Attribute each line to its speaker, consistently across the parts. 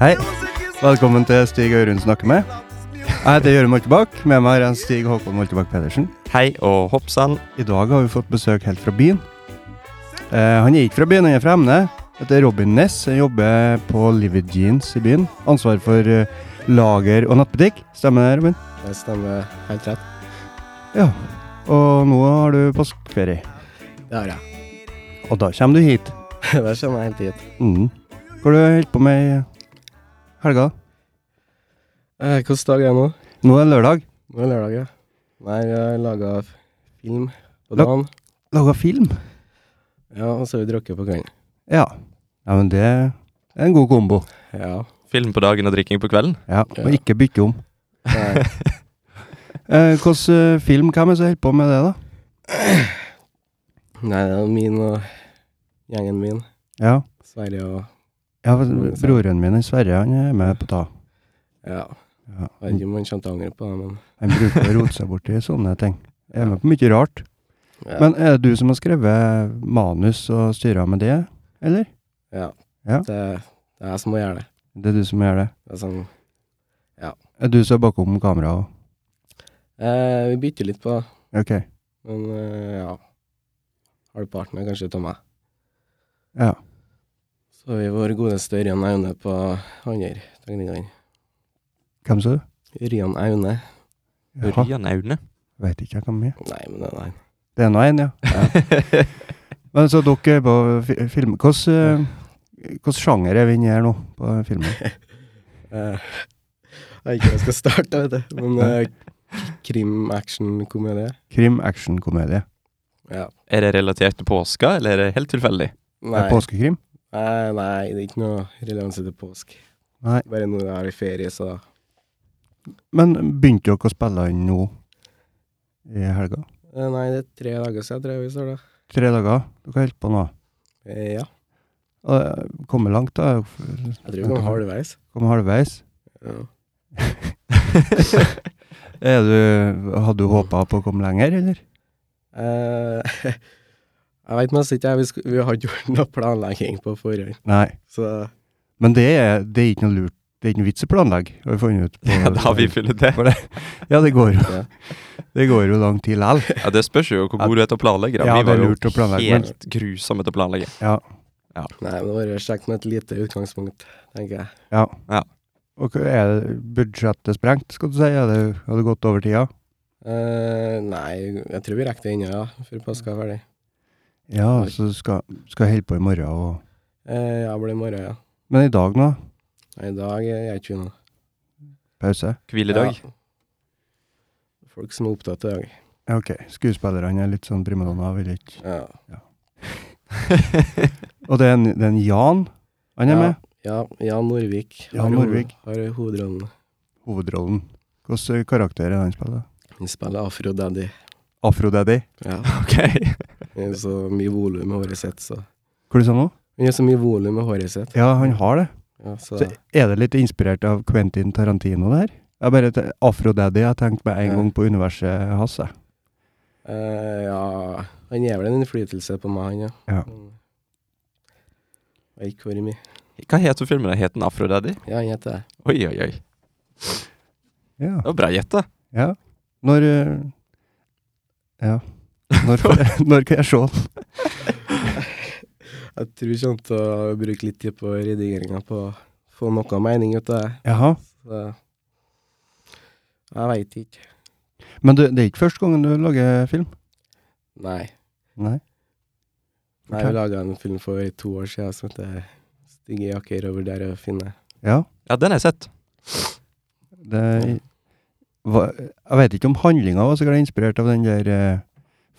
Speaker 1: Hei, velkommen til Stig Øyrund snakker med. Jeg heter Jørund Moltebakk. Med meg har jeg Stig Håkon Moltebakk Pedersen.
Speaker 2: Hei og hopp sann.
Speaker 1: I dag har vi fått besøk helt fra byen. Eh, han er ikke fra byen, han er fra Emne. Heter Robin Ness. Han jobber på Livid Jeans i byen. Ansvar for eh, lager og nattbutikk. Stemmer det, Robin?
Speaker 3: Det stemmer helt rett.
Speaker 1: Ja. Og nå har du påskeferie.
Speaker 3: Det har jeg.
Speaker 1: Og da kommer du hit.
Speaker 3: Det kjenner jeg helt hit.
Speaker 1: Mm. Hva har du holdt på med i helga?
Speaker 3: Eh, Hvilken dag er det nå?
Speaker 1: Nå er det lørdag.
Speaker 3: Nå er det lørdag, ja. Nei, jeg har laga film på
Speaker 1: Lag-
Speaker 3: dagen.
Speaker 1: Laga film.
Speaker 3: Ja, og så har vi drukket på kvelden.
Speaker 1: Ja. ja, men det er en god kombo.
Speaker 3: Ja.
Speaker 2: Film på dagen og drikking på kvelden.
Speaker 1: Ja,
Speaker 3: Ja.
Speaker 1: må ikke bytte om.
Speaker 3: Nei.
Speaker 1: Eh, Hvilken film hvem er det som holder på med det, da?
Speaker 3: Nei, det er min og gjengen min.
Speaker 1: Ja,
Speaker 3: Sverige og
Speaker 1: ja vel, Broren min han Sverre han er med på det.
Speaker 3: Ja.
Speaker 1: Ja.
Speaker 3: Jeg vet ikke om han kommer til å angre på det, men
Speaker 1: Han bruker å rote seg borti sånne ting. Jeg er med på mye rart.
Speaker 3: ja.
Speaker 1: Men er det du som har skrevet manus og styrer med det, eller?
Speaker 3: ja.
Speaker 1: Ja.
Speaker 3: Det, det er jeg som må gjøre det.
Speaker 1: Det er du som gjør det.
Speaker 3: det er sånn.
Speaker 1: Er du som er bakom kamera og
Speaker 3: eh, vi bytter litt på det,
Speaker 1: Ok.
Speaker 3: men eh, ja. Halvparten er kanskje av meg.
Speaker 1: Ja.
Speaker 3: Så har vi vår godeste Ørjan Aune på andre tegningene.
Speaker 1: Hvem sa du?
Speaker 3: Ørjan Aune.
Speaker 1: Jaha,
Speaker 2: Ørjan Aune.
Speaker 1: veit ikke jeg hvem jeg er.
Speaker 3: Nei, men det er han.
Speaker 1: Det er nå én, ja. Men så dere er på fi- film... Hvilken eh, hvilken sjanger er vi inne i her nå, på filmen?
Speaker 3: Eh, Jeg vet ikke hvor jeg skal starte, vet du. Men eh, krim, action, komedie.
Speaker 1: Krim, action, komedie.
Speaker 3: Ja.
Speaker 2: Er det relatert til påska, eller er det helt tilfeldig?
Speaker 1: Er
Speaker 3: Nei.
Speaker 1: det Påskekrim?
Speaker 3: Nei, nei, det er ikke noe relevanse til påsk.
Speaker 1: Nei.
Speaker 3: Bare nå er det ferie, så
Speaker 1: Men begynte dere å spille inn nå i helga?
Speaker 3: Eh, Nei, det er tre dager siden, tror jeg vi står da.
Speaker 1: Tre dager? Dere holdt på nå?
Speaker 3: Eh, Ja.
Speaker 1: Og eh, Kommet langt, da?
Speaker 3: Jeg tror vi kommer halvveis.
Speaker 1: Kommet halvveis?
Speaker 3: Ja.
Speaker 1: Er du, hadde du håpa på å komme lenger, eller?
Speaker 3: Eh, Jeg veit mest ikke, jeg. Vi, sk- vi har ikke gjort noe planlegging på forhånd,
Speaker 1: Nei.
Speaker 3: så
Speaker 1: Men det er, det er ikke noe lurt. Det er ikke noe vits i å planlegge, har vi funnet ut. på-
Speaker 2: Ja, det har vi funnet det.
Speaker 1: Ja, det går jo,
Speaker 3: ja.
Speaker 1: det går jo lang tid likevel.
Speaker 2: Ja, det spørs jo hvor god du er til å planlegge. Da.
Speaker 1: Ja,
Speaker 2: vi
Speaker 1: det er
Speaker 2: var jo
Speaker 1: lurt å planlegge, men-
Speaker 2: helt grusomme til å planlegge.
Speaker 3: Nei, men det var vært kjekt med et lite utgangspunkt, tenker jeg.
Speaker 1: Ja.
Speaker 2: Ja.
Speaker 1: Og hva er det budsjettet sprengt, skal du si? Er det, har det gått over tida?
Speaker 3: Eh, nei, jeg tror vi rekker det ennå, ja, før påska er ferdig.
Speaker 1: Ja, så du skal, skal holde på i morgen og
Speaker 3: Eh, ja, blir i morgen, ja.
Speaker 1: Men i dag nå?
Speaker 3: Nei, I dag er jeg ikke noe.
Speaker 1: Pause?
Speaker 2: Hviledag.
Speaker 3: Ja. Folk som er opptatt i dag.
Speaker 1: Ja, Ok, skuespillerne er litt sånn primadonna, vil ikke
Speaker 3: Ja.
Speaker 1: Og det er en, det er en Jan, han er
Speaker 3: ja,
Speaker 1: med.
Speaker 3: Ja, Jan Norvik.
Speaker 1: Jan
Speaker 3: har ho-
Speaker 1: Norvik.
Speaker 3: Har hovedrollen.
Speaker 1: Hovedrollen. Hvilken karakter er det han spiller?
Speaker 3: Han spiller Afro-daddy.
Speaker 1: Afrodaddy.
Speaker 3: Ja.
Speaker 2: Ok.
Speaker 3: Han er så mye volum i håret sitt, så
Speaker 1: Hva du sa nå?
Speaker 3: Han er så mye volum i håret sitt.
Speaker 1: Ja, han har det.
Speaker 3: Ja, så
Speaker 1: Så er det litt inspirert av Quentin Tarantino, det her? Jeg bare te- Afrodaddy, jeg tenkte med en
Speaker 3: Ja.
Speaker 1: gang på universet hans, jeg.
Speaker 3: eh, Ja, han er vel en innflytelse på meg, han, ja.
Speaker 1: Ja.
Speaker 3: Men Jeg vet ikke hvor mye.
Speaker 2: Hva heter filmen? da? Het den Afrodaddy?
Speaker 3: Ja, han heter det.
Speaker 2: Oi, oi, oi.
Speaker 1: Ja.
Speaker 2: Det var bra gjetta.
Speaker 1: ja. Når eh, Ja. Når, får- når kan jeg se den?
Speaker 3: Jeg tror jeg kommer til å bruke litt tid på redigeringa på å få noe mening ut av det.
Speaker 1: Jaha.
Speaker 3: Så jeg veit ikke.
Speaker 1: Men du, det er ikke første gangen du lager film?
Speaker 3: Nei.
Speaker 1: Nei?
Speaker 3: Nei, vi laga en film for to år siden som heter 'Stygge jakker over der å finne'.
Speaker 1: Ja.
Speaker 2: Ja, den har jeg sett.
Speaker 1: Det hva, Jeg vet ikke om handlinga var sikkert inspirert av den der eh,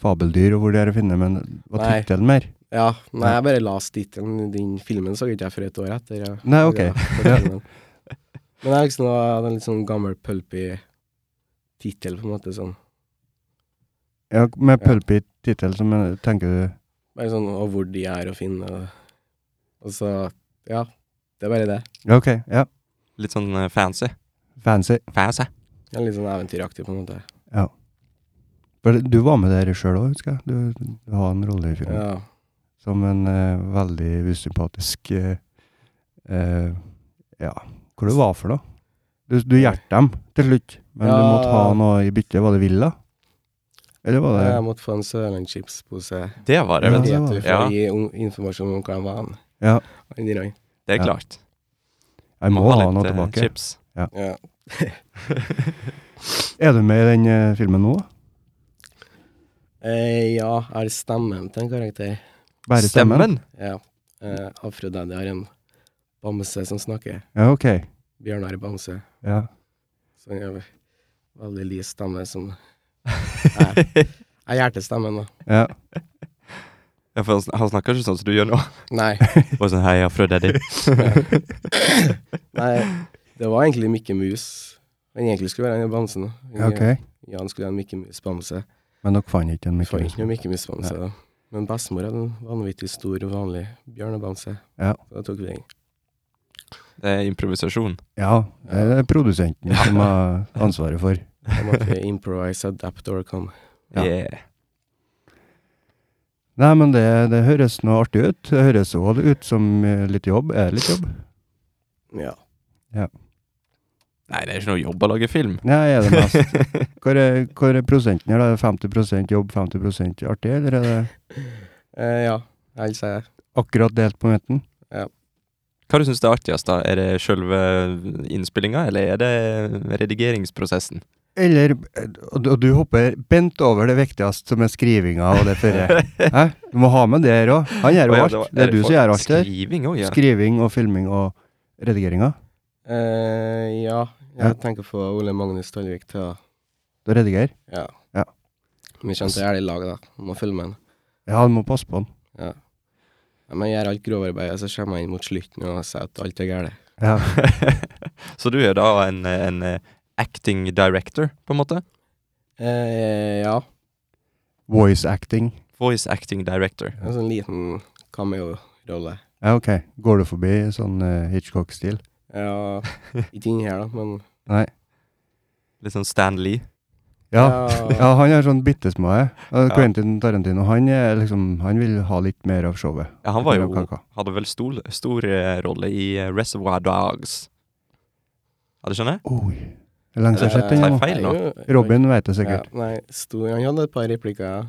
Speaker 1: Fabeldyr og hvor det er å finne, men var
Speaker 3: Nei.
Speaker 1: tittelen mer?
Speaker 3: Ja, nei, jeg bare las tittelen. Den filmen så ikke jeg før et år etter. Ja.
Speaker 1: Nei, ok.
Speaker 3: Ja,
Speaker 1: Ja.
Speaker 3: for filmen. Men det er liksom noe, en litt sånn gammel, pulpy tittel, på en måte. sånn.
Speaker 1: Ja, med
Speaker 3: Ja.
Speaker 1: pulpy tittel, som jeg tenker du
Speaker 3: Bare sånn og hvor de er å finne. Og, og så Ja. Det er bare det.
Speaker 1: Ja, ok. Ja.
Speaker 2: Litt sånn eh, fancy.
Speaker 1: Fancy.
Speaker 2: Fancy.
Speaker 3: Det er Litt sånn eventyraktig, på en måte.
Speaker 1: For du var med der sjøl òg, husker jeg. Du, du har en rolle i filmen.
Speaker 3: Ja.
Speaker 1: Som en eh, veldig usympatisk eh, eh, Ja, hvor det var for noe? Du, du hjalp dem til slutt, men du
Speaker 3: Ja.
Speaker 1: måtte ha noe i bytte. Var det Villa? Eller var det
Speaker 3: Jeg måtte få en Sørlandschips-pose.
Speaker 2: Det var det,
Speaker 1: Ja.
Speaker 2: vet du.
Speaker 3: Peter for
Speaker 2: Ja.
Speaker 3: å gi un- informasjon om hva han var.
Speaker 1: Ja.
Speaker 3: Inni rang.
Speaker 2: Det
Speaker 1: Ja.
Speaker 2: er klart.
Speaker 1: Jeg må
Speaker 2: Må
Speaker 1: ha noe
Speaker 2: litt, eh,
Speaker 1: tilbake.
Speaker 2: Chips.
Speaker 3: Ja.
Speaker 1: Er du med i den eh, filmen nå? da?
Speaker 3: Eh, ja, jeg har stemmen til en karakter.
Speaker 1: Bare stemmen?
Speaker 3: Ja. Eh, Afrodaddy har en bamse som snakker.
Speaker 1: Ja, ok.
Speaker 3: Bjørnar Bamse.
Speaker 1: Ja.
Speaker 3: Så han har veldig lys stemme som Jeg jeg hjelper stemmen, da.
Speaker 1: ja.
Speaker 2: Ja, for han sn- han snakker ikke sånn som du gjør nå.
Speaker 3: Nei.
Speaker 2: Bare sånn hei, Afrodaddy.
Speaker 3: Nei, det var egentlig Mikke Mus. Han egentlig skulle være han bamsen. da.
Speaker 1: ja, ok.
Speaker 3: Ja, han skulle ha en Mikke Mus-bamse.
Speaker 1: Men dere fant ikke en
Speaker 3: Vi fant
Speaker 1: Mikkel?
Speaker 3: ikke noe Mikke Mus-bamse, da. Men bestemor hadde en vanvittig stor, vanlig bjørnebamse.
Speaker 1: Ja.
Speaker 3: Så da tok vi den.
Speaker 2: Det er improvisasjon.
Speaker 1: Ja, det er produsenten som har ansvaret for.
Speaker 3: Da måtte vi improvise, adapt, overcome.
Speaker 1: Ja.
Speaker 2: Yeah.
Speaker 1: Nei, men det, det høres noe artig ut. Det høres òg ut som eh, litt jobb. Er det litt jobb?
Speaker 3: Ja.
Speaker 2: Nei, det er ikke noe jobb å lage film.
Speaker 1: Nei, er det mest. Hvor er, hvor er prosenten her? da? Er det 50 jobb, 50 artig, eller er det
Speaker 3: Eh, ja. Ellers er jeg
Speaker 1: akkurat delt på midten?
Speaker 2: Hva du syns er artigst, da? Er det sjølve innspillinga, eller er det redigeringsprosessen?
Speaker 1: Eller Og du- og du hopper bent over det viktigste, som er skrivinga og det førre. Hæ? Du må ha med det her òg. Han gjør
Speaker 2: Å
Speaker 1: jo
Speaker 2: ja,
Speaker 1: alt.
Speaker 2: var-
Speaker 1: Det er du
Speaker 2: for-
Speaker 1: som gjør alt der.
Speaker 2: Skriving òg, ja.
Speaker 1: Skriving og filming og redigeringa.
Speaker 3: eh, Ja.
Speaker 1: Ja.
Speaker 3: Jeg tenker på Ole Magnus Tollvik til å
Speaker 1: Du redigerer.
Speaker 3: Ja.
Speaker 1: Ja.
Speaker 3: Vi kjente det her i lag, da. Må følge med.
Speaker 1: Ja, du må passe på den.
Speaker 3: Ja, men jeg gjør alt grovarbeidet, så kommer jeg inn mot slutten og sier at alt er galt.
Speaker 1: Ja.
Speaker 2: Så du er da en, en eh, acting director, på en måte?
Speaker 3: Eh, ja,
Speaker 1: Voice acting.
Speaker 2: Voice acting director.
Speaker 3: en sånn liten cameo-rolle.
Speaker 1: Ja, ok. Går du forbi sånn eh, Hitchcock-stil?
Speaker 3: Ja, ikke inni her, da, men
Speaker 1: Nei.
Speaker 2: Litt sånn Stan Lee.
Speaker 1: Ja.
Speaker 3: ja.
Speaker 1: Ja, han er sånn bittesmå. jeg. Og
Speaker 2: Ja.
Speaker 1: Quentin Tarantino, han er liksom Han vil ha litt mer av showet.
Speaker 2: Ja, han var
Speaker 1: Litt mer
Speaker 2: jo
Speaker 1: av kaka.
Speaker 2: Hadde vel stor, stor eh, rolle i eh, Reservoir Dogs. Ja, du skjønner?
Speaker 1: Oi. Det er lenge siden jeg har sett den.
Speaker 2: Tar
Speaker 1: jeg, nå.
Speaker 2: feil nå.
Speaker 1: Robin vet
Speaker 3: Eh,
Speaker 1: det
Speaker 3: Ja,
Speaker 1: sikkert.
Speaker 3: nei, sto, han hadde et par replikker. ja.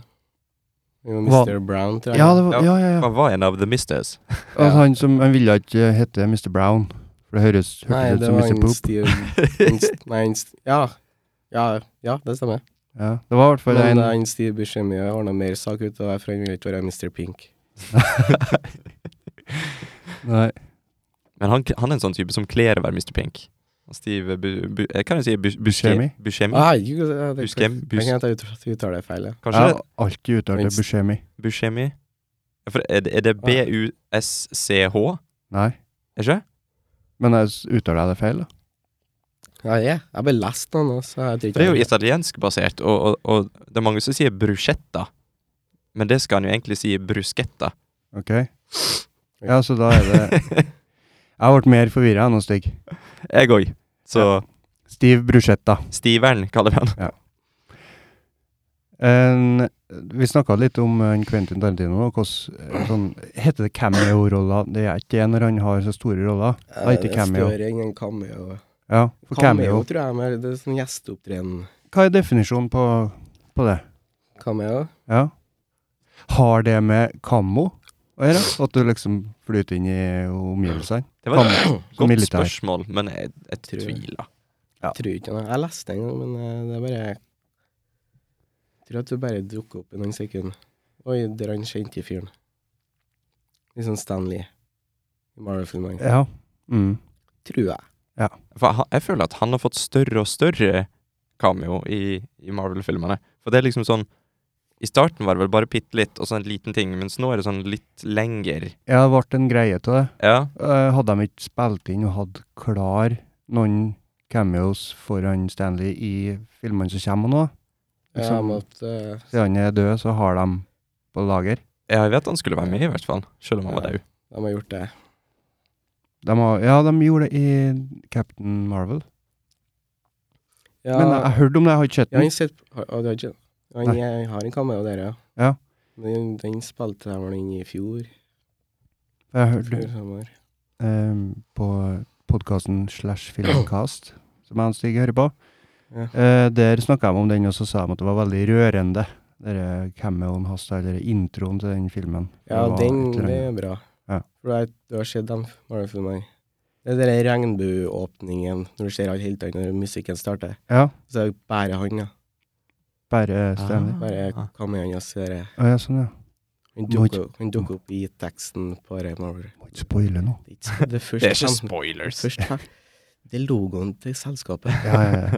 Speaker 3: Det var
Speaker 1: Hva?
Speaker 3: Mr. Brown, tror jeg.
Speaker 1: Ja, det var, ja, ja, ja.
Speaker 2: Han var en av The Misters.
Speaker 1: Og Altså, han som Han ville ikke hete Mr. Brown, for det høres
Speaker 3: Nei,
Speaker 1: hørtes ut
Speaker 3: det
Speaker 1: som
Speaker 3: var
Speaker 1: Mr.
Speaker 3: en
Speaker 1: Poop.
Speaker 3: Steve en, st- Nei, en, st- ja. ja. Ja, det stemmer.
Speaker 1: Ja, det var i hvert fall
Speaker 3: Men
Speaker 1: en
Speaker 3: eh, en Steve Buscemi ordna mer sak ut av det, for han ville ikke være Mr. Pink.
Speaker 1: Nei.
Speaker 2: Men han, han er en sånn type som kler å være Mr. Pink. Steve bu, bu, eh, Kan jeg si bu, Buscemi?
Speaker 1: Buscemi?
Speaker 2: Buscemi?
Speaker 3: Ah, jeg, jeg, jeg, jeg, jeg,
Speaker 2: Buscemi?
Speaker 3: jeg,
Speaker 2: Bus,
Speaker 3: jeg, jeg, jeg uttaler det feil, ja.
Speaker 1: Jeg
Speaker 2: kanskje
Speaker 1: har
Speaker 2: det?
Speaker 1: alltid uttalt det
Speaker 3: Minst.
Speaker 1: Buscemi.
Speaker 2: Buscemi? Ja, For er det, er det
Speaker 3: Ah.
Speaker 2: B-U-S-C-H?
Speaker 1: Nei.
Speaker 2: Er det ikke?
Speaker 1: Men jeg s- uttaler jeg det feil, da?
Speaker 3: Ja, jeg har bare lest den, altså. Jeg tror ikke
Speaker 2: For det er jo
Speaker 3: jeg-
Speaker 2: italiensk basert, og, og, og det er mange som sier bruschetta. Men det skal han jo egentlig si bruschetta.
Speaker 1: Ok? Ah, Ja, så da er det Jeg ble mer forvirra enn hos Stig.
Speaker 2: Jeg òg. Så
Speaker 1: Steve Bruschetta.
Speaker 2: Stiveren kaller vi han.
Speaker 1: En, vi snakka litt om en Quentin Tarantino. og Hvordan, eh, sånn, heter det cameo-roller? Det er ikke det når han har så store roller.
Speaker 3: Eh,
Speaker 1: Nei, ikke cameo.
Speaker 3: Det står ingen cameo.
Speaker 1: Ja, for
Speaker 3: Cameo,
Speaker 1: cameo.
Speaker 3: tror jeg, men det er sånn gjesteopptreden.
Speaker 1: Hva er definisjonen på, på det?
Speaker 3: Cameo?
Speaker 1: Ja. Har det med kammo å gjøre? At du liksom flyter inn i omgivelsene?
Speaker 2: Det var et
Speaker 1: Kammo.
Speaker 2: godt
Speaker 1: militær.
Speaker 2: spørsmål, men jeg, jeg
Speaker 3: Tror jeg.
Speaker 2: tviler.
Speaker 1: Ja.
Speaker 3: Tror ikke det. Jeg leste den, en gang, men eh, det er bare Tror at du bare dukker opp i noen sekunder. Oi, der han kjente fyren. Litt sånn Stanley i Marvel-filmene.
Speaker 1: Ja. Mm.
Speaker 3: Tror jeg.
Speaker 2: For han, jeg føler at han har fått større og større cameo i, i Marvel-filmene. For det er liksom sånn I starten var det vel bare bitte litt, og så en liten ting, mens nå er det sånn litt lenger.
Speaker 1: Ja, det ble en greie til det.
Speaker 2: Ja.
Speaker 1: Eh, Hadde de ikke spilt inn og hatt klar noen cameos foran Stanley i filmene som kommer nå,
Speaker 3: Ja,
Speaker 1: Liksom-
Speaker 3: med at eh,
Speaker 1: siden han er død, så har de på lager.
Speaker 2: ja, jeg vet han skulle være med, i hvert fall. Selv om han var
Speaker 3: Ja.
Speaker 2: daud.
Speaker 3: de har gjort det.
Speaker 1: De har, ja, de gjorde det i Captain Marvel.
Speaker 3: Ja,
Speaker 1: Men eh, jeg, jeg hørte om det, jeg har ikke sett
Speaker 3: ja han
Speaker 1: den.
Speaker 3: sitter har- har du ikke- Han jeg har en cameo der, ja.
Speaker 1: Ja.
Speaker 3: Den, den spilte jeg vel inn i fjor.
Speaker 1: Jeg hørte
Speaker 3: fjor sommer.
Speaker 1: eh, på podkasten slash Filmcast, som jeg og Stig hører på.
Speaker 3: Ja.
Speaker 1: Eh, der snakka jeg om den, og så sa de at det var veldig rørende. Dere cameoen hans, da, eller introen til den filmen.
Speaker 3: Ja,
Speaker 1: var
Speaker 3: den
Speaker 1: et eller
Speaker 3: det
Speaker 1: annet.
Speaker 3: er bra.
Speaker 1: Ja.
Speaker 3: For du har- du har sett dem Marvel-filmene. Det er den regnbueåpningen når du ser alle heltene når musikken starter.
Speaker 1: Ja,
Speaker 3: Så er det bare han, ja.
Speaker 1: bare Stanley.
Speaker 3: Bare
Speaker 2: Ah.
Speaker 3: kameraet hans. er det-
Speaker 1: Å ja, sånn, ja.
Speaker 3: Han
Speaker 1: Må ikke-
Speaker 3: dukker opp- han dukker opp i teksten på det Marvel.
Speaker 1: Må ikke spoile nå.
Speaker 3: Det er ikke- det er
Speaker 2: Det er
Speaker 3: først
Speaker 2: ikke sånn-
Speaker 3: fem-
Speaker 2: spoilers.
Speaker 3: først fem- Det er logoen til selskapet.
Speaker 1: Ja, ja, ja.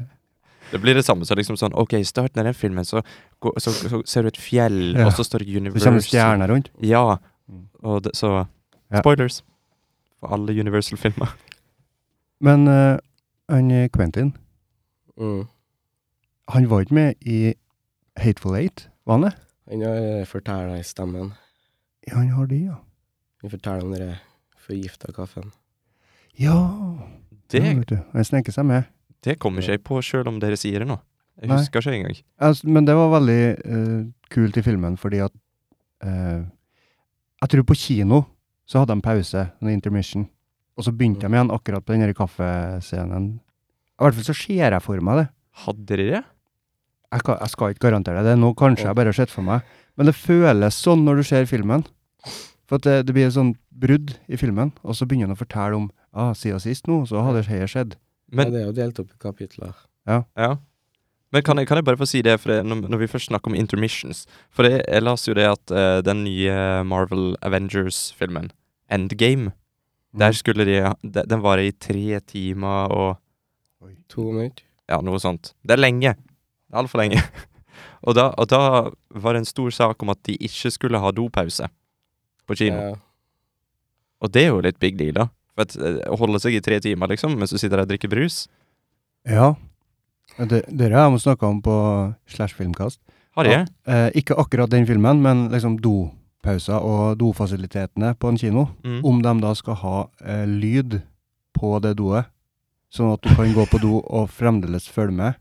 Speaker 2: Det blir det samme som liksom sånn Ok, i starten av den filmen så, går- så, så ser du et fjell,
Speaker 1: Ja.
Speaker 2: og så står det
Speaker 1: Så kommer
Speaker 2: Universal.
Speaker 1: stjerna rundt.
Speaker 2: Ja.
Speaker 1: Mm.
Speaker 2: Og det, så
Speaker 1: Ja.
Speaker 2: Spoilers. For alle Universal-filmer.
Speaker 1: Men eh, han eh, Quentin,
Speaker 3: Mm.
Speaker 1: han var ikke med i Hateful Eight, var han det?
Speaker 3: Han har eh, fortalt deg stemmen.
Speaker 1: Ja, han har det, ja.
Speaker 3: Han forteller om den forgifta kaffen.
Speaker 1: Ja, ja
Speaker 2: Det,
Speaker 1: vet du. Han sneker seg med.
Speaker 2: det kommer ikke jeg på sjøl om dere sier det nå. Jeg
Speaker 1: Nei.
Speaker 2: husker ikke engang.
Speaker 1: Altså, men det var veldig eh, kult i filmen, fordi at eh, Jeg tror på kino så hadde de pause, en intermission, og så begynte de igjen akkurat på den der kaffescenen. I hvert fall så ser jeg for meg det.
Speaker 2: Hadde dere det?
Speaker 1: Jeg, ka- jeg skal ikke garantere det nå, kanskje jeg bare har sett for meg. Men det føles sånn når du ser filmen. For at det, det blir et sånt brudd i filmen, og så begynner han å fortelle om ah, siden sist nå, så har det her skjedd.
Speaker 3: ja,
Speaker 2: Men,
Speaker 3: det er jo delt opp i kapitler.
Speaker 2: ja. Men kan jeg, kan jeg bare få si det, for det, når, når vi først snakker om intermissions For det, jeg las jo det at eh, den nye Marvel Avengers-filmen, Endgame,
Speaker 1: Mm.
Speaker 2: der skulle de ha- de- Den varer i tre timer og
Speaker 3: To minutter.
Speaker 2: Ja, noe sånt. Det er lenge. Det er altfor lenge. og, da, og da var det en stor sak om at de ikke skulle ha dopause på kino.
Speaker 3: Ja.
Speaker 2: Og det er jo litt big deal, da. For at, eh, Å holde seg i tre timer, liksom, mens du sitter der og drikker brus.
Speaker 1: Ja. Det, dere har jeg snakka om på Slash Filmkast.
Speaker 2: Har jeg?
Speaker 1: Eh, ikke akkurat den filmen, men liksom dopauser og dofasilitetene på en kino.
Speaker 2: Mm.
Speaker 1: Om de da skal ha eh, lyd på det doet, sånn at du kan gå på do og fremdeles følge med.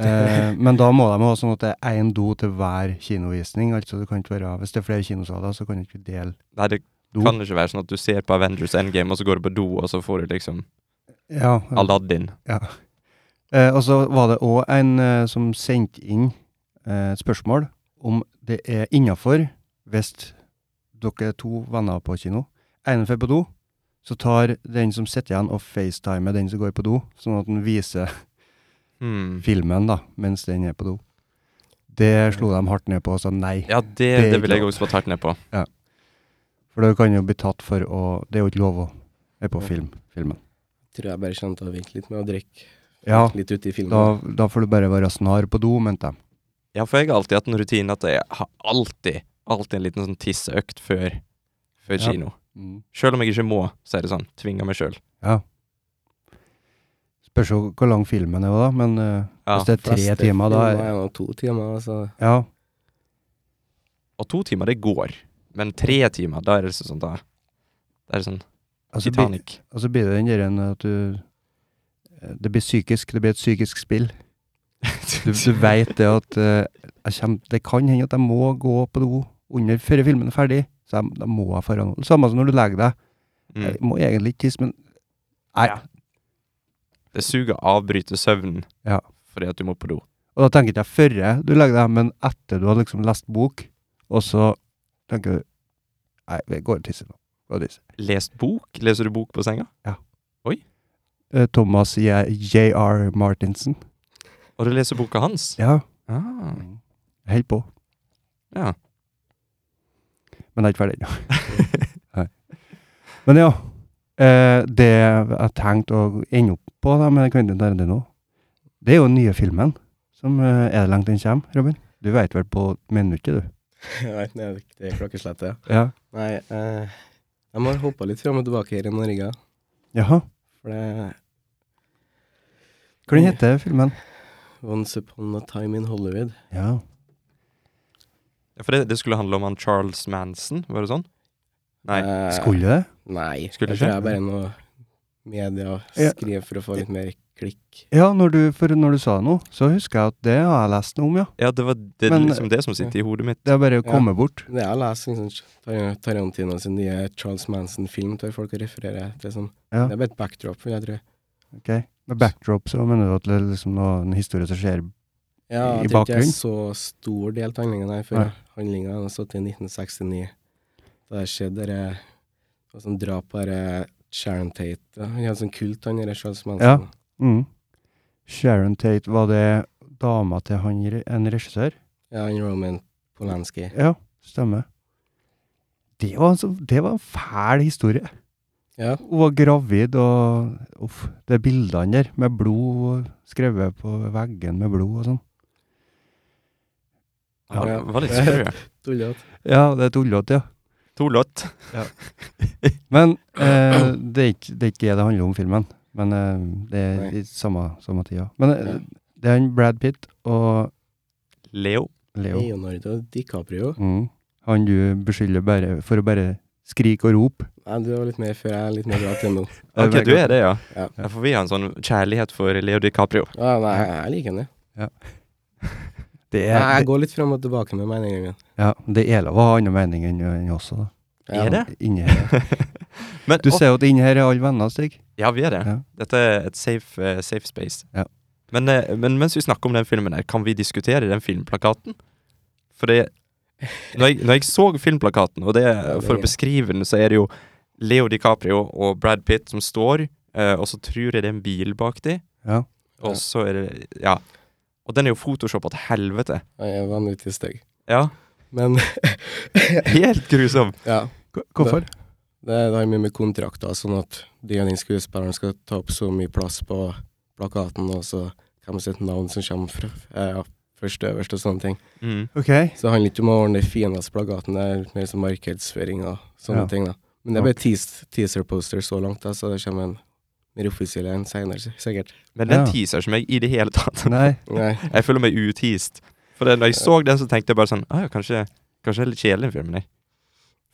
Speaker 1: Eh, men da må de ha sånn at det er én do til hver kinovisning. altså det kan ikke være, Hvis det er flere kinosaler, så kan du ikke dele
Speaker 2: Nei, det
Speaker 1: do.
Speaker 2: kan ikke være sånn at du ser på Avengers Endgame, og så går du på do, og så får du liksom
Speaker 1: Ja,
Speaker 2: Aladdin.
Speaker 1: Eh, og så var det òg en eh, som sendte inn eh, et spørsmål om det er innafor hvis dere er to venner på kino. En drar på do, så tar den som sitter igjen og facetimer den som går på do, sånn at den viser
Speaker 2: Hmm.
Speaker 1: filmen da, mens den er på do. Det slo de hardt ned på og sa nei,
Speaker 2: Ja, det,
Speaker 1: er
Speaker 2: det
Speaker 1: ikke
Speaker 2: vil jeg
Speaker 1: lov.
Speaker 2: også få tatt ned på.
Speaker 1: for det kan jo bli tatt for å Det er jo ikke lov å være på film, filmen.
Speaker 3: Tror jeg bare kommer til å vente litt med å drikke
Speaker 1: Ja,
Speaker 3: litt ute i filmen.
Speaker 1: da, da får du bare være snar på do, mente de.
Speaker 2: Ja, for jeg har alltid hatt en rutine at jeg har alltid, alltid en liten sånn tisseøkt før, før
Speaker 1: Ja.
Speaker 2: kino.
Speaker 1: Mm.
Speaker 2: Sjøl om jeg ikke må, så er det sånn. Tvinger meg sjøl.
Speaker 1: Ja. Spørs jo hvor lang filmen er, da, men eh,
Speaker 2: Ja,
Speaker 1: hvis det er tre
Speaker 3: Fleste
Speaker 1: timer, da
Speaker 3: filmer er jo to timer, altså.
Speaker 1: Ja.
Speaker 2: Og to timer, det går. Men tre timer, da er det sånn da Det er det sånn
Speaker 1: Og så blir- og
Speaker 2: Titanic.
Speaker 1: så altså blir det den der en at du eh, Det blir psykisk. Det blir et psykisk spill. Du, du veit det at eh, jeg kjem, Det kan hende at jeg må gå på do under før filmen er ferdig, så jeg, da må jeg dra nå. Samme som når du legger deg. Jeg
Speaker 2: Mm.
Speaker 1: må egentlig ikke tisse, men Nei.
Speaker 2: Det suger å avbryte søvnen
Speaker 1: Ja.
Speaker 2: fordi at du må på do.
Speaker 1: Og da tenker ikke jeg før du legger deg, men etter du har liksom lest bok, og så tenker du Nei, vi går og tisser nå. Gå og tisse.
Speaker 2: Lest bok? Leser du bok på senga?
Speaker 1: eh, Thomas J- J.R. Martinsen.
Speaker 2: Og du leser boka hans?
Speaker 1: Ja.
Speaker 2: Ah.
Speaker 1: Helt på.
Speaker 2: Ja.
Speaker 1: Men det er ikke ferdig ennå. Nei. Men ja. Eh, det jeg tenkte å ende opp på da, med Quentin Tarantino, det er jo den nye filmen. Som eh, er det langt den kommer, Robin? Du veit vel på minuttet, du?
Speaker 3: Jeg vet ikke, det er ikke det klokkeslettet.
Speaker 1: Ja.
Speaker 3: Nei, eh, de har hoppa litt fram og tilbake her i Norge.
Speaker 1: Jaha.
Speaker 3: For det
Speaker 1: Hvordan heter filmen?
Speaker 3: Once upon a time in Hollywood.
Speaker 1: Ja.
Speaker 2: Ja, for det, det skulle handle om han Charles Manson, var det sånn? Nei.
Speaker 3: Eh,
Speaker 1: Skulle det?
Speaker 3: Nei.
Speaker 2: Skulle
Speaker 3: jeg tror
Speaker 2: ikke?
Speaker 3: jeg bare noe media
Speaker 1: Ja.
Speaker 3: skriver for å få litt mer Klikk.
Speaker 1: Ja, når du, for når du sa noe, så husker jeg at det har jeg lest noe om, ja.
Speaker 2: Ja, det var det,
Speaker 1: Men-
Speaker 2: liksom det som sitter i hodet mitt.
Speaker 1: Det er bare å komme bort.
Speaker 3: Det jeg leser liksom, Tar- Tarantino sin nye Charles Manson-film, tar folk og refererer til sånn.
Speaker 1: Ja.
Speaker 3: Det er bare et backdrop, vil jeg tro.
Speaker 1: ok. Med backdrop så mener du at det er liksom noe, en historie som skjer
Speaker 3: Ja,
Speaker 1: I
Speaker 3: jeg tror ikke det
Speaker 1: bakgrunnen?
Speaker 3: er så stor del av handlingen her,
Speaker 1: Nei.
Speaker 3: for handlinga har stått i 1969. Da det skjedde det var sånn eh, drap på dette Sharon Tate. Ja, Han hadde sånn kult, han derre Charles Manson.
Speaker 1: mm. Sharon Tate, var det dama til han, re- en regissør?
Speaker 3: Ja, han Roman Polanski.
Speaker 1: Ja, stemmer. Det var, altså, det var en fæl historie.
Speaker 3: Ja.
Speaker 1: Hun var gravid, og uff, det er bildene der, med blod og skrevet på veggen med blod og sånn.
Speaker 3: Ja.
Speaker 2: Ja, det var litt sprø.
Speaker 3: Tullete.
Speaker 1: Ja, det er tullete, ja.
Speaker 2: To låt.
Speaker 1: Men eh, det, er ikke, det er ikke det det handler om filmen. Men eh, det er
Speaker 3: Nei.
Speaker 1: i samme, samme tida. Men eh,
Speaker 3: Ja.
Speaker 1: det er han Brad Pitt og
Speaker 2: Leo.
Speaker 1: Leo.
Speaker 3: Leonardo DiCaprio.
Speaker 1: Mm. Han du beskylder bare for å bare skrike og rope.
Speaker 3: Nei, du var litt mer før jeg er litt mer bra til nå.
Speaker 2: Ok, du er det, ja.
Speaker 3: Ja.
Speaker 2: ja. For vi har en sånn kjærlighet for Leo DiCaprio.
Speaker 3: Ja, nei, jeg liker han, ja.
Speaker 1: Det
Speaker 3: Nei,
Speaker 1: er,
Speaker 3: Jeg går litt fram og tilbake med meningene mine.
Speaker 1: ja, det er lov å ha annen mening enn enn oss. da.
Speaker 3: Ja.
Speaker 2: Er det?
Speaker 1: Inni her.
Speaker 2: Men,
Speaker 1: Du
Speaker 2: å,
Speaker 1: ser jo at inni her er alle venner, Stig.
Speaker 2: ja, vi er det.
Speaker 1: Ja.
Speaker 2: Dette er et safe, eh, safe space.
Speaker 1: Ja.
Speaker 2: Men, eh, men mens vi snakker om den filmen her, kan vi diskutere den filmplakaten? For det når jeg, når jeg så filmplakaten, og det, for å beskrive den, så er det jo Leo DiCaprio og Brad Pitt som står, eh, og så tror jeg det er en bil bak dem,
Speaker 1: Ja.
Speaker 2: og så er det Ja. Og den er jo photoshoppa til helvete.
Speaker 3: Jeg er vanvittig stygg.
Speaker 2: Ja,
Speaker 3: Men
Speaker 2: helt grusom.
Speaker 3: ja,
Speaker 1: Hvorfor?
Speaker 3: det, det har mye med kontrakter, sånn at de og den skuespilleren skal ta opp så mye plass på plakaten, og så hvem sitt navn som kommer fra, eh, først øverst, og sånne ting.
Speaker 2: Mm.
Speaker 1: Ok.
Speaker 3: Så det handler ikke om å ordne finest plakaten, det er mer som markedsføring og sånne
Speaker 1: Ja.
Speaker 3: ting, da. Men det er bare teas- teaser-poster så langt, da, så det kommer en mer offisiell en seinere, sikkert.
Speaker 2: Men den
Speaker 1: Ja.
Speaker 2: teaser som jeg i det hele tatt
Speaker 1: Nei.
Speaker 3: Nei.
Speaker 2: Jeg føler meg uteased. For det, når jeg så den, så tenkte jeg bare sånn «Ah, ja, kanskje, kanskje det er litt kjedelig, den filmen. Jeg.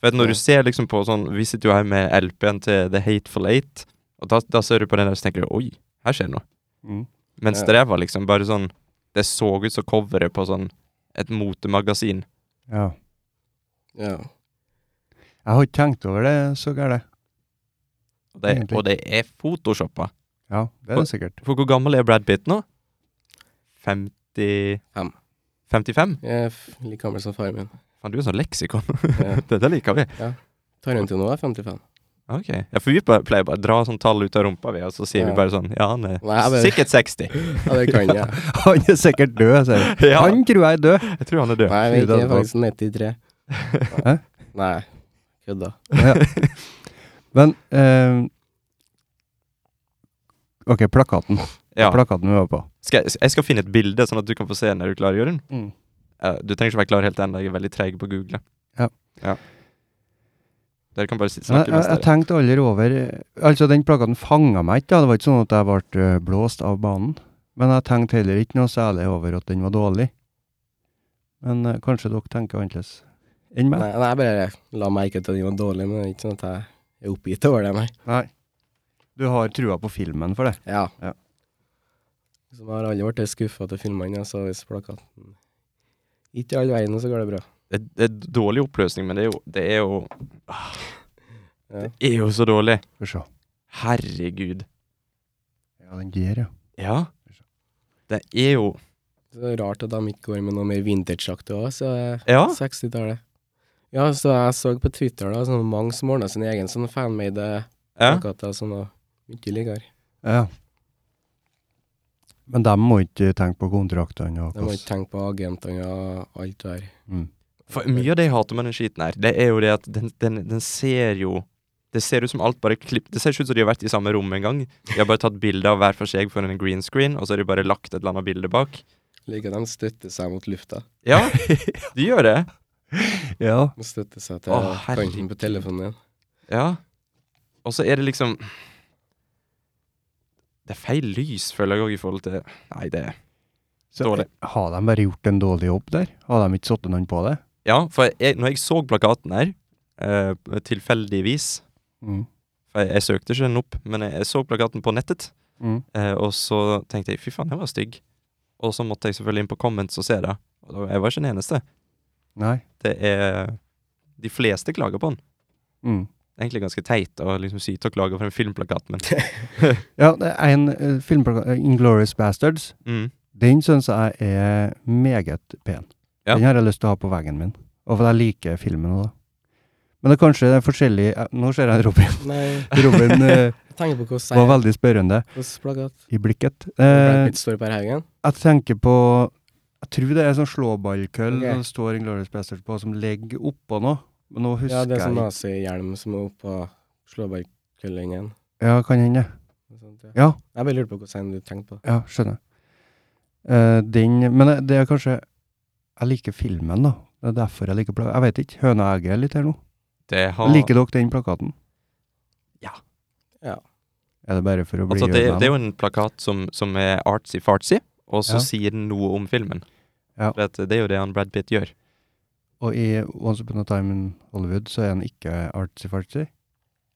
Speaker 2: For at når
Speaker 3: Ja.
Speaker 2: du ser liksom på sånn Vi sitter jo her med LP-en til The Hateful Eight, og da, da ser du på den der og tenker du, Oi, her skjer det noe.
Speaker 1: Mm.
Speaker 2: Mens
Speaker 3: Ja.
Speaker 2: det der var liksom bare sånn Det så ut som coveret på sånn et motemagasin.
Speaker 1: Ja.
Speaker 3: Ja.
Speaker 1: Jeg har ikke tenkt over det så gærent.
Speaker 2: Og det,
Speaker 1: Egentlig.
Speaker 2: og det er photoshoppa.
Speaker 1: Ja, det er det sikkert.
Speaker 2: For hvor gammel er Brad Pitt nå? 50
Speaker 3: Fem.
Speaker 2: 55?
Speaker 3: Jeg er f- like gammel som faren min.
Speaker 2: Faen, du er sånn leksikon.
Speaker 3: Ja.
Speaker 2: Dette liker vi.
Speaker 3: Tarantino er 55.
Speaker 2: Ok, ja, for vi bare- pleier bare å dra sånn tall ut av rumpa vi, og så sier vi
Speaker 3: Ja.
Speaker 2: bare sånn, ja, han er
Speaker 3: Nei, jeg bare-
Speaker 2: sikkert 60.
Speaker 3: Ja, det kan jeg.
Speaker 1: Han er sikkert død, sier jeg.
Speaker 2: Ja,
Speaker 1: Han tror jeg er død.
Speaker 2: jeg tror han er død.
Speaker 3: Nei, jeg vet ikke, jeg er
Speaker 1: Frida
Speaker 3: faktisk 93.
Speaker 1: Hæ?
Speaker 3: Nei, kødda.
Speaker 1: Ja. Men eh, Ok, plakaten.
Speaker 2: Ja.
Speaker 1: Plakaten vi var på.
Speaker 2: Skal jeg, jeg skal finne et bilde, sånn at du kan få se den når du klarer, Jørgen.
Speaker 1: Mm.
Speaker 2: Eh, du trenger ikke være klar helt ennå, jeg er veldig treg på å google.
Speaker 1: Ja.
Speaker 2: Dere kan bare si-
Speaker 1: Jeg,
Speaker 2: snakke
Speaker 1: jeg,
Speaker 2: mens
Speaker 1: jeg
Speaker 2: dere.
Speaker 1: tenkte aldri over Altså, den plakaten fanga meg ikke. da. Det var ikke sånn at jeg ble eh, blåst av banen. Men jeg tenkte heller ikke noe særlig over at den var dårlig. Men eh, kanskje dere tenker annerledes enn
Speaker 3: Nei,
Speaker 1: meg?
Speaker 3: nei, jeg bare la merke til at den var dårlig, men det er ikke sånn at jeg er oppgitt over det, nei.
Speaker 1: Nei. Du har trua på filmen for det?
Speaker 3: Ja.
Speaker 1: Ja.
Speaker 3: Så jeg har aldri vært skuffa til filmene, så hvis plakaten ikke i all verden, så går det bra.
Speaker 2: Det, det er dårlig oppløsning, men det er jo, det er jo, ah,
Speaker 3: Ja.
Speaker 2: det er jo så dårlig.
Speaker 1: Skal vi se.
Speaker 2: Herregud.
Speaker 1: Ja, den gir, ja.
Speaker 2: Ja. Det er jo,
Speaker 3: Så det er rart at de ikke går med noe mer vintage-aktig òg, så
Speaker 2: ja.
Speaker 3: 60-tallet. Ja, så jeg så på Twitter da, sånn mange som ordna sin egen sånn fanmade
Speaker 2: ja.
Speaker 3: plakater, sånn og mye likere.
Speaker 1: Ja. Men de må ikke tenke på kontraktene og
Speaker 3: De må ikke
Speaker 1: hvordan
Speaker 3: tenke på agentene og alt det der.
Speaker 1: mm.
Speaker 2: For mye av det jeg hater med den skiten her, det er jo det at den, den, den ser jo Det ser ut som alt bare klipp Det ser ikke ut som de har vært i samme rom en gang. De har bare tatt bilder av hver for seg foran en green screen, og så har de bare lagt et eller annet bilde bak.
Speaker 3: Like at de støtter seg mot lufta.
Speaker 2: Ja, de gjør det.
Speaker 1: Ja.
Speaker 3: De støtter seg til
Speaker 2: Å,
Speaker 3: kanten
Speaker 2: herregud.
Speaker 3: på telefonen din.
Speaker 2: Ja. Og så er det liksom Det er feil lys, føler jeg òg, i forhold til Nei, det
Speaker 1: Så
Speaker 2: Dårlig.
Speaker 1: har de bare gjort en dårlig jobb der? Har de ikke satt noen på det?
Speaker 2: Ja, for jeg, når jeg så plakaten her, eh, tilfeldigvis
Speaker 1: Mm.
Speaker 2: For jeg, jeg søkte ikke den opp, men jeg, jeg så plakaten på nettet.
Speaker 1: Mm.
Speaker 2: Eh, og så tenkte jeg fy faen, jeg var stygg. Og så måtte jeg selvfølgelig inn på comments og se det. Og da- jeg var ikke den eneste.
Speaker 1: Nei.
Speaker 2: Det er De fleste klager på den.
Speaker 1: Mm.
Speaker 2: Det er Egentlig ganske teit å liksom syte og klage for en filmplakat, men
Speaker 1: Ja, det er en uh, filmplakat, Inglorious Bastards.
Speaker 2: mm.
Speaker 1: Den syns jeg er meget pen.
Speaker 2: Ja.
Speaker 1: Den har jeg lyst til å ha på veggen min. Og for jeg liker filmen òg, da. Men det er kanskje det er forskjellig eh, Nå ser jeg Robin.
Speaker 3: Nei,
Speaker 1: Robin eh,
Speaker 3: jeg tenker på
Speaker 1: var
Speaker 3: hvordan jeg
Speaker 1: veldig spørrende
Speaker 3: Hvordan plakat
Speaker 1: i blikket.
Speaker 3: Brad
Speaker 1: Eh,
Speaker 3: Pitt står på her Haugen.
Speaker 1: jeg tenker på Jeg tror det er sånn slåballkøll
Speaker 3: Ok.
Speaker 1: som det står Inglorious Bastards på, som ligger oppå noe. Men nå
Speaker 3: Ja,
Speaker 1: husker
Speaker 3: det er sånn
Speaker 1: jeg
Speaker 3: nazihjelm som er oppå slåballkøllen igjen.
Speaker 1: Ja, kan hende.
Speaker 3: og sånt, ja.
Speaker 1: Ja.
Speaker 3: Jeg bare lurte på hvordan du tenkte på det.
Speaker 1: Ja, skjønner. Eh, den Men det- det er kanskje Jeg liker filmen, da. Det er derfor jeg liker plakaten. Jeg vet ikke. Høna og egget er litt her nå.
Speaker 2: det har
Speaker 1: Liker dere den plakaten?
Speaker 3: Ja.
Speaker 1: Er det bare for å bli
Speaker 2: Altså, det,
Speaker 1: høna?
Speaker 2: det er jo en plakat som, som er artsy-fartsy, og så
Speaker 1: Ja.
Speaker 2: sier den noe om filmen.
Speaker 1: Ja.
Speaker 2: For at det er jo det han Brad Pitt gjør.
Speaker 1: Og i Once Upon a Time in Hollywood så er han ikke artsy-fartsy.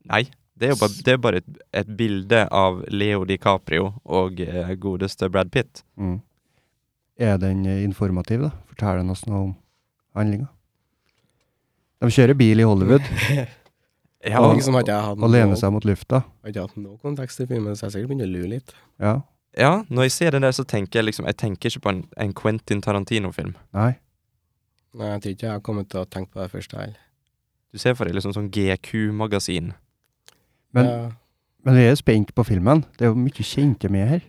Speaker 2: Nei, det er jo bare, det er bare et, et bilde av Leo DiCaprio og eh, godeste Brad Pitt.
Speaker 1: Mm. Er den eh, informativ, da? Forteller den oss noe om handlinga? De kjører bil i Hollywood
Speaker 2: Ja,
Speaker 1: Og-
Speaker 3: liksom hadde jeg hatt
Speaker 1: og lener
Speaker 3: noe-
Speaker 1: seg mot lufta.
Speaker 3: hadde jeg hatt noe kontekst i filmen, så jeg sikkert begynner å lure litt.
Speaker 1: Ja.
Speaker 2: ja, når jeg ser den der, så tenker jeg liksom Jeg tenker ikke på en, en Quentin Tarantino-film.
Speaker 1: Nei.
Speaker 3: Nei, jeg tror ikke jeg har kommet til å tenke på det først. jeg heller.
Speaker 2: Du ser for deg liksom sånn GQ-magasin.
Speaker 1: Men,
Speaker 3: Ja.
Speaker 1: men vi er jo spent på filmen. Det er jo mye kjente med her.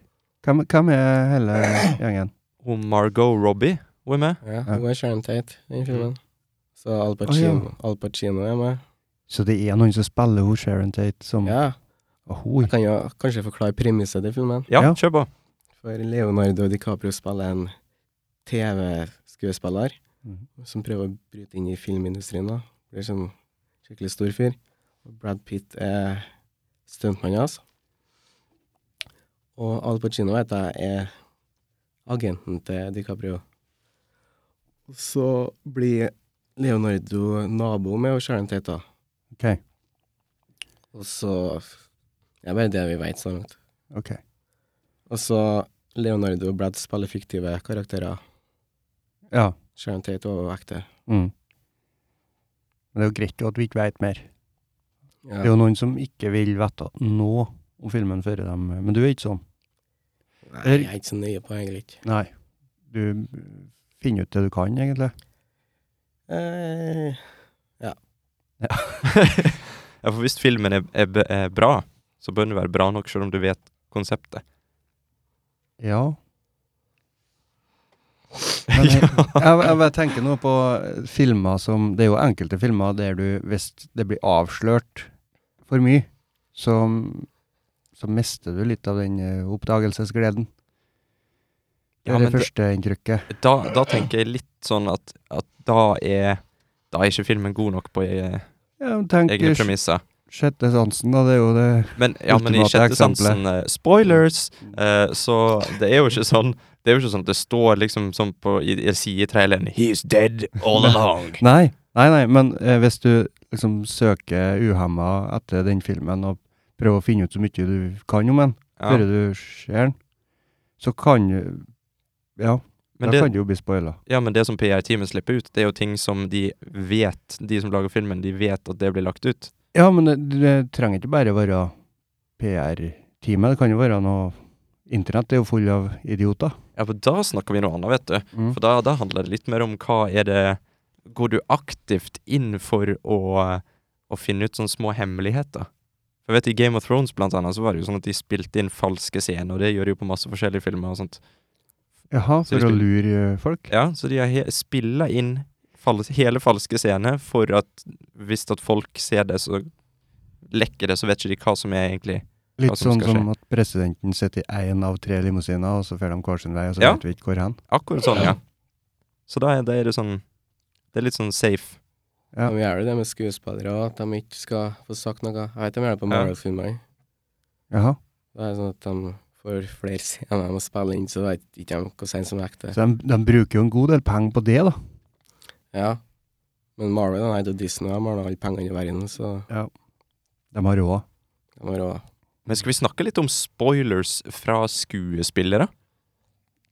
Speaker 1: Hvem, hvem er hele gjengen?
Speaker 2: Og Margot Robbie hun er med.
Speaker 3: Ja, hun er Sharon Tate i den filmen. Så Al
Speaker 1: Mm. Å,
Speaker 3: Pacino,
Speaker 1: ja.
Speaker 3: Al Pacino er med.
Speaker 1: Så det er noen som spiller hun Sharon Tate som
Speaker 3: Ja,
Speaker 1: Ahoy.
Speaker 3: jeg kan jo kanskje forklare premisset til filmen.
Speaker 2: Ja,
Speaker 1: Ja.
Speaker 2: kjør på.
Speaker 3: For Leonardo DiCaprio spiller en TV-skuespiller
Speaker 1: Mhm.
Speaker 3: som prøver å bryte inn i filmindustrien. da. Blir sånn skikkelig stor fyr. Og Brad Pitt er stuntmannen hans. Og Al Pacino vet jeg er agenten til DiCaprio. Og så blir Leonardo nabo med og Sharon Tate. da.
Speaker 1: Ok.
Speaker 3: Og så Det er bare det vi vet så langt.
Speaker 1: Ok.
Speaker 3: Og så Leonardo og Brad spiller fiktive karakterer.
Speaker 1: Ja.
Speaker 3: Sharon Tate var ekte.
Speaker 1: Mm. Men det er jo greit at vi ikke vet mer.
Speaker 3: Ja.
Speaker 1: Det er jo noen som ikke vil vite nå om filmen før de Men du er ikke sånn.
Speaker 3: Nei, jeg er ikke så nøye på det, egentlig. ikke.
Speaker 1: Nei. Du finner ut det du kan, egentlig.
Speaker 3: Eh,
Speaker 2: Ja, for hvis filmen er, er, b- er bra, så bør den være bra nok selv om du vet konseptet.
Speaker 1: Ja. Men eh, jeg, jeg, jeg bare tenker nå på filmer som Det er jo enkelte filmer der du, hvis det blir avslørt for mye, så, så mister du litt av den eh, oppdagelsesgleden. Det
Speaker 2: Ja,
Speaker 1: er
Speaker 2: men
Speaker 1: det første inntrykket.
Speaker 2: da, da tenker jeg litt sånn at, at da er Da er ikke filmen god nok på e
Speaker 1: Ja, men tenk
Speaker 2: egne
Speaker 1: eh,
Speaker 2: premisser.
Speaker 1: sjette sansen, da. Det er jo det
Speaker 2: Men, ja, men i
Speaker 1: Ultimate
Speaker 2: sjette
Speaker 1: eksempelet.
Speaker 2: sansen eh, Spoilers! Eh, så det er jo ikke sånn Det er jo ikke sånn at det står liksom som på i, i sidetraileren He's dead all along.
Speaker 1: Nei, nei, nei men eh, hvis du liksom søker uhemma etter den filmen og prøver å finne ut så mye du kan om den,
Speaker 2: Ja.
Speaker 1: før du ser den, så kan du Ja,
Speaker 2: Men,
Speaker 1: da
Speaker 2: det,
Speaker 1: kan du jo bli spoila.
Speaker 2: ja, men det som PR-teamet slipper ut, det er jo ting som de vet De som lager filmen, de vet at det blir lagt ut.
Speaker 1: Ja, men det, det trenger ikke bare være PR-teamet. Det kan jo være noe Internett er jo full av idioter.
Speaker 2: Ja, for da snakker vi noe annet, vet du.
Speaker 1: Mm.
Speaker 2: For da, da handler det litt mer om hva er det Går du aktivt inn for å, å finne ut sånne små hemmeligheter? For jeg vet I Game of Thrones blant annet, så var det jo sånn at de spilte inn falske scener, og det gjør de jo på masse forskjellige filmer og sånt.
Speaker 1: Jaha,
Speaker 2: hvis
Speaker 1: for å
Speaker 2: du-
Speaker 1: lure eh, folk?
Speaker 2: Ja, Så de har he spilla inn fals hele falske scener for at hvis at folk ser det, så lekker det, så vet ikke de hva som er egentlig
Speaker 1: Litt
Speaker 2: hva som
Speaker 1: sånn
Speaker 2: skal
Speaker 1: som at presidenten sitter i én av tre limousiner, og så fer de hver sin vei, og så
Speaker 2: Ja.
Speaker 1: vet vi ikke hvor hen.
Speaker 2: Akkurat sånn, ja. Så da er, da er det sånn Det er litt sånn safe.
Speaker 1: Ja.
Speaker 3: De gjør jo det med skuespillere, at de ikke skal få sagt noe. Jeg vet de gjør det på
Speaker 2: Ja.
Speaker 3: Marvel-filmer.
Speaker 1: Jaha.
Speaker 3: Det er sånn at de får flere scener de må spille inn, så vet ikke de hvordan som er ekte.
Speaker 1: Så de, de bruker jo en god del penger på det, da.
Speaker 3: Ja. Men Marvel nei, det er jo Disney, de har nå alle pengene i verden, så
Speaker 1: De har råd.
Speaker 3: de har råd.
Speaker 2: Men skal vi snakke litt om spoilers fra skuespillere?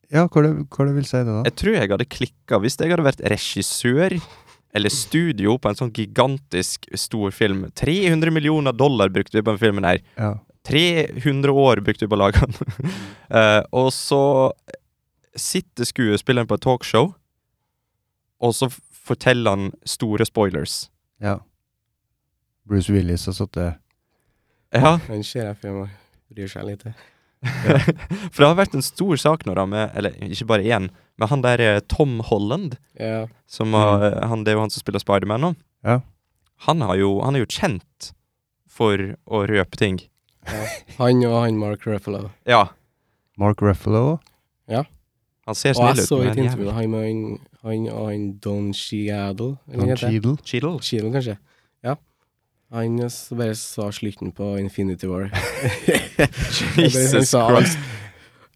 Speaker 1: Ja, hva det, hva det vil si det, da?
Speaker 2: Jeg tror jeg hadde klikka hvis jeg hadde vært regissør eller studio på en sånn gigantisk stor film. 300 millioner dollar brukte vi på den filmen her.
Speaker 1: Ja.
Speaker 2: 300 år brukte vi på å lage den. Eh, og så sitter skuespilleren på et talkshow, og så f- forteller han store spoilers.
Speaker 1: ja. Bruce Willis har sittet
Speaker 2: Ja,
Speaker 3: Den ser jeg for meg bryr seg lite.
Speaker 2: For det har vært en stor sak nå, da, med Eller ikke bare én, men han der eh, Tom Holland.
Speaker 3: Ja.
Speaker 2: Som har,
Speaker 3: Mm.
Speaker 2: han, det er jo han som spiller Spiderman nå.
Speaker 1: Ja.
Speaker 2: Han, har jo, han er jo kjent for å røpe ting.
Speaker 3: Han og han Mark Ruffalo.
Speaker 2: Ja,
Speaker 1: Mark Ruffalo.
Speaker 2: han ser
Speaker 3: Og jeg
Speaker 2: snill ut.
Speaker 3: så et
Speaker 2: men han er
Speaker 3: intervju med han, med han, han og han Don Shiadle, eller hva heter
Speaker 1: Don
Speaker 3: det?
Speaker 1: Cheadle.
Speaker 2: jævlig.
Speaker 3: Cheadle, kanskje. Ja. Han s- bare sa slutten på Infinity War. Han
Speaker 2: Jesus
Speaker 3: sa-
Speaker 2: Christ.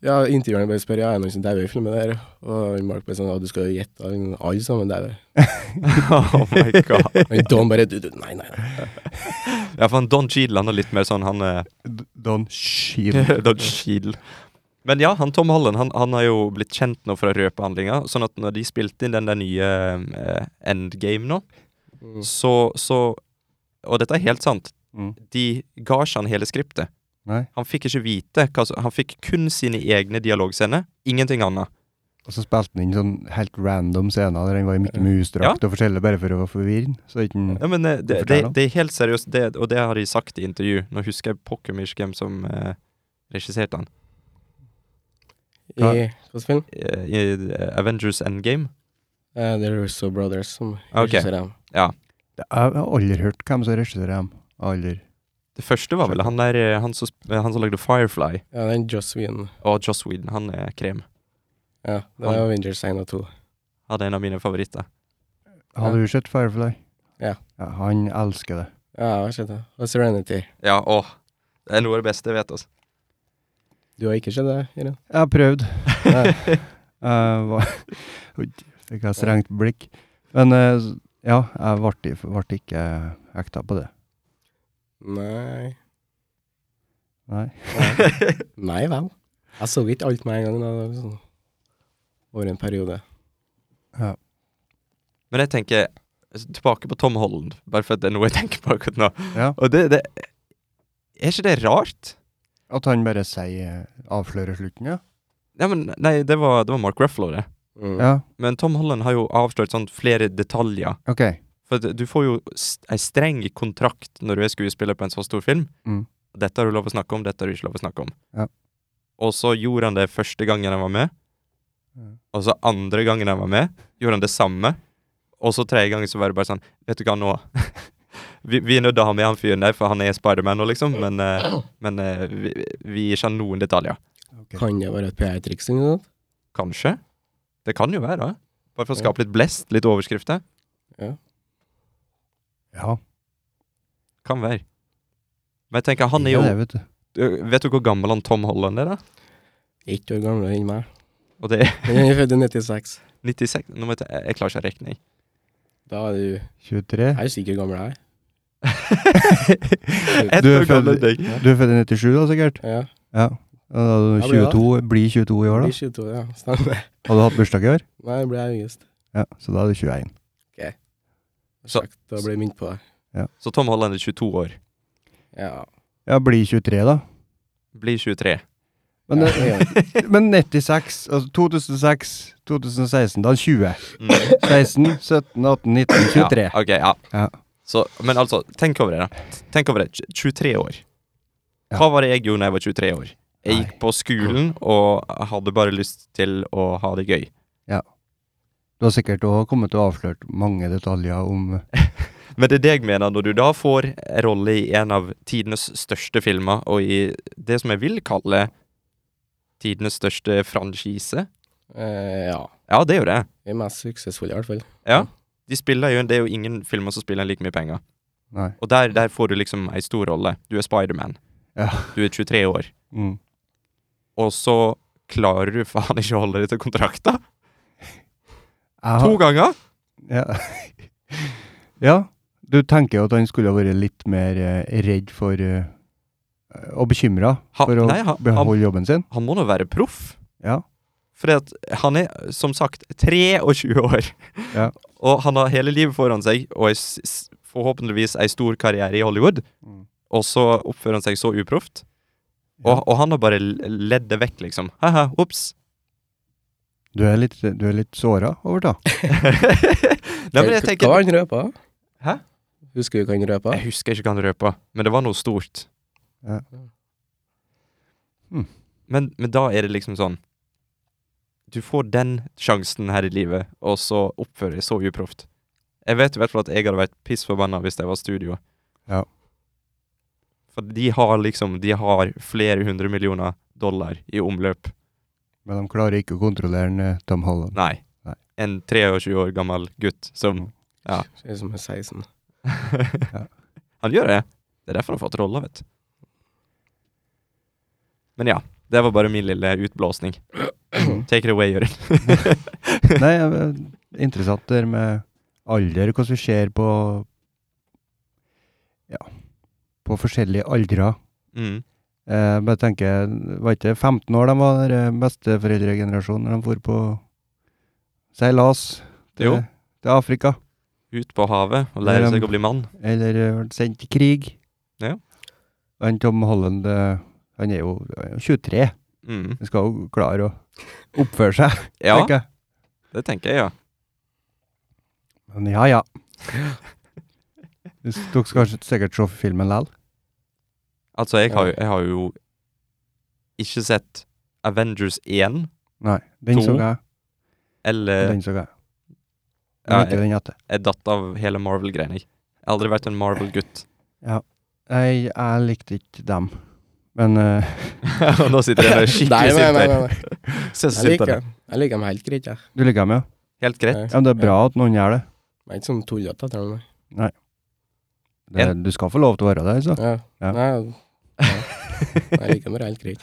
Speaker 3: Ja, intervjueren bare spør ja, er det noen som dauer i filmen der. Og han Mark bare sånn ja, du skal jo gjette, han- alle sammen dauer.
Speaker 2: oh my god.
Speaker 3: Han Don bare du, du, nei, nei. nei.
Speaker 2: Ja, for han Don Cheadle han er litt mer sånn han er
Speaker 1: D- Don Cheadle.
Speaker 2: Don Cheadle. Men ja, han Tom Holland han, han har jo blitt kjent nå fra røpehandlinga. Sånn at når de spilte inn den der nye eh, Endgame nå,
Speaker 3: Mm.
Speaker 2: så, så Og dette er helt sant.
Speaker 1: Mm.
Speaker 2: De ga ikke han hele skriptet.
Speaker 1: Nei.
Speaker 2: Han fikk ikke vite hva som Han fikk kun sine egne dialogscener. Ingenting annet.
Speaker 1: Og så spilte han inn sånn helt random scener der han var i Mikke Mus-drakt og forskjellig, bare for å forvirre han. Så ikke han
Speaker 2: Ja, men eh, det,
Speaker 1: Hvorfor
Speaker 2: det,
Speaker 1: det da?
Speaker 2: det er helt seriøst, det, og det har de sagt i intervju. Nå husker jeg pokker mye hvem som eh, regisserte han.
Speaker 3: I hvilken film?
Speaker 2: Eh, I eh, Avengers Endgame.
Speaker 3: Eh, The Russo Brothers som
Speaker 2: Ok.
Speaker 3: regisserer dem.
Speaker 1: Jeg har aldri hørt hvem som regisserer dem. Aldri.
Speaker 2: Det første var vel han der eh, Han som, sp- eh, han som lagde Firefly,
Speaker 3: Ja, den Joss Whedon.
Speaker 2: og Joss Whedon. Han er krem.
Speaker 3: Ja, det var
Speaker 2: Han-
Speaker 3: Avengers 1 og 2.
Speaker 2: Han er en av mine favoritter.
Speaker 1: Har du sett Firefly?
Speaker 3: Ja.
Speaker 1: Han elsker det.
Speaker 3: Ja, jeg har sett det. Og Serenity.
Speaker 2: Ja, åh. Det er noe av det beste jeg vet, altså.
Speaker 3: Du har ikke sett det, Iren?
Speaker 1: Jeg har prøvd. Jeg, jeg var Oi, Fikk jeg strengt blikk. Men eh, s- ja, jeg ble, ble ikke hekta på det.
Speaker 3: Nei.
Speaker 1: Nei.
Speaker 3: Nei vel. Jeg så ikke alt med en gang. da. Det var sånn. Over en periode.
Speaker 1: Ja.
Speaker 2: Men jeg tenker altså, tilbake på Tom Holland, bare for at det er noe jeg tenker på akkurat nå.
Speaker 1: ja.
Speaker 2: Og det, det Er ikke det rart?
Speaker 1: At han bare sier avslører slutten, ja?
Speaker 2: Ja, men, nei, det var, det var Mark Ruffalo, det.
Speaker 3: Mm.
Speaker 1: Ja,
Speaker 2: Men Tom Holland har jo avslørt sånn flere detaljer.
Speaker 1: OK.
Speaker 2: For at du får jo s- ei streng kontrakt når du er skuespiller på en så stor film.
Speaker 1: Mm.
Speaker 2: Dette har du lov å snakke om, dette har du ikke lov å snakke om.
Speaker 1: Ja.
Speaker 2: Og så gjorde han det første gangen han var med.
Speaker 1: Mm.
Speaker 2: Og så andre gangen han var med, gjorde han det samme. Og så tredje gangen så var det bare sånn Vet du hva, nå vi, vi er nødt til å ha med han fyren der, for han er Spiderman nå, liksom. Men, eh, men eh, vi, vi gir ikke han noen detaljer.
Speaker 3: Kan det være et PR-triks eller noe sånt?
Speaker 2: Kanskje. Det kan jo være. Bare for å skape litt blest, litt overskrifter.
Speaker 1: Ja,
Speaker 2: Kan være. Men jeg tenker, han er jo
Speaker 1: det det, vet du.
Speaker 2: Øh, Vet du hvor gammel han Tom Holland er, da?
Speaker 3: Ett år gamlere enn meg.
Speaker 2: Og det er
Speaker 3: Men jeg er født i 96.
Speaker 2: 96 Nå må jeg, ta- jeg klarer ikke å regne, jeg.
Speaker 3: Da er du Jeg
Speaker 1: 23?
Speaker 3: er jo sikkert gammel, jeg.
Speaker 2: Ett
Speaker 1: Du
Speaker 2: år
Speaker 1: er
Speaker 2: gammel
Speaker 1: født-
Speaker 2: enn deg.
Speaker 1: Du er født i 97, da, sikkert?
Speaker 3: Ja.
Speaker 1: Ja. Da er du
Speaker 3: Ja, blir det.
Speaker 1: 22, blir 22 i år,
Speaker 3: Blir
Speaker 1: da.
Speaker 3: 22, ja. Stemmer.
Speaker 1: Har du hatt bursdag i år?
Speaker 3: Nei, det blir jeg i august.
Speaker 1: Ja, så da er du 21.
Speaker 2: Så-
Speaker 3: Sagt, Da blir jeg minnet på det.
Speaker 2: Så Tom Holland er 22 år.
Speaker 3: Ja.
Speaker 1: Ja, blir 23, da.
Speaker 2: Blir 23.
Speaker 1: Men, eh,
Speaker 3: ja, ja.
Speaker 1: men 96, altså 2006, 2016, da er han 20.
Speaker 2: Mm.
Speaker 1: 16, 17, 18, 19, 23.
Speaker 2: Ja, ok, ja.
Speaker 1: Ja.
Speaker 2: Så, men altså, tenk over det, da. Tenk over det. Tj- 23 år.
Speaker 1: Ja.
Speaker 2: Hva var det jeg gjorde da jeg var 23 år? Jeg
Speaker 1: Nei.
Speaker 2: gikk på skolen og hadde bare lyst til å ha det gøy.
Speaker 1: Du har sikkert også kommet til å avsløre mange detaljer om
Speaker 2: Men det er det jeg mener, når du da får en rolle i en av tidenes største filmer, og i det som jeg vil kalle tidenes største franchise
Speaker 3: Eh, ja.
Speaker 2: Ja, det er jo det.
Speaker 3: Vi er mest suksessfulle, i hvert fall.
Speaker 2: Ja. De spiller jo, det er jo ingen filmer som spiller like mye penger.
Speaker 1: Nei.
Speaker 2: Og der, der får du liksom ei stor rolle. Du er Spiderman.
Speaker 1: Ja.
Speaker 2: Du er 23 år.
Speaker 1: Mm.
Speaker 2: Og så klarer du faen ikke å holde deg til kontrakta!
Speaker 1: Jeg
Speaker 2: To
Speaker 1: har,
Speaker 2: ganger!
Speaker 1: ja. ja. Du tenker jo at han skulle ha vært litt mer eh, redd for eh, eh, og bekymra
Speaker 2: Ha-
Speaker 1: for å
Speaker 2: nei, ha-
Speaker 1: beholde jobben sin.
Speaker 2: Han må nå være proff.
Speaker 1: Ja.
Speaker 2: Fordi at han er, som sagt, 23 år.
Speaker 1: Ja.
Speaker 2: Og han har hele livet foran seg, og ei s- s- forhåpentligvis ei stor karriere i Hollywood.
Speaker 1: Mm.
Speaker 2: Og så oppfører han seg så uproft.
Speaker 1: Ja.
Speaker 2: Og, og han har bare l- ledd det vekk, liksom. Haha, ops.
Speaker 1: Du er litt, du er litt såra over det. da.
Speaker 2: Nei, men jeg
Speaker 3: Hva
Speaker 2: tenker
Speaker 3: han røpa?
Speaker 2: Hæ?
Speaker 3: Husker du hva han røpa?
Speaker 2: Jeg husker ikke hva han røpa, men det var noe stort.
Speaker 1: Ja. Hmm.
Speaker 2: Men, men da er det liksom sånn Du får den sjansen her i livet, og så oppfører jeg så uproft. Jeg vet i hvert fall at jeg hadde vært pissforbanna hvis jeg var studio.
Speaker 1: Ja.
Speaker 2: For de har liksom De har flere hundre millioner dollar i omløp.
Speaker 1: Men de klarer ikke å kontrollere den, eh, Tom Holland.
Speaker 2: Nei.
Speaker 1: Nei.
Speaker 2: En 23 år gammel gutt som
Speaker 3: Ser ut som sånn. en 16.
Speaker 2: Han gjør det. Det er derfor han har fått rolla, vet du. Men ja. Det var bare min lille utblåsning.
Speaker 3: Mm.
Speaker 2: Take it away, Jørund.
Speaker 1: Nei, eh, interessant det der med alder, hvordan vi ser på Ja, på forskjellige aldre.
Speaker 2: Mm.
Speaker 1: Eh, bare tenker, var ikke det 15 år de var der eh, besteforeldregenerasjonen når de for på seilas til,
Speaker 2: Jo.
Speaker 1: til Afrika?
Speaker 2: Ut på havet og lære
Speaker 1: Ehm.
Speaker 2: seg å bli mann.
Speaker 1: Eller eh, ble sendt til krig?
Speaker 2: Ja.
Speaker 1: Og Han Tom Holland, eh, han er jo han er jo 23.
Speaker 2: Mm.
Speaker 1: Han skal jo klare å oppføre seg,
Speaker 2: Ja,
Speaker 1: tenker jeg.
Speaker 2: det tenker jeg, ja.
Speaker 1: Men ja, ja. Hvis Dere skal kanskje sikkert se filmen likevel?
Speaker 2: Altså, jeg har, jo- jeg har jo ikke sett Avengers 1
Speaker 1: Nei. Den
Speaker 2: To.
Speaker 1: så jeg. og
Speaker 2: eller
Speaker 1: Den så jeg. Men
Speaker 2: ja,
Speaker 1: ikke
Speaker 2: jeg,
Speaker 1: den etter.
Speaker 2: jeg datt av hele Marvel-greiene. jeg. Jeg har aldri vært en Marvel-gutt.
Speaker 1: Jeg, jeg likte ikke dem. Men eh,
Speaker 2: Og nå sitter jeg der
Speaker 3: Nei,
Speaker 2: skikkelig
Speaker 3: nei, nei,
Speaker 2: sint der.
Speaker 3: nei, nei.
Speaker 2: Se så
Speaker 3: Jeg
Speaker 2: sint
Speaker 3: liker
Speaker 2: han er.
Speaker 3: dem. Jeg liker dem helt greit, jeg.
Speaker 1: du liker dem, ja?
Speaker 2: Helt greit.
Speaker 1: Ja, men det er bra at noen gjør det.
Speaker 3: Jeg er ikke sånn tullete etter dem. nei.
Speaker 1: det du skal få lov til å være det, altså.
Speaker 3: Ja.
Speaker 1: Ja.
Speaker 3: Nei, nei, jeg liker dem bare helt greit.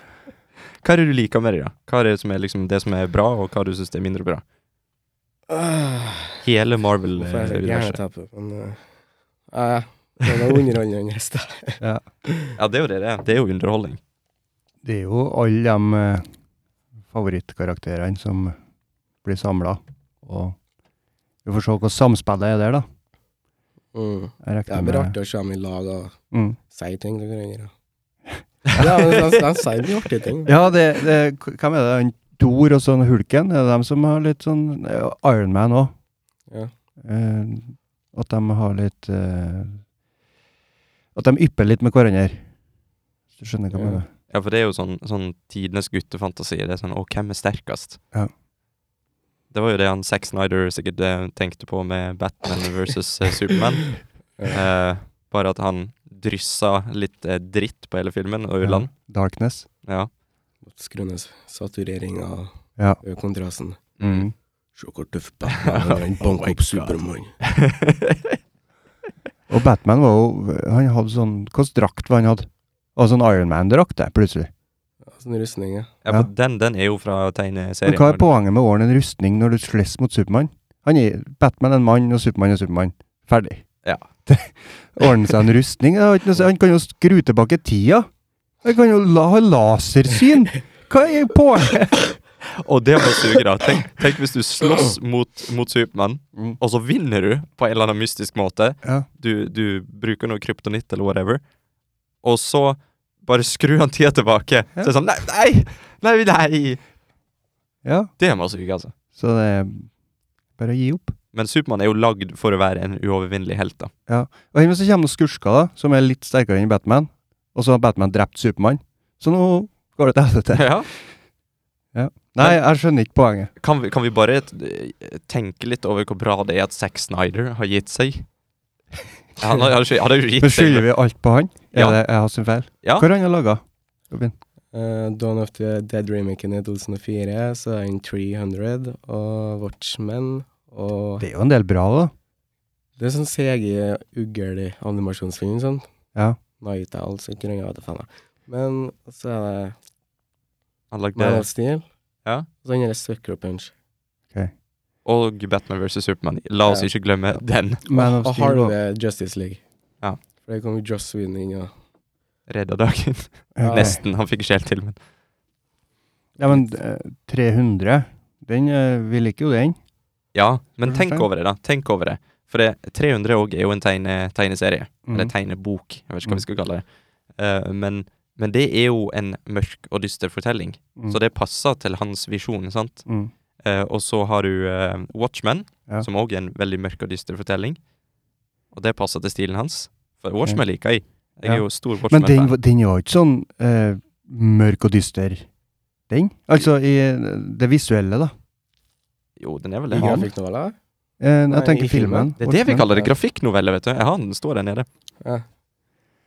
Speaker 2: Hva er det du liker med det, da? Hva er det som er, liksom, det som er bra, og hva du syns er mindre bra?
Speaker 3: Ah, Hvorfor er
Speaker 2: Hele
Speaker 3: jeg så
Speaker 2: Marvel-universet.
Speaker 3: hjernetappet? Men eh, eh, det var underholdende hest.
Speaker 2: Ja, det er jo det det er. Det er jo underholdning.
Speaker 1: Det er jo alle de eh, favorittkarakterene som blir samla. Og vi får se hvordan samspillet er der, da.
Speaker 3: Mm.
Speaker 1: Jeg
Speaker 3: Det
Speaker 1: regner
Speaker 3: er bare
Speaker 1: med
Speaker 3: artig å se dem i lag og
Speaker 1: mm.
Speaker 3: si ting til hverandre. Ja, men de, de sier mye artige ting.
Speaker 1: Ja, det, det Hvem er det? Han Thor og sånn Hulken? Er det dem som har litt sånn eh, Iron Man òg.
Speaker 3: Ja.
Speaker 1: Eh, at de har litt eh, At de ypper litt med hverandre. Hvis du skjønner hva jeg
Speaker 3: Ja.
Speaker 1: mener?
Speaker 2: Ja, for det er jo sånn, sånn tidenes guttefantasi. Det er sånn Å, hvem er sterkest?
Speaker 1: Ja.
Speaker 2: Det var jo det han Zack Snyder sikkert eh, tenkte på med Batman versus eh, Superman.
Speaker 3: Ja.
Speaker 2: Eh, bare at han dryssa litt eh, dritt på hele filmen og
Speaker 1: Ja.
Speaker 2: Uland.
Speaker 1: Darkness.
Speaker 2: Ja.
Speaker 3: Skru ned satureringa
Speaker 1: Ja.
Speaker 3: og øke kontrasten.
Speaker 2: Mm.
Speaker 3: Se hvor tøff Batman er. Han banker opp Supermann.
Speaker 1: Og Batman var jo Han hadde sånn Hvilken drakt var han hadde? Og sånn Iron Man-drakt, det, plutselig.
Speaker 3: Sånn rustning, ja.
Speaker 2: ja,
Speaker 1: Ja.
Speaker 2: for den, den er jo fra
Speaker 1: Men hva er
Speaker 2: tegneserien.
Speaker 1: poenget med åren en rustning når du slåss mot Supermann? Han er Batman er en mann, og Supermann er Supermann. Ferdig.
Speaker 2: Ja.
Speaker 1: Ordne seg en rustning det har ikke noe å si. Han kan jo skru tilbake tida. Han kan jo la, ha lasersyn. Hva er poenget?
Speaker 2: Og det må suge, da. Tenk, tenk hvis du slåss mot, mot Supermann,
Speaker 1: Mm.
Speaker 2: og så vinner du på en eller annen mystisk måte.
Speaker 1: Ja.
Speaker 2: du, du bruker noe kryptonitt eller whatever, og så bare skru han tida tilbake.
Speaker 1: Ja.
Speaker 2: Så det er sånn Nei, nei! Nei! nei.
Speaker 1: ja.
Speaker 2: Det må suge, altså.
Speaker 1: Så det er bare å gi opp.
Speaker 2: Men Supermann er jo lagd for å være en uovervinnelig helt, da.
Speaker 1: Og her, men så kommer noen skurker da, som er litt sterkere enn Batman. Og så har Batman drept Supermann. Så nå går det til helvete.
Speaker 2: Ja.
Speaker 1: Nei, jeg skjønner ikke poenget.
Speaker 2: Kan, vi, kan vi bare t- tenke litt over hvor bra det er at Zack Snyder har gitt seg? Han har han har ikke- han har jo
Speaker 1: Men
Speaker 2: gitt seg.
Speaker 1: skylder vi alt på han? Er
Speaker 2: Ja.
Speaker 1: det jeg har sin feil?
Speaker 2: Ja.
Speaker 1: Hva har han laga? Robin?
Speaker 3: Eh, Dawn of the Dead remaken i 2004, så er han 300, og Watchmen og
Speaker 1: Det er jo en del bra, da.
Speaker 3: Det er sånn CG-uggel-animasjonsfilm, sånn.
Speaker 1: Ja.
Speaker 3: Night Owls, ikke noe jeg vet faen. jeg. Men så er det
Speaker 2: Han
Speaker 3: Man
Speaker 2: lagde
Speaker 3: of Steel.
Speaker 2: Ja.
Speaker 3: Og så den derre Sucker Punch.
Speaker 2: Og Batman vs. Supermann. La oss
Speaker 3: Ja.
Speaker 2: ikke glemme den.
Speaker 1: Man of
Speaker 3: og
Speaker 1: Steel
Speaker 3: Harve
Speaker 1: og-
Speaker 3: Justice League.
Speaker 2: Ja.
Speaker 3: For det kom jo Joss Whedon inn og
Speaker 2: redda dagen.
Speaker 1: Ja.
Speaker 2: Nesten. Han fikk ikke helt til, men
Speaker 1: Ja, men eh, 300, den eh, Vi liker jo den.
Speaker 2: Ja, men tenk
Speaker 1: Skjønner.
Speaker 2: over det, da. Tenk over det. For det, 300 òg er jo en tegne, tegneserie.
Speaker 1: Mhm.
Speaker 2: Mm. Eller tegnebok, jeg vet ikke hva vi skal kalle det. Eh, men, men det er jo en mørk og dyster fortelling,
Speaker 1: Mm.
Speaker 2: så det passer til hans visjon. sant?
Speaker 1: Mm.
Speaker 2: Eh, og så har du eh, Watchmen,
Speaker 1: Ja.
Speaker 2: som òg er en veldig mørk og dyster fortelling. Og det passer til stilen hans. For Watchmen liker jeg. Jeg
Speaker 1: Ja.
Speaker 2: er jo stor
Speaker 1: Men den,
Speaker 2: Watchmen-fan.
Speaker 1: var- den var ikke sånn eh, mørk og dyster, den? Altså i eh, det visuelle, da.
Speaker 2: Jo, den er vel
Speaker 3: I
Speaker 2: det. Jeg har den.
Speaker 3: grafikknoveller?
Speaker 1: Eh,
Speaker 3: Nei,
Speaker 1: jeg tenker
Speaker 3: i filmen.
Speaker 1: filmen.
Speaker 2: Det er det vi
Speaker 1: Watchmen.
Speaker 2: kaller det. Grafikknovelle, vet du. Jeg har den, den står der nede.
Speaker 3: Ja.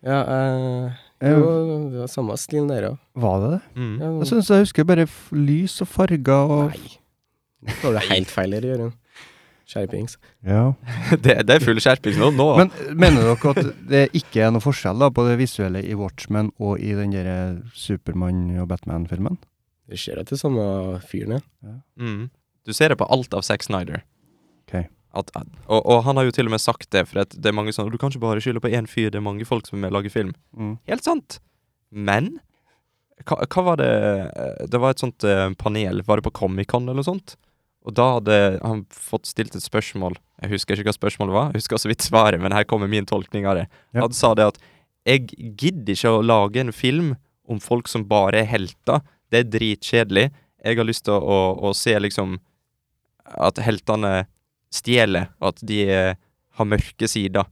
Speaker 3: Ja, eh,
Speaker 1: Eh,
Speaker 3: jo, det var samme stilen der òg.
Speaker 1: var det det?
Speaker 2: Mm.
Speaker 3: Ja,
Speaker 1: Jeg syns jeg husker bare f- lys og farger og
Speaker 3: Nei. Nå står det helt feil her, Jørund. Skjerpings.
Speaker 1: ja.
Speaker 2: det, det er full skjerping nå. nå.
Speaker 1: Men mener dere at det ikke er noe forskjell da på det visuelle i Watchmen og i den der eh, Supermann og Batman-filmen?
Speaker 3: Det ser at det er samme fyren, ja.
Speaker 2: Mm. Du ser det på alt av Zack Snyder.
Speaker 1: Ok.
Speaker 2: At, at, og, og han har jo til og med sagt det, for at det er mange sånn Du kan ikke bare skylde på én fyr, det er mange folk som er med og lager film.
Speaker 1: Mm.
Speaker 2: Helt sant. Men hva, hva var det eh, Det var et sånt eh, panel, var det på Comic-Con eller noe sånt? Og da hadde han fått stilt et spørsmål. Jeg husker ikke hva spørsmålet var, jeg husker så vidt svaret, men her kommer min tolkning av det.
Speaker 1: Ja.
Speaker 2: Han sa det at jeg gidder ikke å lage en film om folk som bare er helter. Det er dritkjedelig. Jeg har lyst til å, å, å se liksom at heltene stjeler, og at de eh, har mørke sider.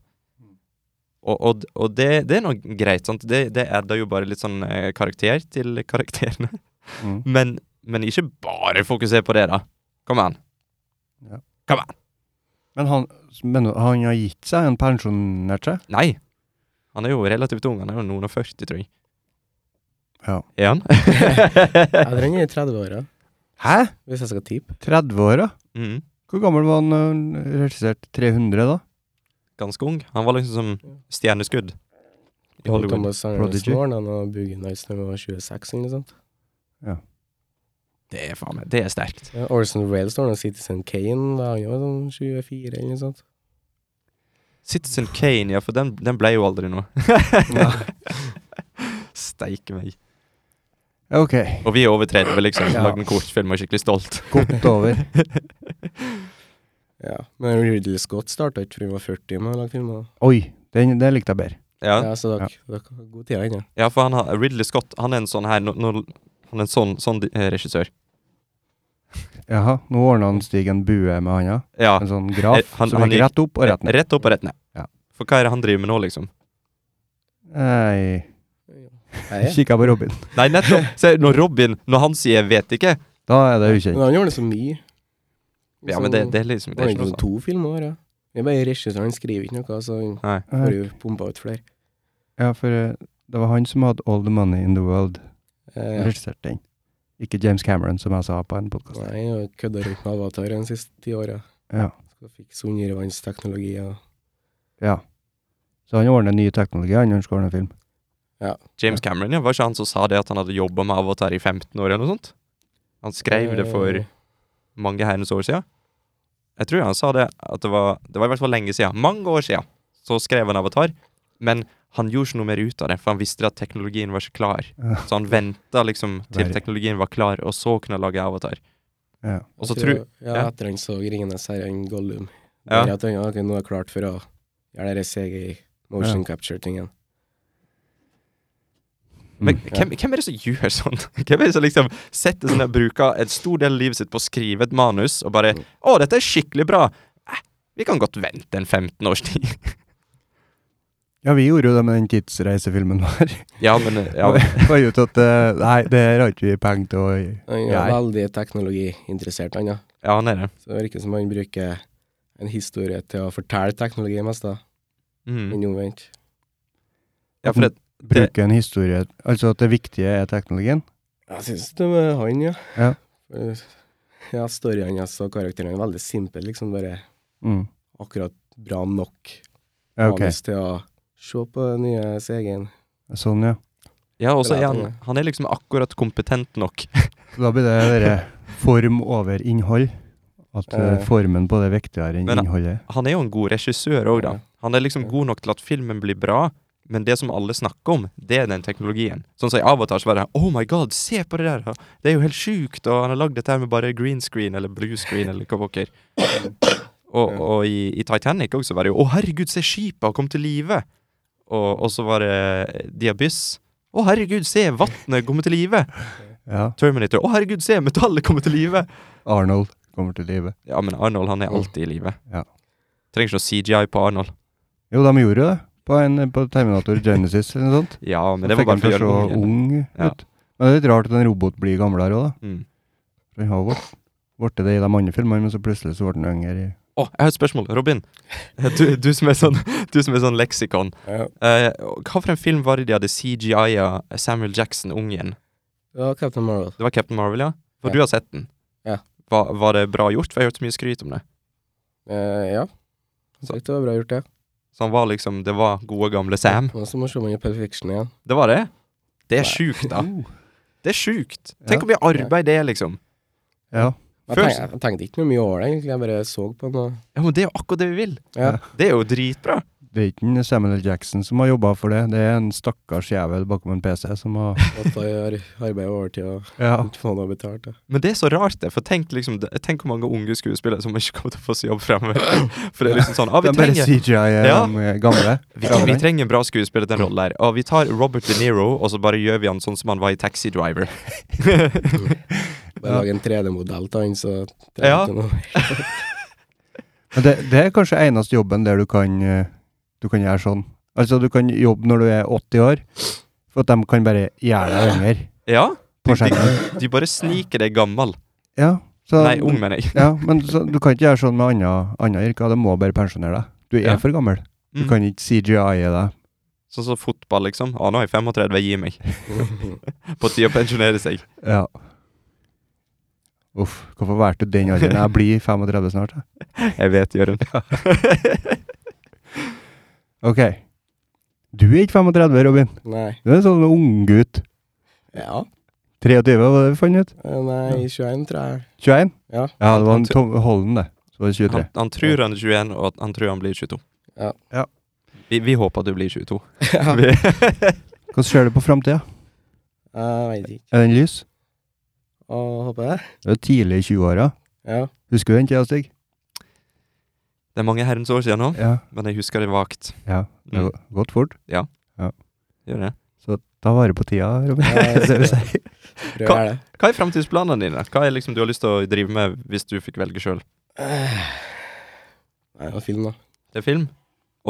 Speaker 2: Og, og, og det, det er nå greit, sant? Det, det adder jo bare litt sånn eh, karakter til karakterene.
Speaker 1: Mm.
Speaker 2: Men, men ikke bare fokusere på det, da. Kom an.
Speaker 1: Men han, men han har gitt seg? Han pensjonerte seg?
Speaker 2: Nei. Han er jo relativt ung. Han er jo noen og 40, tror jeg.
Speaker 1: Ja.
Speaker 2: Er han?
Speaker 3: Jeg trenger i 30-åra,
Speaker 1: Hæ?
Speaker 3: hvis jeg skal tippe.
Speaker 1: 30-åra?
Speaker 2: mm,
Speaker 1: Hvor gammel var han eh, når han regisserte 300, da?
Speaker 2: ganske ung. Han var liksom som stjerneskudd i
Speaker 3: Paul
Speaker 2: Hollywood.
Speaker 3: Thomas Sangernes
Speaker 1: Prodigy.
Speaker 3: Morn og Boogie Nights når vi var 26 eller noe sånt.
Speaker 2: Det er faen meg Det er sterkt.
Speaker 3: Ja, Orson Wales står nå Citizen Kane, da han var sånn 24 eller noe sånt.
Speaker 2: Citizen Kane, ja, for den, den ble jo aldri noe. Steike meg.
Speaker 1: Ja, Ok,
Speaker 2: Og vi er over 30, liksom.
Speaker 1: Ja.
Speaker 2: Lagde en kortfilm og er skikkelig stolt.
Speaker 1: godt over.
Speaker 3: Ja. Men Ridley Scott starta ikke før han var 40 med å lage filmer.
Speaker 1: Oi, den, det likte jeg bedre.
Speaker 2: Ja.
Speaker 3: Ja, så dere, dere har god tid ennå.
Speaker 2: Ja, for han har Ridley Scott, han er en sånn her nå- nå- Han er en sånn, sånn di- eh, regissør.
Speaker 1: Jaha, nå ordna han Stig en bue med handa.
Speaker 2: Ja.
Speaker 1: En sånn graf
Speaker 2: Eh, han-
Speaker 1: som
Speaker 2: han
Speaker 1: gikk
Speaker 2: gikk-
Speaker 1: rett opp og rett ned.
Speaker 2: Rett opp og rett ned.
Speaker 1: Ja.
Speaker 2: For hva er det han driver med nå, liksom?
Speaker 1: Nei,
Speaker 3: Nei, ja.
Speaker 1: kikka på Robin.
Speaker 2: Nei, nettopp! Se, når Robin, når han sier 'vet ikke'
Speaker 1: Da er det
Speaker 3: Men
Speaker 1: ukjent.
Speaker 3: han gjorde det så mye.
Speaker 2: Ja, men det, det er liksom Det
Speaker 3: Det
Speaker 2: er
Speaker 3: var
Speaker 2: ikke noe
Speaker 3: ikke
Speaker 2: sånn.
Speaker 3: to filmer her, ja. Det er bare regissøren, han skriver ikke noe, så han
Speaker 2: Nei.
Speaker 1: Eh,
Speaker 3: får jo pumpa ut flere.
Speaker 1: Ja, for eh, det var han som hadde All the Money in the World.
Speaker 3: Eh,
Speaker 1: Regisserte den. Ikke James Cameron, som jeg sa på en podkast.
Speaker 3: nei, han har kødda rundt med Avatar de siste ti åra.
Speaker 1: Ja.
Speaker 3: Skal fikse undervannsteknologi og
Speaker 1: ja. Så han ordner ny teknologi, han, når han skal ordne film.
Speaker 2: James Cameron, ja. Var ikke han som sa det at han hadde jobba med Avatar i 15 år, eller noe sånt? Han skrev det for
Speaker 3: Eh,
Speaker 2: mange herrens år siden. Jeg tror han sa det at det var Det var i hvert fall lenge siden. Mange år siden. Så skrev han Avatar. Men han gjorde ikke noe mer ut av det, for han visste at teknologien var ikke klar.
Speaker 1: Ja.
Speaker 2: Så han venta liksom til
Speaker 1: Verre.
Speaker 2: teknologien var klar, og så kunne han lage Avatar.
Speaker 1: Ja.
Speaker 2: Og så
Speaker 3: jeg
Speaker 2: tror
Speaker 3: Ja,
Speaker 2: ja.
Speaker 3: etter han så 'Ringenes herre', han Gollum.
Speaker 2: Ja.
Speaker 3: Ja. Der at han, ja, ok, nå er jeg klart for å gjøre det CGI, motion
Speaker 1: Ja.
Speaker 3: capture-tingen.
Speaker 2: Men
Speaker 1: Mm.
Speaker 2: hvem, hvem er det som gjør sånn? Hvem er det som liksom setter sånn og bruker en stor del av livet sitt på å skrive et manus, og bare 'Å, dette er skikkelig bra'. Eh, vi kan godt vente en 15 års tid.
Speaker 1: ja, vi gjorde jo det med den tidsreisefilmen vår.
Speaker 2: Ja, men ja,
Speaker 1: Fant ut at eh, nei, det her har ikke vi penger til å
Speaker 3: Han er
Speaker 1: Ja, jeg-
Speaker 3: veldig teknologiinteressert, han, ja.
Speaker 2: ja han er det.
Speaker 3: Så det virker som han bruker en historie til å fortelle teknologi mest, da.
Speaker 2: Mm.
Speaker 3: Men omvendt.
Speaker 2: Ja, for det,
Speaker 1: bruke en historie. Altså at det viktige er teknologien.
Speaker 3: Jeg syns det med han, ja.
Speaker 1: Ja.
Speaker 3: Eh, Ja, storyen hans og karakterene er veldig simple, liksom. Bare
Speaker 1: Mm.
Speaker 3: akkurat bra nok
Speaker 1: Ja, Ok,
Speaker 3: manus til å se på den nye CG-en.
Speaker 1: sånn ja.
Speaker 2: ja, og så er
Speaker 3: Ja,
Speaker 2: han,
Speaker 3: det-
Speaker 2: han er liksom akkurat kompetent nok.
Speaker 1: Så da blir det dere form over innhold. At eh,
Speaker 3: Eh.
Speaker 1: formen på det er viktigere enn
Speaker 2: Men-
Speaker 1: innholdet.
Speaker 2: Han er jo en god regissør òg, da.
Speaker 3: Ja.
Speaker 2: Han er liksom
Speaker 3: Ja.
Speaker 2: god nok til at filmen blir bra, Men det som alle snakker om, det er den teknologien. Sånn som i Avatar, så var det Oh my god, se på det der! Det er jo helt sjukt! Og han har lagd dette her med bare green screen eller blue screen eller hva pokker. Og, og i, i Titanic også var det jo Å, herregud, se skipet har kommet til live! Og, og så var det Diabyss. Å, herregud, se vannet kommer til live!
Speaker 1: Ja.
Speaker 2: Terminator. Å, herregud, se metallet kommer til live!
Speaker 1: Arnold kommer til live.
Speaker 2: Ja, men Arnold han er alltid i live.
Speaker 1: Ja.
Speaker 2: Trenger ikke noe CGI på Arnold.
Speaker 1: Jo, de gjorde det. På, en, på Terminator Genesis eller noe sånt.
Speaker 2: Ja, men
Speaker 1: Da
Speaker 2: det var
Speaker 1: fikk
Speaker 2: bare
Speaker 1: han til
Speaker 2: for å
Speaker 1: å
Speaker 2: gjøre
Speaker 1: se
Speaker 2: det ung.
Speaker 1: ung
Speaker 2: Ja.
Speaker 1: ut. Men det er litt rart at en robot blir gamlere òg, da.
Speaker 2: igjen. Mm.
Speaker 1: For Han har jo blitt det i de andre filmene, men så plutselig så ble han yngre. i-
Speaker 2: Å, jeg har et spørsmål. Robin, du, du, som, er sånn, du som er sånn leksikon.
Speaker 3: Ja.
Speaker 2: Eh, hva for en film var det de hadde CGI-a Samuel Jackson ung igjen?
Speaker 3: Det var Captain Marvel.
Speaker 2: Det var Captain Marvel, ja? For
Speaker 3: Ja.
Speaker 2: du har sett den.
Speaker 3: Ja.
Speaker 2: Hva, var det bra gjort? For jeg har hørt så mye skryt om det.
Speaker 3: Eh, ja. Jeg synes Det var bra gjort, det.
Speaker 2: Så han var liksom Det var gode, gamle Sam.
Speaker 3: Og så må vi se om han er Perfection igjen.
Speaker 2: Det var det? Det er sjukt, da.
Speaker 1: Uh.
Speaker 2: Det er sjukt.
Speaker 1: Ja.
Speaker 2: Tenk hvor mye arbeid det er, liksom.
Speaker 1: Ja.
Speaker 3: Jeg,
Speaker 2: Før-
Speaker 3: tenk, jeg tenkte ikke noe mye over det, egentlig. Jeg bare så på han og
Speaker 2: Ja, men det er jo akkurat det vi vil.
Speaker 3: Ja.
Speaker 2: Det er jo dritbra.
Speaker 1: Det er ikke en Samuel L. Jackson som har jobba for det, det er en stakkars jævel bakom en PC som har
Speaker 3: Måtte gjøre arbeid overtid og
Speaker 1: Ja.
Speaker 3: ikke få noe betalt. da.
Speaker 2: Men det er så rart, det. For tenk, liksom, det- tenk hvor mange unge skuespillere som ikke kommer til å få seg jobb fremover. For det er liksom sånn ah, vi,
Speaker 1: De bare
Speaker 2: trenger,
Speaker 1: CGI er
Speaker 2: Ja.
Speaker 1: de gamle.
Speaker 2: vi, vi trenger en bra skuespiller til en rolle der. Og vi tar Robert De Niro, og så bare gjør vi han sånn som han var i Taxi Driver.
Speaker 3: Bare
Speaker 1: Ja.
Speaker 3: lage en 3D-modell til han, så trenger
Speaker 2: Ja.
Speaker 3: ikke noe.
Speaker 1: Men det, det er kanskje eneste jobben der du kan, eh, du kan gjøre sånn. Altså, du kan jobbe når du er 80 år, for at de kan bare gjøre deg lenger
Speaker 2: Ja?
Speaker 1: på skjermen.
Speaker 2: De bare sniker deg gammel.
Speaker 1: Ja, så,
Speaker 2: Nei, ung, mener jeg.
Speaker 1: Ja, men så, du kan ikke gjøre sånn med andre- andre yrker. De må bare pensjonere deg. Du er
Speaker 2: Ja.
Speaker 1: for gammel. Du
Speaker 2: Mm.
Speaker 1: kan ikke CGI-e deg.
Speaker 2: Sånn som fotball, liksom. Ah, nå er jeg 35, gi meg. På tide å pensjonere seg.
Speaker 1: Ja. Uff, hvorfor valgte du den alderen? Jeg blir 35 snart. jeg.
Speaker 2: Jeg vet, Jørund.
Speaker 1: Ok. Du er ikke 35, Robin.
Speaker 3: Nei.
Speaker 1: Du er en sånn unggutt.
Speaker 3: Ja.
Speaker 1: 23, var det vi fant ut?
Speaker 3: Eh, Nei, 21, tror jeg.
Speaker 1: 21?
Speaker 3: Ja.
Speaker 1: Ja, det var
Speaker 2: Han
Speaker 1: en
Speaker 2: tror-
Speaker 1: Tom Holden, det. Så var det 23.
Speaker 2: Han, han tror han er 21, og han tror han blir 22.
Speaker 3: Ja.
Speaker 1: Ja.
Speaker 2: Vi, vi håper du blir 22.
Speaker 3: Ja.
Speaker 2: Vi-
Speaker 1: Hvordan ser du på framtida?
Speaker 3: Jeg vet ikke.
Speaker 1: Er den lys?
Speaker 3: Å, håper jeg.
Speaker 1: Det er jo tidlig i 20-åra.
Speaker 3: Ja.
Speaker 1: Husker du den tida, Stig?
Speaker 2: Det er mange herrens år siden nå,
Speaker 1: Ja.
Speaker 2: men jeg husker det vagt.
Speaker 1: ja. Det har
Speaker 2: Mm.
Speaker 1: gå- gått fort.
Speaker 2: Gjør det.
Speaker 1: Så ta vare på tida, Robin.
Speaker 3: Ja, jeg
Speaker 1: det vil si.
Speaker 3: Prøv å gjøre det.
Speaker 2: Hva er framtidsplanene dine? Hva er liksom du har lyst til å drive med hvis du fikk velge sjøl?
Speaker 3: Eh, Nei, det var film, da.
Speaker 2: Det er film?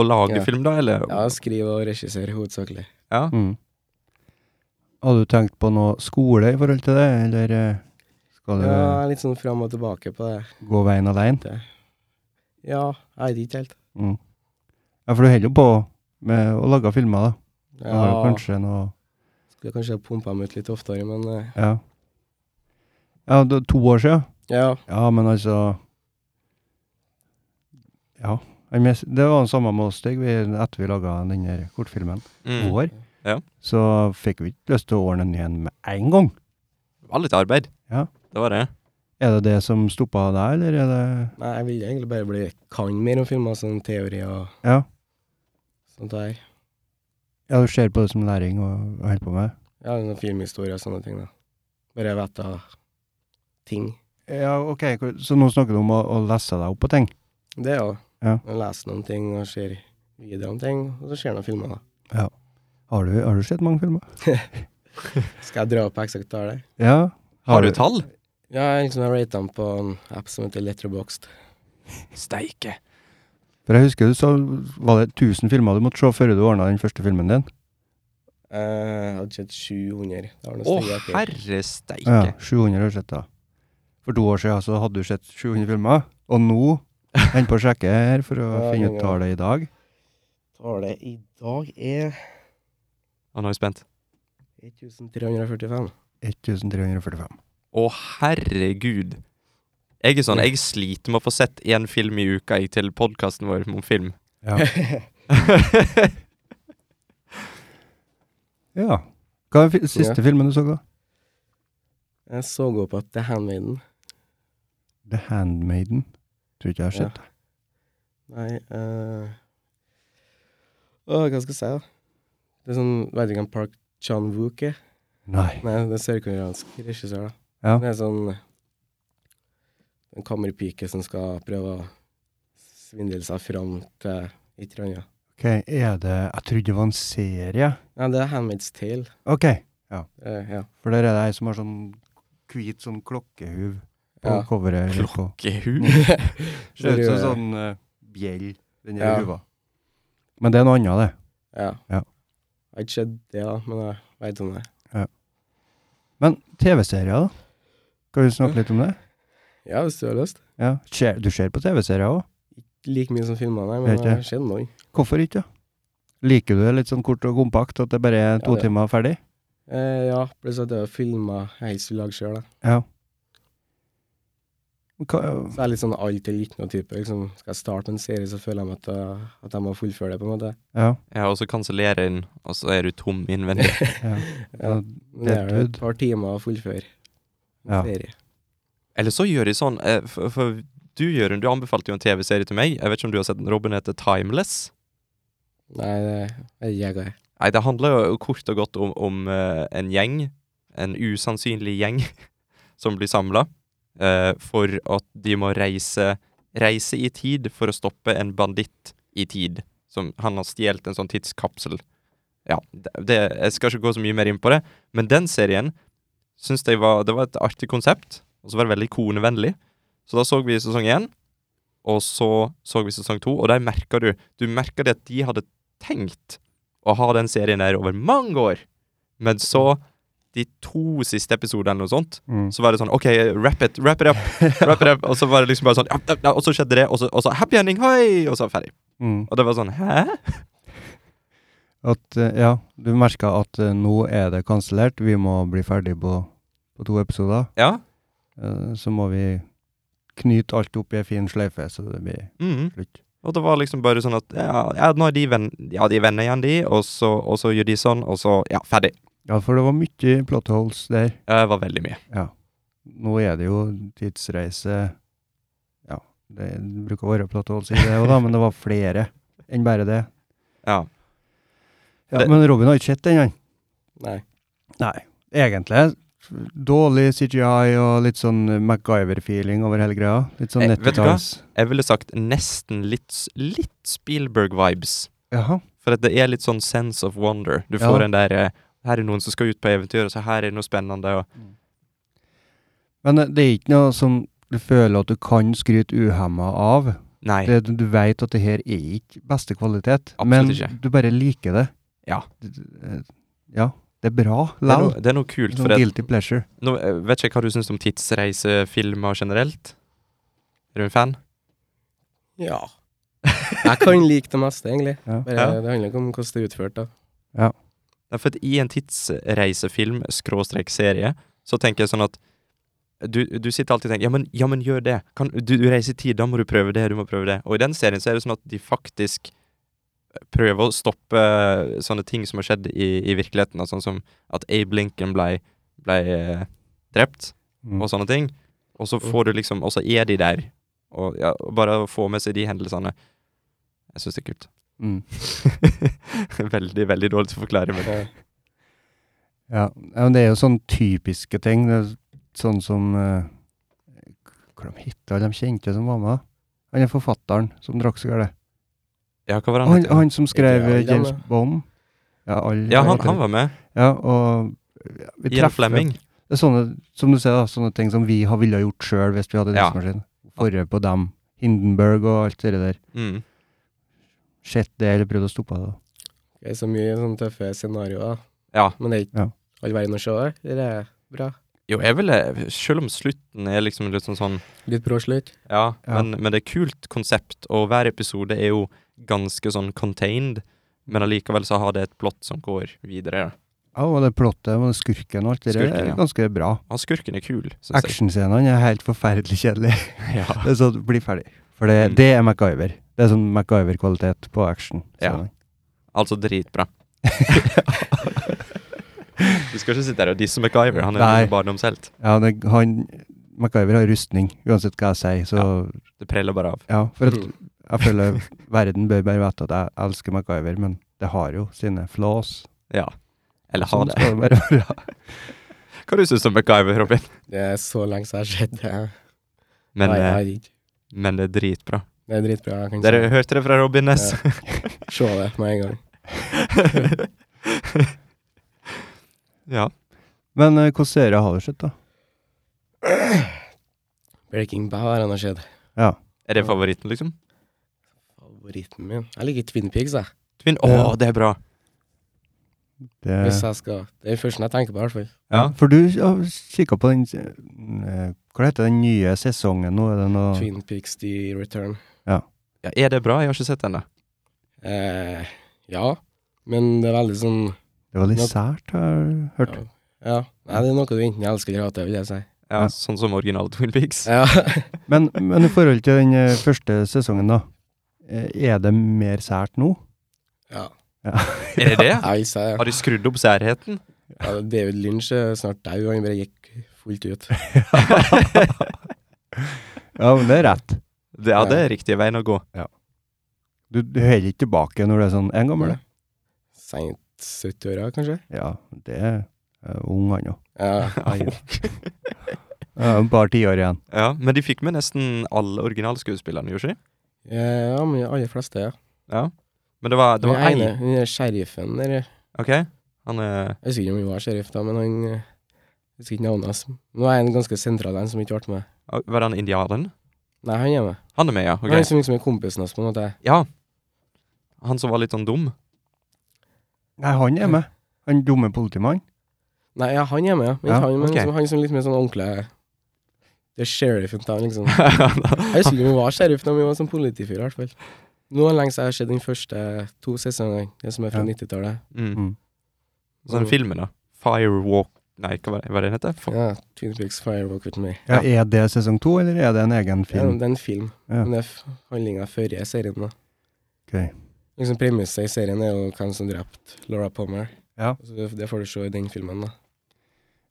Speaker 2: Å lage
Speaker 3: Ja.
Speaker 2: film, da, eller?
Speaker 3: Ja, skrive og regissere hovedsakelig.
Speaker 2: Ja.
Speaker 1: Mm. Hadde du tenkt på noe skole i forhold til det, eller eh, skal du
Speaker 3: Ja, jeg er litt sånn fram og tilbake på det.
Speaker 1: gå veien alene?
Speaker 3: Ja, jeg vet ikke helt.
Speaker 1: Mm. Ja, for du holder jo på med å lage filmer, da. Du har jo
Speaker 3: Ja,
Speaker 1: kanskje noe
Speaker 3: skulle kanskje pumpa dem ut litt oftere, men eh,
Speaker 1: Ja. Ja, det, er to år siden.
Speaker 3: ja.
Speaker 1: Ja, men altså Ja. jeg mes- Det var det samme med oss, Stig, vi- etter vi laga den der kortfilmen.
Speaker 2: Mm.
Speaker 1: Vår.
Speaker 2: Ja.
Speaker 1: Så fikk vi ikke lyst til å ordne den igjen med en gang.
Speaker 2: Det var litt arbeid.
Speaker 1: Ja.
Speaker 2: Det var det.
Speaker 1: Er det det som stoppa deg, eller er det
Speaker 3: Nei, jeg ville egentlig bare bli kan mer om filmer, sånn teori og
Speaker 1: Ja.
Speaker 3: sånt der.
Speaker 1: Ja, du ser på det som læring og, og holder på med?
Speaker 3: Ja, noen filmhistorier og sånne ting, da. Bare vite ting.
Speaker 1: Ja, ok. hvor- Så nå snakker du om å, å lese deg opp på ting?
Speaker 3: Det er jo
Speaker 1: Ja.
Speaker 3: å lese noen ting og ser videoer om ting, og så ser jeg noen filmer, da.
Speaker 1: Har du, har du sett mange filmer?
Speaker 3: Skal jeg dra opp eksakt tallet?
Speaker 1: Ja.
Speaker 2: Har du tall?
Speaker 3: Ja, jeg liksom har ratet dem på en app som heter Letterboxd.
Speaker 2: Steike.
Speaker 1: For jeg husker du sa var det 1000 filmer du måtte se før du ordna den første filmen din.
Speaker 3: Eh, Jeg hadde sett 700. Det var noe
Speaker 2: Å,
Speaker 3: stygge etter.
Speaker 2: herre
Speaker 1: Ja,
Speaker 2: steike.
Speaker 1: 700 har du sett, da. For to år siden så hadde du sett 700 filmer, og nå Hend på å sjekke her for å
Speaker 3: Ja,
Speaker 1: finne
Speaker 3: ja.
Speaker 1: ut tallet i dag.
Speaker 3: Tallet i dag er
Speaker 2: Å, nå er jeg spent.
Speaker 3: 1345.
Speaker 1: 1345.
Speaker 2: Å, herregud. Jeg er sånn, jeg sliter med å få sett én film i uka jeg, til podkasten vår om film.
Speaker 1: Ja. ja. Hva er den fi- siste filmen du så, da?
Speaker 3: Jeg så opp at The Handmaiden.
Speaker 1: The Handmaiden. Tror ikke jeg har sett det.
Speaker 3: Nei eh, Åh, hva skal jeg si, da? Det er sånn, vet ikke om Park Chan-wook er?
Speaker 1: Nei.
Speaker 3: Nei, det er sørkoreansk regissør, da.
Speaker 1: Ja.
Speaker 3: Det er sånn en kammerpike som skal prøve å svindle seg fram til et eller annet.
Speaker 1: Ok, er det Jeg trodde det var en serie.
Speaker 3: Nei, det er Handmaid's Tale.
Speaker 1: Ok,
Speaker 3: Eh, ja.
Speaker 1: for der er det ei som har sånn hvit sånn klokkehuv på
Speaker 3: Ja.
Speaker 1: coveret. eller på-
Speaker 2: Gehu.
Speaker 1: Ser ut som
Speaker 3: Seriø-
Speaker 1: sånn eh, bjell, den der
Speaker 3: Ja.
Speaker 1: huva. Men det er noe annet, det.
Speaker 3: Ja.
Speaker 1: Ja.
Speaker 3: Jeg har ikke sett det, da, men jeg veit om det.
Speaker 1: Men TV-serier, da? Kan vi snakke litt om det?
Speaker 3: Ja, hvis du har lyst.
Speaker 1: Ja. Ser- Du ser på TV-serier òg?
Speaker 3: Like mye som filmer, nei,
Speaker 1: Vet
Speaker 3: men
Speaker 1: ikke.
Speaker 3: jeg har sett noen.
Speaker 1: Hvorfor ikke? da? Liker du det litt sånn kort og kompakt, at det bare er to
Speaker 3: Ja, det-
Speaker 1: timer ferdig?
Speaker 3: Eh, ja, pluss at jeg har filma jeg helst vil lage sjøl, da.
Speaker 1: Ja. Hva,
Speaker 3: Så jeg er litt sånn alt eller ikke noe type. Liksom, skal jeg starte en serie, så føler jeg meg at, jeg- at jeg må fullføre det, på en måte.
Speaker 1: ja,
Speaker 2: Ja, og så kansellere inn, og så er du tom innvendig.
Speaker 1: ja.
Speaker 3: Ja,
Speaker 1: Ja,
Speaker 3: men det er jo
Speaker 1: Deadwood.
Speaker 3: et par timer å fullføre en
Speaker 1: Ja.
Speaker 3: serie.
Speaker 2: Eller så gjør de sånn, eh, for, for du Jørund, du anbefalte jo en TV-serie til meg. Jeg vet ikke om du har sett den? Robin heter Timeless?
Speaker 3: Nei, det er jeg jeg.
Speaker 2: Nei, det handler jo kort og godt om, om eh, en gjeng, en usannsynlig gjeng, som blir samla for at de må reise, reise i tid for å stoppe en banditt i tid. Som han har stjålet en sånn tidskapsel. Ja, det, det, jeg skal ikke gå så mye mer inn på det, men den serien syns jeg var Det var et artig konsept, og så var det veldig konevennlig. Så da så vi sesong én, og så så vi sesong to, og der merka du Du merka det at de hadde tenkt å ha den serien der over mange år. Men så, de to siste episodene eller noe sånt,
Speaker 1: Mm.
Speaker 2: så var det sånn OK, wrap it, wrap it up, wrap it up. Og så var det liksom bare sånn ja, ja, ja, Og så skjedde det, og så, og så happy ending, hoi! Og så ferdig.
Speaker 1: Mm.
Speaker 2: Og det var sånn hæ?
Speaker 1: At, eh, ja, du merka at eh, nå er det kansellert, vi må bli ferdig på, på to episoder.
Speaker 2: Ja.
Speaker 1: Eh, så må vi knyte alt opp i ei en fin sløyfe, så det blir
Speaker 2: Mm.
Speaker 1: slutt.
Speaker 2: Og det var liksom bare sånn at ja, ja nå er de venn, ja, de er venner igjen, de, og så, og så gjør de sånn, og så ja, ferdig.
Speaker 1: Ja, for det var mye plot holes der.
Speaker 2: Det var veldig mye.
Speaker 1: Ja. Nå er det jo tidsreise Ja, det bruker å være plot holes i det òg, da, men det var flere enn bare det.
Speaker 2: Ja.
Speaker 1: Ja,
Speaker 2: Det-
Speaker 1: men Robin har ikke sett den, han.
Speaker 3: Nei.
Speaker 1: Nei. Egentlig dårlig CGI og litt sånn MacGyver-feeling over hele greia. Litt sånn
Speaker 2: Eh, vet du hva?
Speaker 1: nettetals.
Speaker 2: Jeg ville sagt nesten litt, s- litt Spielberg-vibes.
Speaker 1: Jaha.
Speaker 2: For at det er litt sånn sense of wonder. Du
Speaker 1: Ja.
Speaker 2: får den der eh, Her er noen som skal ut på eventyr, og så her er det noe spennende. Og,
Speaker 1: Men eh, det er ikke noe som du føler at du kan skryte uhemma av.
Speaker 2: nei.
Speaker 1: Det, du vet at det her er ikke beste kvalitet,
Speaker 2: Absolutt
Speaker 1: men
Speaker 2: ikke.
Speaker 1: du bare liker det.
Speaker 2: Ja.
Speaker 1: D- d- eh, Ja, det er bra
Speaker 2: det, er
Speaker 1: likevel.
Speaker 2: noe, det er noe kult.
Speaker 1: Sånn
Speaker 2: For at,
Speaker 1: guilty pleasure.
Speaker 2: nå, eh, vet ikke hva du syns om tidsreisefilmer generelt? Er du en fan?
Speaker 3: Ja. Jeg kan like det meste, egentlig.
Speaker 1: Ja.
Speaker 3: Bare,
Speaker 2: Ja.
Speaker 3: Det handler ikke om hvordan det er utført, da.
Speaker 2: Nei, for at I en tidsreisefilm, skråstrek serie, så tenker jeg sånn at du, du sitter alltid og tenker ja men, ja, men gjør det. Kan, du, du reiser i tid, da må du prøve det, du må prøve det. Og i den serien så er det sånn at de faktisk eh, prøver å stoppe eh, sånne ting som har skjedd i, i virkeligheten. da, Sånn som at Abe Lincoln ble, ble eh, drept,
Speaker 1: Mm.
Speaker 2: og sånne ting. Og så får du liksom Og så er de der. Og ja, og bare å få med seg de hendelsene Jeg syns det er kult.
Speaker 1: Mm.
Speaker 2: veldig, veldig dårlig til å forklare, men
Speaker 3: Ja.
Speaker 1: Ja. ja, men det er jo sånne typiske ting. Det er sånn som eh, Hva de heter de kjente som var med? Han er forfatteren som drakk seg galt.
Speaker 2: Ja, hva var det
Speaker 1: Han,
Speaker 2: het?
Speaker 1: han som skrev
Speaker 3: alle
Speaker 1: eh, James
Speaker 3: dem, da?
Speaker 1: Bond. Ja, alle-
Speaker 2: Mm. Ja, han, han var med.
Speaker 1: Ja, og eh, vi
Speaker 2: Ian Flemming.
Speaker 1: Det er sånne, som du ser, da, sånne ting som vi har ville gjort sjøl hvis vi hadde
Speaker 2: Ja.
Speaker 1: tidsmaskin. Forrige på dem. Hindenburg og alt det der.
Speaker 2: Mm.
Speaker 1: Sett det, eller prøvd å stoppe det. da.
Speaker 3: Det er så mye sånne tøffe scenarioer, da.
Speaker 2: Ja.
Speaker 3: Men det er ikke
Speaker 1: Ja.
Speaker 3: all verden å se det. Det er bra.
Speaker 2: Jo, jeg ville Selv om slutten er liksom litt sånn sånn
Speaker 3: Litt brå slutt.
Speaker 2: Ja,
Speaker 1: Ja.
Speaker 2: Men, men det er kult konsept, og hver episode er jo ganske sånn contained. Men allikevel så har det et plott som går videre.
Speaker 1: Ja, og det plottet med skurken og alt det der
Speaker 2: Skurken,
Speaker 1: er
Speaker 2: ja.
Speaker 1: ganske bra.
Speaker 2: Han skurken er kul, syns jeg.
Speaker 1: Actionscenene er helt forferdelig kjedelige.
Speaker 2: Ja.
Speaker 1: Det er sånn, bli ferdig. For det,
Speaker 2: Mm.
Speaker 1: det er MacGyver. Det er sånn MacGyver-kvalitet på actionscenene.
Speaker 2: Altså dritbra. du skal ikke sitte her og disse MacGyver. Han er
Speaker 1: Nei.
Speaker 2: en barndomshelt.
Speaker 1: Ja, det, han MacGyver har rustning, uansett hva jeg sier, så
Speaker 2: Det preller bare av.
Speaker 1: ja. for at
Speaker 3: Mm.
Speaker 1: jeg føler verden bør bare vite at jeg elsker MacGyver, men det har jo sine flaws.
Speaker 2: Ja. Eller ha
Speaker 1: Sånn
Speaker 2: det.
Speaker 1: skal det bare være.
Speaker 2: Hva du syns du om MacGyver, Robin?
Speaker 3: Det er så lenge siden jeg har sett det.
Speaker 2: Men,
Speaker 3: Nei, jeg
Speaker 2: eh,
Speaker 3: har ikke.
Speaker 2: men det er dritbra.
Speaker 3: Det er dritbra. Jeg kan
Speaker 2: Dere hørte det fra Robin Ness.
Speaker 3: se- se det med en gang.
Speaker 2: ja.
Speaker 1: Men eh, hvilke serier har du sett, da?
Speaker 3: Breaking Bad har ennå skjedd.
Speaker 1: Ja.
Speaker 2: Er det favoritten, liksom?
Speaker 3: Favoritten min. Jeg liker Twin Pigs, jeg.
Speaker 2: Twin. Å,
Speaker 1: Ja.
Speaker 2: det er bra!
Speaker 1: Det,
Speaker 2: Eh.
Speaker 3: Hvis jeg skal Det er den første jeg tenker på, i hvert fall.
Speaker 1: ja. For du har kikka på den eh, Hva heter den nye sesongen nå? Er det noe
Speaker 3: Twin Pigs The Return.
Speaker 2: Ja, er det bra? Jeg har ikke sett den. da.
Speaker 3: Eh, ja, men det er veldig sånn
Speaker 1: Det var litt
Speaker 3: Nå-
Speaker 1: sært, har jeg hørt.
Speaker 3: Ja. ja. Nei, det er noe du enten elsker eller hater, vil jeg si.
Speaker 2: Ja,
Speaker 1: Ja.
Speaker 2: Sånn som original Twin Peaks.
Speaker 3: Ja.
Speaker 1: Men, men i forhold til den eh, første sesongen, da. eh, Er det mer sært nå?
Speaker 3: ja.
Speaker 2: Er det det?
Speaker 3: Jeg vil si det.
Speaker 2: Har de skrudd opp særheten?
Speaker 3: Ja, David Lynch er snart dau, han bare gikk fullt ut.
Speaker 1: Ja, men det er rett.
Speaker 2: Det, ja, det er riktig veien å gå.
Speaker 1: Du, du holder ikke tilbake når du er sånn en gammel.
Speaker 3: Seint 70-åra, kanskje?
Speaker 1: Ja, det er eh, ung han òg.
Speaker 3: Ja.
Speaker 1: Et par tiår igjen.
Speaker 2: Ja, Men de fikk med nesten alle originalskuespillerne, gjorde de ikke?
Speaker 3: ja, men de aller fleste, ja.
Speaker 2: Ja. Men det var, det
Speaker 3: Den
Speaker 2: var ei
Speaker 3: ene, den der sheriffen der Jeg
Speaker 2: OK? Han er
Speaker 3: husker ikke om han var sheriff, da, men han eh, Jeg husker ikke navnet hans. Nå er en ganske sentral en som ikke ble med.
Speaker 2: Å, ah, Var det han indianeren?
Speaker 3: Nei, han er med.
Speaker 2: Han er med, ja.
Speaker 3: Han er
Speaker 2: ok.
Speaker 3: liksom, liksom er kompisen hans, på en måte.
Speaker 2: Ja. Han som var litt sånn dum.
Speaker 1: Nei, han er med. Han dumme politimannen.
Speaker 3: Nei, ja, han er med, ja. Men ikke
Speaker 1: Ja,
Speaker 3: han, men
Speaker 2: ok.
Speaker 3: liksom, han som litt mer sånn ordentlig Det er sheriffen da, liksom.
Speaker 2: ja,
Speaker 3: Jeg husker ikke om vi var sheriff, men vi var sånn politifyr i hvert fall. Nå er det lenge siden jeg har sett den første to sesongene, det som er fra
Speaker 1: Ja.
Speaker 3: 90-tallet.
Speaker 2: mm.
Speaker 1: Mm.
Speaker 2: Sånn filmen, da. Firewalk Nei, hva var det, hva var det den heter? Fuck.
Speaker 3: Ja, Twin Peaks Firewalk With Me.
Speaker 1: Ja, er det sesong to, eller er det en egen
Speaker 3: Det er,
Speaker 1: film?
Speaker 3: det er en film,
Speaker 1: Ja.
Speaker 3: men det er f- handlinga før i serien. da.
Speaker 1: Ok.
Speaker 3: Liksom Premisset i serien er jo hvem som drepte Laura Palmer.
Speaker 1: Ja.
Speaker 3: Så det, det får du se i den filmen. da.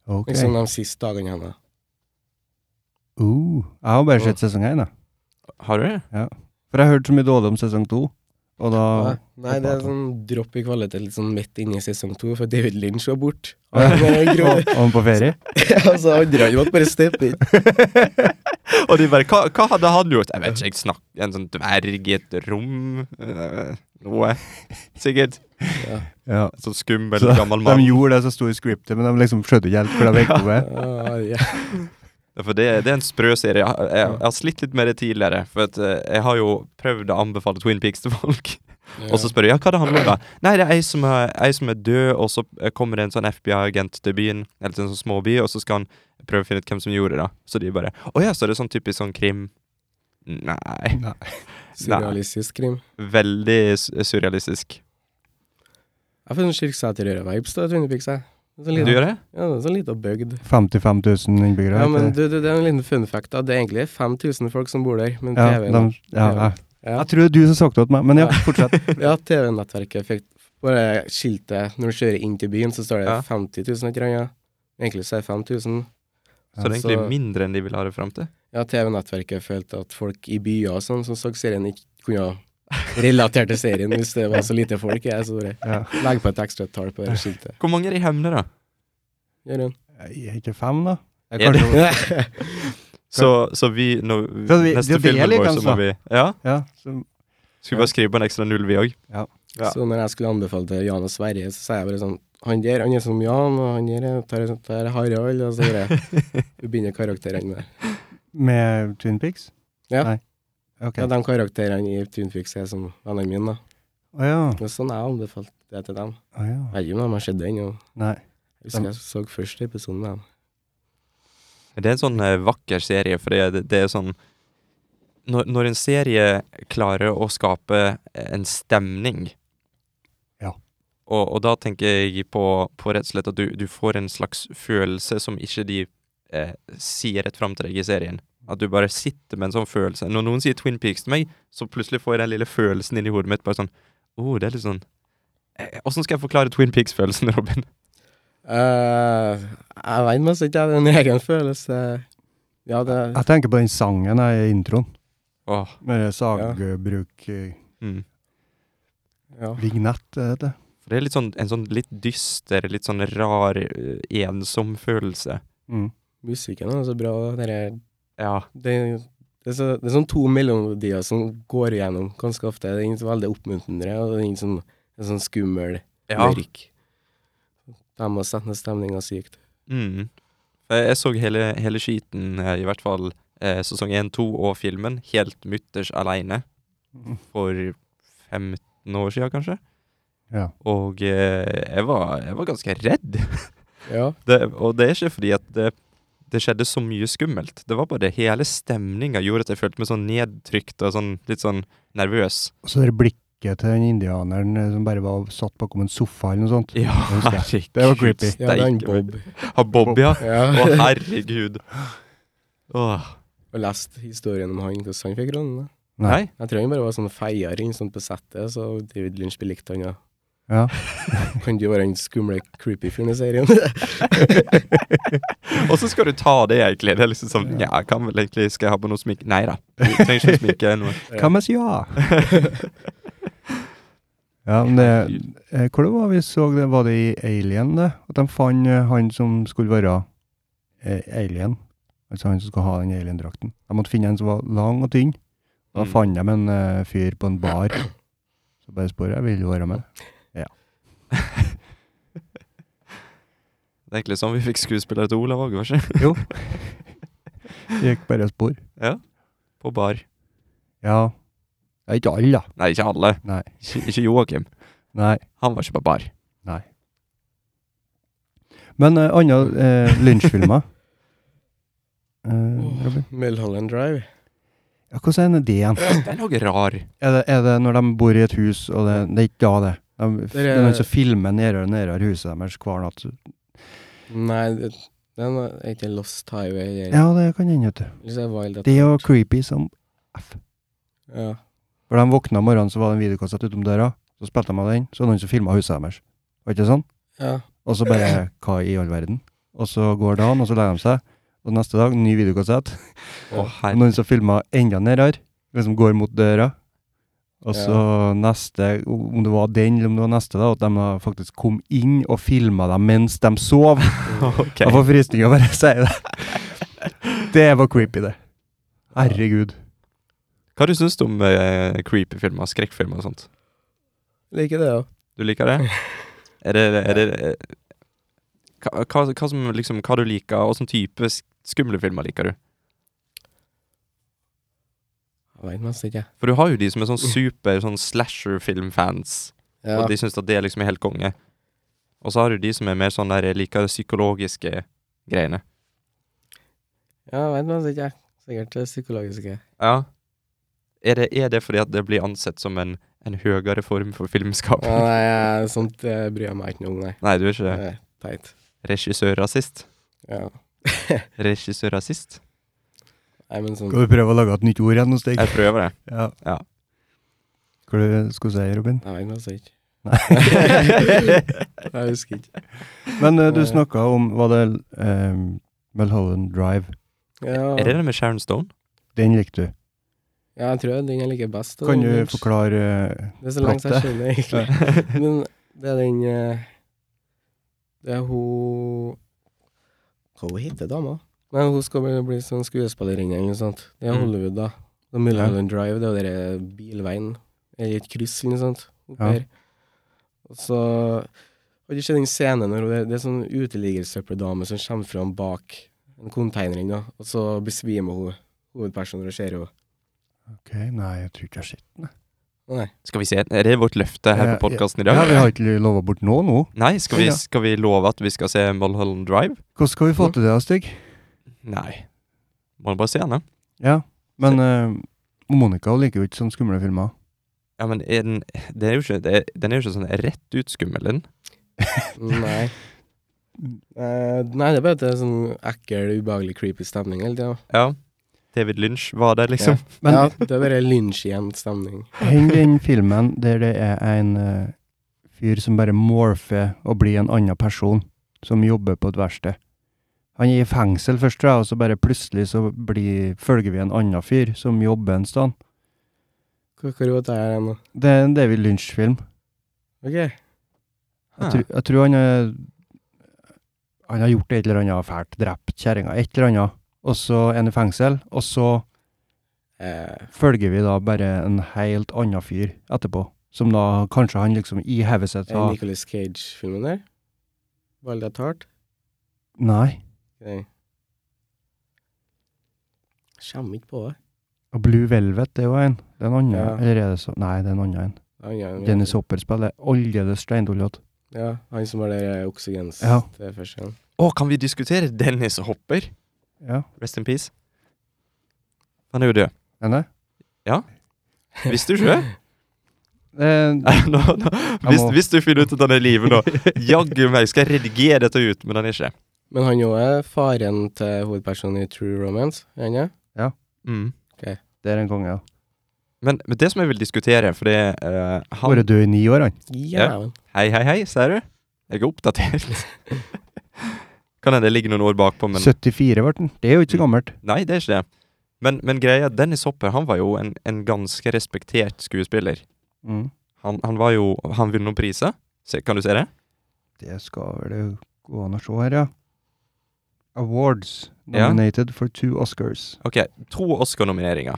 Speaker 1: Ok.
Speaker 3: Liksom de siste dagene hennes.
Speaker 1: Uh, jeg har bare sett sesong én, jeg.
Speaker 2: Har du det?
Speaker 1: For jeg hørte så mye dårlig om sesong to, og da
Speaker 3: Nei, Nei, det er
Speaker 1: hoppa
Speaker 3: sånn dropp i kvalitet litt sånn midt inne i sesong to, for David Lynch var borte. Altså,
Speaker 1: Og han på ferie? altså,
Speaker 3: andre hadde måttet bare steppe inn.
Speaker 2: Og de bare hva, hva hadde han gjort? Jeg vet ikke, jeg snakk En sånn dverg i et rom eh, Noe. Sikkert.
Speaker 1: Ja.
Speaker 2: En sånn skummel,
Speaker 1: Så
Speaker 2: gammel
Speaker 1: De
Speaker 2: mann.
Speaker 1: gjorde det som sto i scriptet, men de liksom skjønte ikke helt hva de gikk på med.
Speaker 3: Ah, ja.
Speaker 2: Ja, For det, det er en sprø serie. Jeg, jeg, jeg har slitt litt med det tidligere. For at, eh, jeg har jo prøvd å anbefale Twin Peaks til folk. Og så spør jeg ja, hva det handler om. da? Nei, det er ei som er, ei som er død, og så eh, kommer det en sånn FBI-agent til byen, eller til en sånn småby, og så skal han prøve å finne ut hvem som gjorde det. da. Så de bare Å ja, så er det sånn typisk sånn krim Nei.
Speaker 3: Surrealistisk krim.
Speaker 2: Veldig s- surrealistisk.
Speaker 3: Jeg får sånn Kirksæterøra-vibes da, Twin Peaks. jeg. Det er Sånn
Speaker 2: Du
Speaker 3: liten,
Speaker 2: gjør det?
Speaker 3: ja, det er sånn liten bygd.
Speaker 1: 55 000 innbyggere.
Speaker 3: Ja,
Speaker 1: ikke
Speaker 3: men
Speaker 1: det?
Speaker 3: du, du, det er en liten fun fact. da. Det er egentlig 5000 folk som bor der, men
Speaker 1: ja, de,
Speaker 3: TV-en
Speaker 1: ja, jeg,
Speaker 3: ja.
Speaker 1: jeg tror det er du som sa det til meg, men ja, fortsett.
Speaker 3: ja, TV-nettverket fikk bare skiltet Når du kjører inn til byen, så står det
Speaker 2: Ja.
Speaker 3: 50 000 et eller annet. Egentlig så er det 5000.
Speaker 2: Så det er
Speaker 3: Ja, så-
Speaker 2: egentlig mindre enn de vil ha det fram til?
Speaker 3: Ja, TV-nettverket følte at folk i byer og sånn som så serien, ikke kunne ha relatert til serien hvis det var så lite folk. Jeg, så bare
Speaker 1: Ja.
Speaker 3: legg på et ekstra tall på det skiltet.
Speaker 2: Hvor mange er i Hemne, da?
Speaker 3: Jørund.
Speaker 1: Jeg er ikke fem, da. Jeg
Speaker 2: Er det-
Speaker 1: kanskje,
Speaker 2: Så, så vi, når,
Speaker 1: Så vi-
Speaker 2: Neste
Speaker 1: det- det er
Speaker 2: filmen
Speaker 1: like,
Speaker 2: vår, så må
Speaker 1: altså.
Speaker 2: vi Ja?
Speaker 1: ja, så,
Speaker 2: Skal vi bare skrive på en ekstra null, vi òg? Ja.
Speaker 3: Så når jeg skulle anbefale til Jan og Sverre, så sa jeg bare sånn Han der han er som Jan, og han der er- tar sånt der Harald, og så bare begynner karakterene med
Speaker 1: med Twin Pics?
Speaker 3: Ja.
Speaker 1: Nei. Ok.
Speaker 3: Ja, de karakterene i Twin Peaks er som vennene mine, da.
Speaker 1: Å ja.
Speaker 3: Det er sånn jeg anbefalte det til dem.
Speaker 1: Å
Speaker 3: Jeg
Speaker 1: ja.
Speaker 3: vet ikke om de har sett den, og
Speaker 1: Nei.
Speaker 3: jeg husker jeg så første episoden av dem.
Speaker 2: Men Det er en sånn eh, vakker serie, for det, det er sånn når, når en serie klarer å skape eh, en stemning
Speaker 1: Ja.
Speaker 2: og, og da tenker jeg på, på rett og slett at du, du får en slags følelse som ikke de eh, sier rett fram til deg i serien. At du bare sitter med en sånn følelse. Når noen sier Twin Peaks til meg, så plutselig får jeg den lille følelsen inni hodet mitt. Bare sånn oh, det er litt sånn eh, Åssen skal jeg forklare Twin Peaks-følelsen, Robin?
Speaker 3: Eh, jeg vet mest ikke, jeg. Det er en egen følelse. Ja, det
Speaker 1: Jeg tenker på den sangen her i introen,
Speaker 2: Åh,
Speaker 1: med sagbruk eh,
Speaker 2: mm.
Speaker 3: ja.
Speaker 1: Vignett, det heter.
Speaker 2: For det er litt sånn, en sånn litt dyster, litt sånn rar, eh, ensom følelse.
Speaker 1: Mm.
Speaker 3: Musikken er så bra. Det, er,
Speaker 2: Ja.
Speaker 3: det, det, er så, det er sånn to melodier som går igjennom ganske ofte. Det er ingen som er veldig oppmuntrende, og det er ingen som er sånn skummel,
Speaker 2: ja.
Speaker 3: mørk. De har satt ned stemninga sykt.
Speaker 2: Mm. For Jeg jeg så hele, hele skiten, eh, i hvert fall eh, sesong 1, 2 og filmen, helt mutters aleine
Speaker 1: Mm.
Speaker 2: for 15 år sia, kanskje.
Speaker 1: Ja.
Speaker 2: Og eh, jeg, var, jeg var ganske redd.
Speaker 3: Ja.
Speaker 2: Det, og det er ikke fordi at det, det skjedde så mye skummelt. Det var bare det hele stemninga gjorde at jeg følte meg sånn nedtrykt og sånn, litt sånn nervøs.
Speaker 1: Og så det blikket til den indianeren eh, som bare var satt bakom en sofa eller noe sånt.
Speaker 2: Ja,
Speaker 1: husker jeg.
Speaker 2: herregud.
Speaker 1: Det var creepy.
Speaker 3: Ja, det er en
Speaker 2: steike meg.
Speaker 3: Bob.
Speaker 2: Ha Bob, ja. Å,
Speaker 3: Ja.
Speaker 2: herregud. Åh.
Speaker 3: Og leste historien om han, hvordan han fikk rollen. da.
Speaker 2: Nei.
Speaker 3: Jeg tror han bare var sånn feier inn sånn på settet, så David Lynch belikte han, ja.
Speaker 1: Ja.
Speaker 3: Kan du være den skumle, creepy fyren i serien?
Speaker 2: Og så skal du ta det, egentlig. Det er liksom sånn Ja, jeg kan vel egentlig Skal jeg ha på noe sminke? Nei da. Du trenger ikke å sminke noe.
Speaker 1: Hva med ja? ja, men det eh, Hvor det var vi så det? Var det i Alien, det? At de fant eh, han som skulle være eh, alien? Altså han som skal ha den alien-drakten. De måtte finne en som var lang og tynn. Da
Speaker 2: Mm.
Speaker 1: fant de en eh, fyr på en bar. Så bare spør jeg, vil du være med?
Speaker 2: Det er egentlig sånn vi fikk skuespillere til Olav òg, var det ikke?
Speaker 1: Gikk bare og spor.
Speaker 2: På bar.
Speaker 1: Ja. Det er ikke alle, da.
Speaker 2: Nei, ikke alle.
Speaker 1: Nei.
Speaker 2: Ikke, ikke Joakim.
Speaker 1: Nei.
Speaker 2: Han var ikke på bar.
Speaker 1: Nei. Men eh, andre eh, lunsjfilmer? eh, Robin?
Speaker 3: Mulholland Drive.
Speaker 1: Ja, hvordan er det igjen?
Speaker 2: Det er noe rar.
Speaker 1: Er det, er det når de bor i et hus, og det, det er ikke da det? De,
Speaker 3: Det
Speaker 1: det
Speaker 3: er-
Speaker 1: er noen som filmer nede og nede av huset deres hver natt.
Speaker 3: Nei, det- den var er ikke Lost Highway eller
Speaker 1: Ja, det kan hende, vet du.
Speaker 3: Eller så er det Wild at
Speaker 1: Det er jo creepy som F.
Speaker 3: Ja.
Speaker 1: For de våkna om morgenen, så var det en videokassett utom døra. Så spilte de av den, så var det noen som filma huset deres. Var ikke det sånn?
Speaker 3: ja.
Speaker 1: Og så bare Hva i all verden? Og så går dagen, og så legger de seg. Og neste dag, ny videokassett.
Speaker 2: Å,
Speaker 1: Og
Speaker 2: herre.
Speaker 1: Noen som filma enda nedere, liksom går mot døra. Og så neste, om det var den eller om det var neste, da, at de da faktisk kom inn og filma dem mens de sov.
Speaker 2: Ok.
Speaker 1: Jeg får frysninger av å bare si det. Det var creepy, det. Herregud.
Speaker 2: Hva du syns du om eh, creepy-filmer, skrekkfilmer og sånt?
Speaker 3: Liker det òg.
Speaker 2: Du liker det? Er det, er det eh, hva, hva, hva som liksom Hva du liker, og hvilken type sk- skumle filmer liker du?
Speaker 3: Jeg veit mest ikke.
Speaker 2: For du har jo de som er sånn super sånn slasher-filmfans.
Speaker 3: Ja.
Speaker 2: Og de syns at det liksom er helt konge. Og så har du de som er mer sånn der liker det psykologiske greiene.
Speaker 3: ja, jeg veit mest ikke. Sikkert det psykologiske.
Speaker 2: Ja. Er det, er det fordi at det blir ansett som en, en høyere form for
Speaker 3: Ja,
Speaker 2: filmskaping?
Speaker 3: nei, jeg- sånt eh, bryr jeg meg ikke noe om, nei.
Speaker 2: Nei, du er ikke det.
Speaker 3: Det er teit.
Speaker 2: Regissør-rasist.
Speaker 3: Ja.
Speaker 2: Regissør-rasist.
Speaker 3: Nei, men sånn
Speaker 1: Skal du prøve å lage et nytt ord igjen hos deg?
Speaker 2: Jeg prøver det.
Speaker 1: Ja.
Speaker 2: Ja.
Speaker 1: Hva du skulle du si, Robin?
Speaker 3: Jeg veit mest ikke.
Speaker 1: Nei.
Speaker 3: Jeg husker ikke.
Speaker 1: Men eh, du
Speaker 3: Eh.
Speaker 1: snakka om Var det eh, Mulholland Drive?
Speaker 3: Ja,
Speaker 2: Er det det med Sharon Stone?
Speaker 1: Den likte du.
Speaker 3: ja jeg tror det er den jeg liker best. da,
Speaker 1: Kan du
Speaker 3: Lynch.
Speaker 1: forklare eh,
Speaker 3: Det er så langt jeg
Speaker 1: plottet?
Speaker 3: skjønner, egentlig. Men det er den eh, Det er hun Hva hun heter dama? Nei, hun skal bli, bli sånn skuespillerinne eller noe sånt. Det er
Speaker 2: Mm.
Speaker 3: Hollywood, da. Det er Mulholland Drive, det er jo den eh, bilveien eller et kryss eller noe sånt. Opp
Speaker 1: Ja.
Speaker 3: her. Og så Har du sett den scenen når hun det, det er sånn uteliggersøppeldame som kommer fram bak en container, da, og så besvimer hun hovedpersonen når hun ser henne.
Speaker 1: Ok, nei, jeg tror ikke jeg har sett den. jeg.
Speaker 3: Nei.
Speaker 2: Skal vi se, er det vårt løfte her
Speaker 1: Ja,
Speaker 2: på podkasten i
Speaker 1: Ja,
Speaker 2: dag?
Speaker 1: vi har ikke lova bort nå, nå.
Speaker 2: Nei, skal vi,
Speaker 1: Ja.
Speaker 2: skal vi love at vi skal se Mulholland Drive?
Speaker 1: Hvordan skal vi få til det, Stig?
Speaker 2: Nei. Må bare se den, da.
Speaker 1: Ja, men eh, Monica liker jo ikke sånne skumle filmer.
Speaker 2: Ja, men er den, det er jo ikke, det er, den er jo ikke sånn rett ut skummel, den.
Speaker 3: Nei. Eh, nei, det er bare at det er sånn ekkel, ubehagelig, creepy stemning hele tida.
Speaker 2: Ja. David Lynch var der, liksom.
Speaker 1: Men
Speaker 3: ja, det er bare lynsjjevn stemning.
Speaker 1: heng den filmen der det er en eh, fyr som bare morfer og blir en annen person, som jobber på et verksted. Han er i fengsel først, tror jeg, og så bare plutselig så blir, følger vi en annen fyr som jobber en sted.
Speaker 3: Hva hva er det her nå?
Speaker 1: Det er en David Lynch-film.
Speaker 3: OK.
Speaker 1: Jeg, tru- jeg tror han er, Han har gjort et eller annet fælt. Drept kjerringa. Et eller annet. Og så er han i fengsel. Og så
Speaker 3: Eh,
Speaker 1: følger vi da bare en helt annen fyr etterpå. Som da kanskje han liksom i hodet sitt
Speaker 3: den
Speaker 1: har
Speaker 3: Nicolas Cage-filmen der. Valda Tart.
Speaker 1: Nei.
Speaker 3: Nei. Kommer ikke på det.
Speaker 1: Og Blue Velvet det er jo en. Det er en annen.
Speaker 3: Ja.
Speaker 1: Eller er det så Nei, det er en annen en.
Speaker 3: Han, ja,
Speaker 1: Dennis Hopper spiller aldeles steindollet.
Speaker 3: Ja, han som har det der oksygens
Speaker 1: Ja.
Speaker 3: det første gang.
Speaker 2: Å, kan vi diskutere Dennis Hopper?
Speaker 1: Ja.
Speaker 2: Rest in peace. Han er jo død.
Speaker 1: Er det?
Speaker 2: Visste du ikke det?
Speaker 1: Eh,
Speaker 2: Nei, nå, nå. Hvis,
Speaker 1: må-
Speaker 2: hvis du finner ut at han er i live nå, jaggu meg skal jeg redigere dette ut, men han er ikke.
Speaker 3: Men han jo er faren til hovedpersonen i True Romance, er han ikke?
Speaker 2: Mm.
Speaker 1: det er en konge, ja.
Speaker 2: Men, men det som jeg vil diskutere, for det eh, han
Speaker 1: Vært død i ni år, han.
Speaker 3: Jævlen.
Speaker 2: Hei, hei, hei, ser du? Jeg er oppdatert. kan hende det ligger noen år bakpå, men
Speaker 1: 74 ble han. Det er jo ikke så gammelt.
Speaker 2: Nei, det er ikke det. Men, men greia, er at Dennis Hopper han var jo en, en ganske respektert skuespiller.
Speaker 1: Mm.
Speaker 2: Han, han var jo Han vunnet noen priser. Se, kan du se det?
Speaker 1: Det skal vel gå an å se her, ja. Awards.
Speaker 2: Ja.
Speaker 1: Nominated for two Oscars.
Speaker 2: Ok, to Oscar-nomineringer.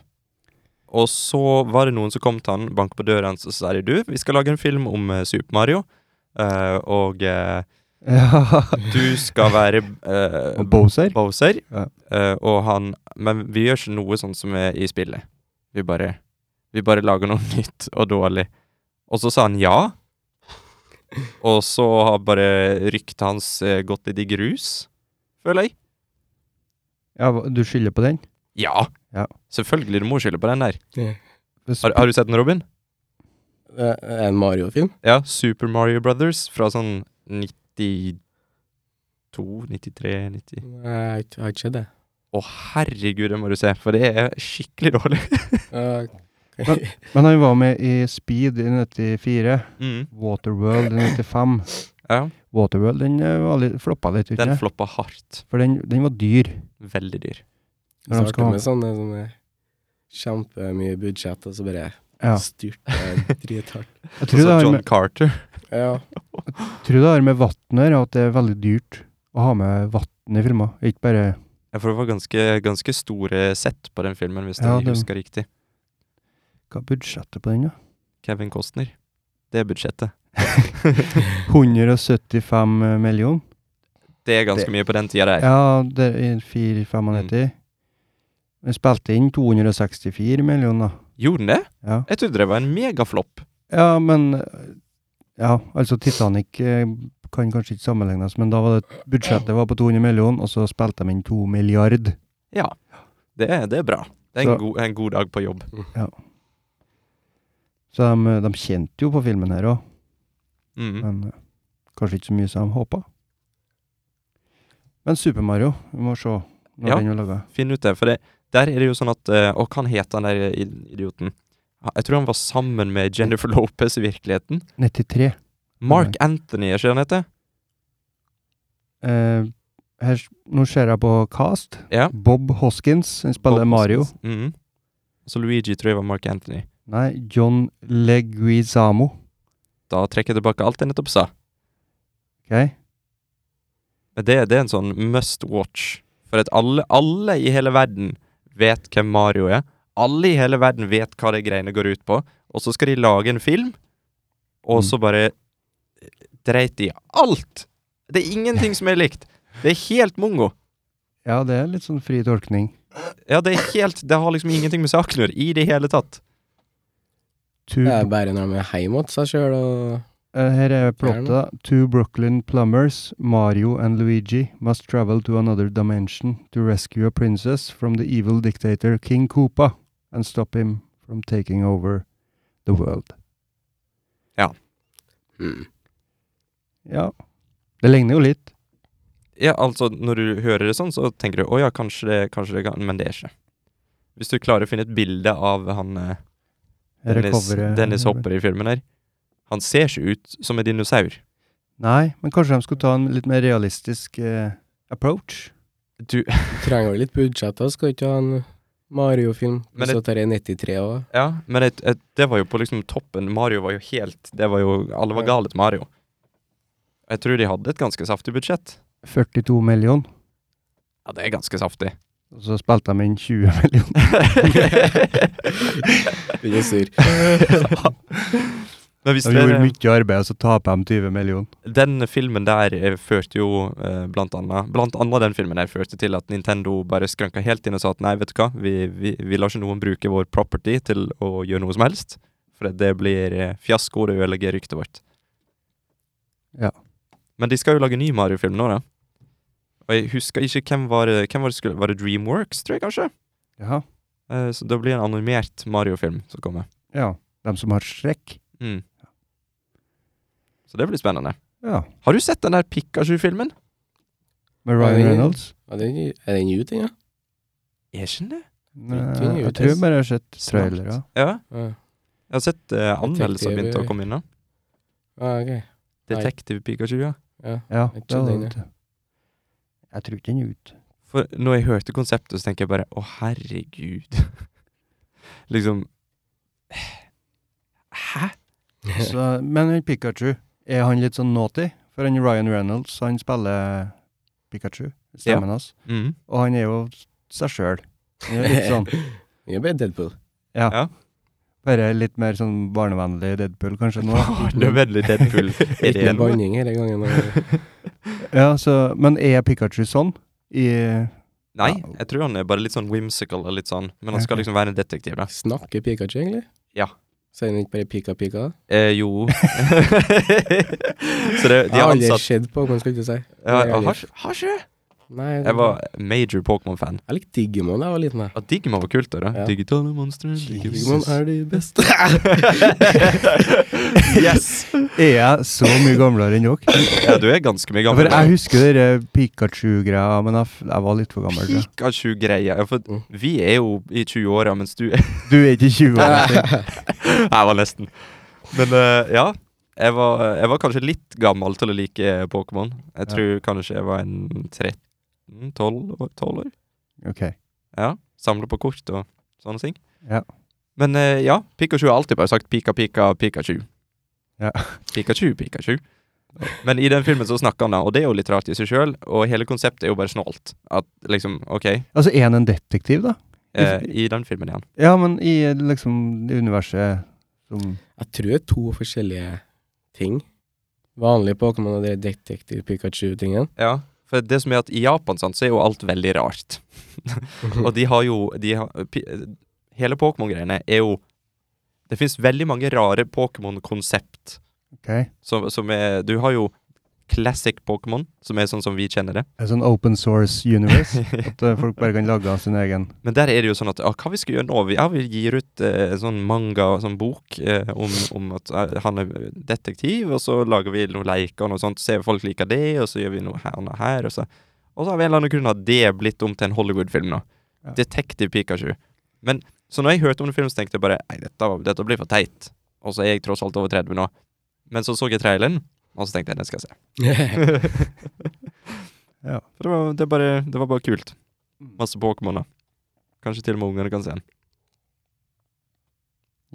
Speaker 2: Og så var det noen som kom til han, banket på døra hans og sa de, du, vi skal lage en film om eh, Super Mario. eh, og eh,
Speaker 1: Ja.
Speaker 2: du skal være eh,
Speaker 1: Og Bowser.
Speaker 2: Bowser.
Speaker 1: Ja.
Speaker 2: eh, og han Men vi gjør ikke noe sånn som er i spillet. Vi bare Vi bare lager noe nytt og dårlig. Og så sa han ja. Og så har bare ryktet hans eh, gått litt i grus, føler jeg.
Speaker 1: Ja, hva- du skylder på den?
Speaker 2: Ja.
Speaker 1: Ja.
Speaker 2: Selvfølgelig, du må skylde på den der.
Speaker 1: Hvis-
Speaker 2: Har, har du sett den, Robin?
Speaker 3: Det Eh, er en Mario-film.
Speaker 2: Ja. Super Mario Brothers fra sånn 92, 93, 90 Å,
Speaker 3: Nei, Jeg har ikke- jeg har ikke sett det.
Speaker 2: herregud, det må du se, for det er skikkelig dårlig.
Speaker 3: Eh,
Speaker 1: Men han var med i Speed i 94.
Speaker 2: Mm.
Speaker 1: Waterworld i 95.
Speaker 2: Ja.
Speaker 1: Waterworld den eh, var litt, floppa litt,
Speaker 2: Den
Speaker 1: ikke?
Speaker 2: floppa hardt.
Speaker 1: For den, den var dyr.
Speaker 2: Veldig dyr.
Speaker 1: Når de
Speaker 3: starter
Speaker 1: skal ha-
Speaker 3: med sånne, sånne kjempemye budsjett, og så bare
Speaker 1: Ja.
Speaker 3: styrter drithardt.
Speaker 1: Jeg tror det,
Speaker 2: altså,
Speaker 1: har
Speaker 2: John
Speaker 1: med,
Speaker 2: Carter.
Speaker 3: Ja.
Speaker 1: tror det har med vann å gjøre, at det er veldig dyrt å ha med vann i filmer. Ikke bare
Speaker 2: Ja, for det var ganske, ganske store sett på den filmen, hvis
Speaker 1: Ja,
Speaker 2: jeg
Speaker 1: det-
Speaker 2: husker riktig.
Speaker 1: Hva er budsjettet på den, da?
Speaker 2: Kevin Costner. Det er budsjettet.
Speaker 1: 175 millioner?
Speaker 2: Det er ganske
Speaker 1: Det-
Speaker 2: mye på den tida der.
Speaker 1: eh, Ja, det er 495.
Speaker 2: Mm.
Speaker 1: Vi spilte inn 264 millioner.
Speaker 2: Gjorde den det?
Speaker 1: Ja.
Speaker 2: Jeg trodde det var en megaflopp.
Speaker 1: ja, men eh, Ja, altså Titanic eh, kan kanskje ikke sammenlignes, men da var det budsjettet var på 200 millioner, og så spilte de inn 2 milliard.
Speaker 2: Ja. Det er, det er bra. Det er
Speaker 1: Så-
Speaker 2: en, god, en god dag på jobb.
Speaker 1: Så de, de kjente jo på filmen her òg,
Speaker 2: Mm.
Speaker 1: men eh, kanskje ikke så mye som de håpa. Men Super Mario, vi må se når
Speaker 2: Ja.
Speaker 1: den er laga.
Speaker 2: Finn ut det, for det, der er det jo sånn at eh, Og hva het han der i- idioten? Ha- Jeg tror han var sammen med Jennifer Lopez i virkeligheten.
Speaker 1: 93.
Speaker 2: Mark
Speaker 1: Mm.
Speaker 2: Anthony, er ikke det han heter?
Speaker 1: Eh, her, s- nå ser jeg på Cast.
Speaker 2: Ja.
Speaker 1: Bob Hoskins han spiller
Speaker 2: Bob
Speaker 1: Mario.
Speaker 2: Hoskins. Mhm. Så Luigi tror jeg var Mark Anthony.
Speaker 1: Nei, John Leguizamo.
Speaker 2: Da trekker jeg tilbake alt jeg nettopp sa.
Speaker 1: Ok?
Speaker 2: Men det, det er en sånn must watch. For at alle, alle i hele verden vet hvem Mario er. Alle i hele verden vet hva de greiene går ut på. Og så skal de lage en film, og så bare eh, dreit de i alt! Det er ingenting som er likt. Det er helt mongo.
Speaker 1: Ja, det er litt sånn fri tolkning.
Speaker 2: Ja, det er helt Det har liksom ingenting med saken å gjøre i det hele tatt.
Speaker 1: Two,
Speaker 3: Det er bare når de er hjemme hos seg sjøl og
Speaker 1: eh, her er plottet. da. Two Brooklyn plumbers, Mario and Luigi, must travel to another dimension to rescue a princess from the evil dictator King Koopa and stop him from taking over the world.
Speaker 3: mm.
Speaker 1: Ja. Det ligner jo litt.
Speaker 2: Ja, altså, når du hører det sånn, så tenker du å ja, kanskje det, kanskje det kan Men det er ikke. Hvis du klarer å finne et bilde av han eh,
Speaker 1: Her er
Speaker 2: Dennis,
Speaker 1: coveret.
Speaker 2: Dennis Hopper i filmen her. Han ser ikke ut som en dinosaur.
Speaker 1: Nei, men kanskje de skulle ta en litt mer realistisk eh, approach?
Speaker 2: Du,
Speaker 3: Trenger vel litt budsjett, da. Skal ikke ha en Mario-film.
Speaker 2: Men
Speaker 3: Men
Speaker 2: det-
Speaker 3: så tar jeg 93 òg.
Speaker 2: ja, men et, et, det var jo på liksom toppen. Mario var jo helt Det var jo Alle var
Speaker 3: Ja.
Speaker 2: gale til Mario. Og jeg tror de hadde et ganske saftig budsjett.
Speaker 1: 42 million.
Speaker 2: Ja, det er ganske saftig.
Speaker 1: Og så spilte de inn 20 million.
Speaker 3: Den er sur.
Speaker 2: Men hvis
Speaker 1: De gjorde
Speaker 2: dere
Speaker 1: mye arbeid, og så taper de 20 million.
Speaker 2: Den filmen der eh, førte jo eh, blant annet Blant annet den filmen der førte til at Nintendo bare skranka helt inn og sa at nei, vet du hva, vi, vi, vi lar ikke noen bruke vår property til å gjøre noe som helst. For det blir eh, fiasko, det ødelegger ryktet vårt.
Speaker 1: Ja.
Speaker 2: Men de skal jo lage ny Mario-film nå, da. Og jeg husker ikke hvem var det, hvem var det skulle Var det Dreamworks, tror jeg kanskje?
Speaker 1: Jaha.
Speaker 2: Eh, så det blir en animert Mario-film som kommer.
Speaker 1: Ja. De som har strekk.
Speaker 2: Mm. Så det blir spennende.
Speaker 1: Ja.
Speaker 2: Har du sett den der Pikachu-filmen?
Speaker 1: Med
Speaker 3: Ja,
Speaker 1: Ryan
Speaker 3: det-
Speaker 1: Reynolds.
Speaker 3: Ja, den er er den ute, ja?
Speaker 2: Er ikke den det?
Speaker 1: Nei,
Speaker 3: Ikke en
Speaker 1: eh, jeg
Speaker 3: UTS.
Speaker 1: tror bare jeg har sett trailere.
Speaker 2: Ja.
Speaker 3: Ja,
Speaker 2: Jeg har sett eh, anmeldelser
Speaker 3: Detektiv-
Speaker 2: begynte å komme inn. da.
Speaker 3: ah, ok. Nei.
Speaker 2: Detektiv Pikachu, ja.
Speaker 3: Ja.
Speaker 1: Ja,
Speaker 3: Jeg
Speaker 1: det
Speaker 3: tror
Speaker 1: var
Speaker 3: den,
Speaker 1: det. Jeg tror ikke den er ute.
Speaker 2: For når jeg hørte konseptet, så tenker jeg bare å, herregud. liksom Hæ?
Speaker 1: Så, men han Pikachu, er han litt sånn naughty? For han Ryan Reynolds, han spiller Pikachu, stemmen hans.
Speaker 2: Mhm.
Speaker 1: Og han er jo seg sjøl. Litt sånn,
Speaker 3: Den er bare Deadpool.
Speaker 1: bare litt mer sånn barnevennlig Deadpool, kanskje, nå.
Speaker 2: Nødvendig Deadpool. Er det
Speaker 3: Ikke
Speaker 2: noe?
Speaker 3: banning hele gangen. og-
Speaker 1: Ja, så, men er Pikachu sånn? I,
Speaker 2: Nei, jeg tror han er bare litt sånn whimsical og litt sånn. Men han skal
Speaker 1: Ok.
Speaker 2: liksom være en detektiv, da.
Speaker 3: Snakker Pikachu, egentlig?
Speaker 2: Ja.
Speaker 3: Sier den ikke bare pika-pika?
Speaker 2: Eh, jo. så det, de
Speaker 3: Jeg
Speaker 2: har
Speaker 3: har aldri
Speaker 2: ansatt
Speaker 3: sett Pokémon, skal jeg ikke si.
Speaker 2: ja,
Speaker 3: jeg har
Speaker 2: Har har ikke det?
Speaker 3: Nei,
Speaker 2: Jeg var major Pokémon-fan.
Speaker 3: jeg likte Digimon da jeg var liten. jeg.
Speaker 2: Ja, Digimon var kult, da. da.
Speaker 3: Ja.
Speaker 2: Digitale monstre.
Speaker 3: Digimon er de beste.
Speaker 2: yes!
Speaker 1: er jeg så mye gamlere enn dere?
Speaker 2: Ja, du er ganske mye
Speaker 1: For
Speaker 2: gammel.
Speaker 1: jeg husker det Pikachu-greia, men jeg, f- jeg var litt for gammel. tror jeg.
Speaker 2: Pikachu-greia. Ja, for
Speaker 3: Mm.
Speaker 2: vi er jo i 20-åra, mens du Jeg
Speaker 1: Du er ikke 20 år. Martin.
Speaker 2: var nesten. Men eh, ja. Jeg var, jeg var kanskje litt gammel til å like Pokémon. Jeg
Speaker 1: Ja.
Speaker 2: tror kanskje jeg var en 13-12 år. 12 år.
Speaker 1: Ok.
Speaker 2: Ja. Samle på kort og sånne ting.
Speaker 1: Ja.
Speaker 2: Men eh, ja, Pikachu har alltid bare sagt Pika, Pika, Pikachu.
Speaker 1: Ja.
Speaker 2: Pikachu, Pikachu. Men i den filmen så snakker han, da, og det er jo litt rart i seg sjøl. Og hele konseptet er jo bare snålt. At liksom, OK,
Speaker 1: Altså, er han en detektiv, da?
Speaker 2: eh, i den filmen igjen.
Speaker 1: Ja, men i eh, liksom det universet som
Speaker 3: Jeg tror det er to forskjellige ting. Vanlig Pokémon og det detektiv Pikachu-tingen.
Speaker 2: Ja. For det som er at i Japan sant, så er jo alt veldig rart. Og de har jo de har, pi- Hele Pokémon-greiene er jo Det fins veldig mange rare Pokémon-konsept.
Speaker 1: OK? Er
Speaker 2: Som, som er Du har jo classic Pokémon, som er sånn som vi kjenner det.
Speaker 1: sånn open source universe? At eh, folk bare kan lage sin egen
Speaker 2: Men der er det jo sånn at ah, hva vi skal gjøre nå? Vi, ja, vi gir ut eh, sånn manga, sånn bok, eh, om, om at eh, han er detektiv, og så lager vi noen leker og noe sånt, ser folk liker det, og så gjør vi noe her og noe her, og så Og så av en eller annen grunn har det blitt om til en Hollywood-film nå.
Speaker 1: Ja.
Speaker 2: Detektiv Pikachu. Men så når jeg hørte om den filmen, så tenkte jeg bare nei, dette, dette blir for teit. Og så er jeg tross alt over 30 nå. Men så så jeg traileren, og så tenkte jeg den skal jeg se.
Speaker 1: Ja.
Speaker 2: For det var, det, bare, det var bare kult. Masse Pokémoner. Kanskje til og med ungene kan se den.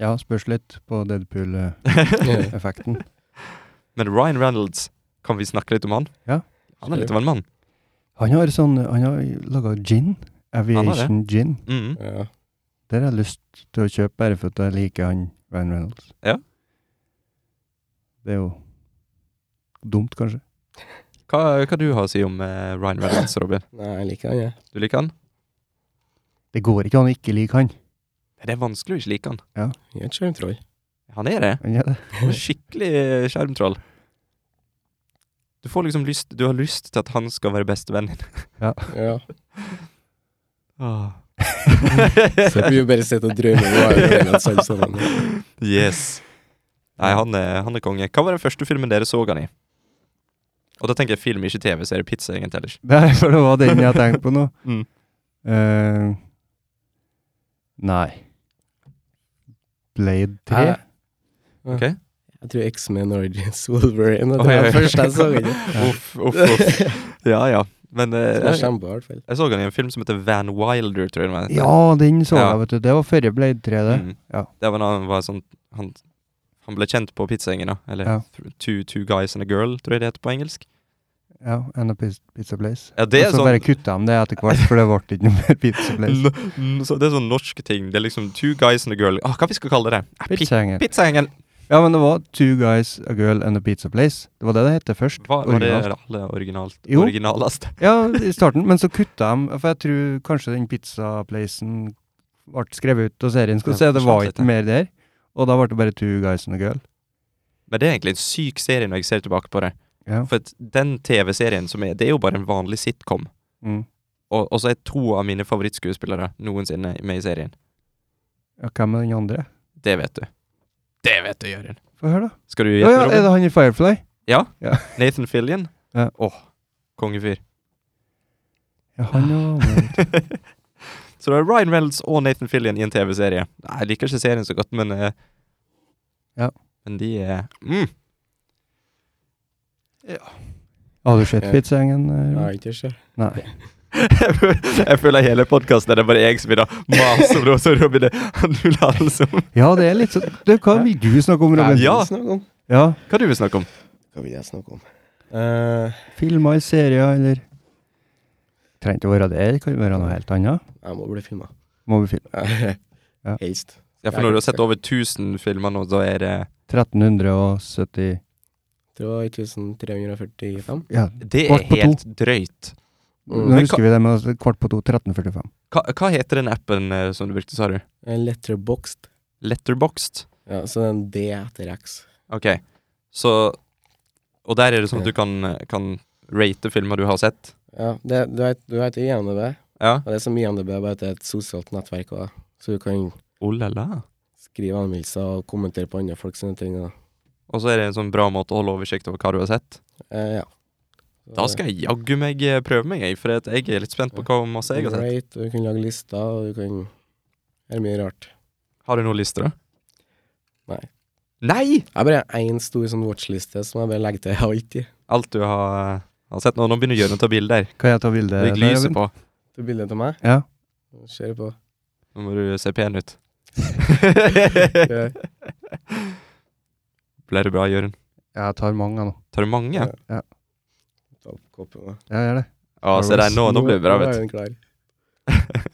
Speaker 1: Ja, spørs litt på Deadpool-effekten.
Speaker 2: Men Ryan Reynolds, kan vi snakke litt om han?
Speaker 1: Ja.
Speaker 2: Han er litt av en mann.
Speaker 1: Han har sånn Han har laga gin. Aviation gin.
Speaker 2: Mm.
Speaker 3: ja.
Speaker 1: Der har jeg lyst til å kjøpe, bare for at jeg liker han Ryan Reynolds.
Speaker 2: Ja.
Speaker 1: Det er jo dumt, kanskje.
Speaker 2: Hva, hva du har å si om eh, Ryan Reynolds, Robin?
Speaker 3: Nei, jeg liker den, jeg.
Speaker 2: Du liker han?
Speaker 1: Det går ikke an å ikke like han.
Speaker 2: Det er vanskelig å ikke like han.
Speaker 3: Jeg er et skjermtroll.
Speaker 2: Han er det.
Speaker 1: Han er det.
Speaker 2: Han er Skikkelig eh, skjermtroll. Du får liksom lyst Du har lyst til at han skal være bestevennen din.
Speaker 3: Ja. Så
Speaker 2: Ah.
Speaker 3: vi jo bare sitter og drømmer om hva vi gjør med oss sammen.
Speaker 2: yes. Nei, han er, han er konge. Hva var den første filmen dere så han i? Og da tenker jeg film, ikke TV, så er det pizza egentlig ellers.
Speaker 1: Nei, for det var den jeg tenkte på nå.
Speaker 2: Mm.
Speaker 1: Eh, nei. Blade 3?
Speaker 3: Jeg-
Speaker 2: Ok?
Speaker 3: Jeg tror X-Men Origins Wolverine og
Speaker 2: Oi,
Speaker 3: det var
Speaker 2: oi, oi.
Speaker 3: det første jeg så. den.
Speaker 2: Uff, uff, uff. Ja, ja. Men eh,
Speaker 3: Som jeg kommer på, i hvert fall.
Speaker 2: Jeg så han i en film som heter Van Wilder, tror jeg den var.
Speaker 1: Ja, den så
Speaker 2: Ja.
Speaker 1: jeg, vet du. Det var før Blade 3, det.
Speaker 2: Mm.
Speaker 1: Ja.
Speaker 2: Det var da han var sånn Han, Han ble kjent på pizzaengen, da. Eller
Speaker 1: Ja.
Speaker 2: two, two Guys and a Girl, tror jeg det heter på engelsk.
Speaker 1: Ja, and a pis- pizza place.
Speaker 2: Ja, det er
Speaker 1: Og så
Speaker 2: sånn
Speaker 1: bare liksom. kutta de det etter hvert, for det ble ikke noe mer pizza place.
Speaker 2: N- n- så Det er sånn norsk ting. Det er liksom Two Guys and a Girl. Ah, hva vi skal kalle det? Ah, pi-
Speaker 1: Pizzahengen.
Speaker 2: Pizzaengen!
Speaker 1: Ja, men det var Two Guys, A Girl and a Pizza Place. Det var det det het først.
Speaker 2: Hva var det
Speaker 1: Originalt.
Speaker 2: aller originalt,
Speaker 1: Jo.
Speaker 2: originaleste?
Speaker 1: Ja, i starten, men så kutta de, for jeg tror kanskje den pizzaplacen ble skrevet ut av serien, skal du
Speaker 2: Ja,
Speaker 1: se, det var
Speaker 2: forsvant litt,
Speaker 1: ikke mer der. Og da ble det bare Two Guys and a Girl.
Speaker 2: Men det er egentlig en syk serie når jeg ser tilbake på det.
Speaker 1: Ja.
Speaker 2: For at den TV-serien som er Det er jo bare en vanlig sitcom.
Speaker 1: Mm.
Speaker 2: Og, og så er to av mine favorittskuespillere noensinne med i serien.
Speaker 1: Ja, hvem er den andre?
Speaker 2: Det vet du. Det vet du, Jørgen.
Speaker 1: Få høre, da.
Speaker 2: Skal du
Speaker 1: Å
Speaker 2: gjette,
Speaker 1: ja, er
Speaker 2: Robin?
Speaker 1: det han i Firefly?
Speaker 2: Nathan Fillion?
Speaker 1: Ja.
Speaker 2: Åh, kongefyr.
Speaker 1: Ja, han og
Speaker 2: så det er Ryan Reynolds og Nathan Fillion i en TV-serie. Nei, Jeg liker ikke serien så godt, men eh,
Speaker 1: Ja.
Speaker 2: Men de er mm.
Speaker 1: Har du sett
Speaker 3: Ja.
Speaker 1: Pizzahengen? eh,
Speaker 3: Jeg
Speaker 1: Ron?
Speaker 3: har ikke det.
Speaker 1: Nei.
Speaker 2: jeg, føl- jeg føler hele podkasten er det bare jeg som vil ha mas om Rosa Robin. Du lar det som
Speaker 1: Ja, det er litt sånn Du, hva vil du snakke om, Robin?
Speaker 2: Ja.
Speaker 3: Snakk om.
Speaker 1: Ja,
Speaker 2: Hva du vil snakke om?
Speaker 3: Hva vil jeg snakke om? Eh,
Speaker 1: Filmer i serier, eller Trenger ikke å være det, det kan jo være noe helt annet.
Speaker 3: jeg må bli filma.
Speaker 1: Må vi filme Ja.
Speaker 3: Helst.
Speaker 2: Ja, for når du har sett over 1000 filmer nå, så er det
Speaker 1: 1370
Speaker 3: Det var 1345.
Speaker 1: Ja,
Speaker 2: Det er
Speaker 1: Kvart på to.
Speaker 2: helt drøyt.
Speaker 1: Nå
Speaker 3: Mm.
Speaker 2: Men
Speaker 1: husker vi det med oss- kvart på to, 13.45.
Speaker 2: Hva, hva heter den appen eh, som du brukte, sa du?
Speaker 3: Letterboxed.
Speaker 2: Letterboxed?
Speaker 3: Ja, så det er en D etter X.
Speaker 2: Ok, så Og der er det sånn
Speaker 3: Ja.
Speaker 2: at du kan, kan rate filmer du har sett?
Speaker 3: Ja, det, du, vet, du vet IMDb,
Speaker 2: Ja.
Speaker 3: og det som IMDb er bare at det er et sosialt nettverk også. Så du kan
Speaker 2: Oh la la.
Speaker 3: skrive anmeldelser og kommentere på andre folk sine ting. Og,
Speaker 2: Og så er det en sånn bra måte å holde oversikt over hva du har sett.
Speaker 3: eh, ja.
Speaker 2: Da skal jeg jaggu meg eh, prøve meg, jeg, for at jeg er litt spent på hva masse jeg har sett.
Speaker 3: Rate, og du kan lage lister, og du kan Det er mye rart.
Speaker 2: Har du noen lister, da?
Speaker 3: Nei.
Speaker 2: Nei!
Speaker 3: Jeg har bare én stor sånn watchliste som jeg bare legger til alltid.
Speaker 2: Alt du har, har sett nå. Nå begynner Jørund å ta bilder.
Speaker 1: Kan jeg ta
Speaker 3: Eh,
Speaker 1: bilde?
Speaker 2: Legg
Speaker 1: der,
Speaker 2: lyset
Speaker 1: Robin?
Speaker 2: på.
Speaker 3: Du bildet av meg?
Speaker 1: Ja.
Speaker 3: Kjør på.
Speaker 2: Nå må du se pen ut.
Speaker 3: Ja.
Speaker 2: Ble det bra, Jørund?
Speaker 1: Jeg tar mange nå.
Speaker 2: Tar du mange?
Speaker 3: Ja.
Speaker 2: Å,
Speaker 3: Ta opp koppen, da.
Speaker 1: Jeg gjør det.
Speaker 2: se der, nå, nå blir det bra, vet du.
Speaker 3: er den klar.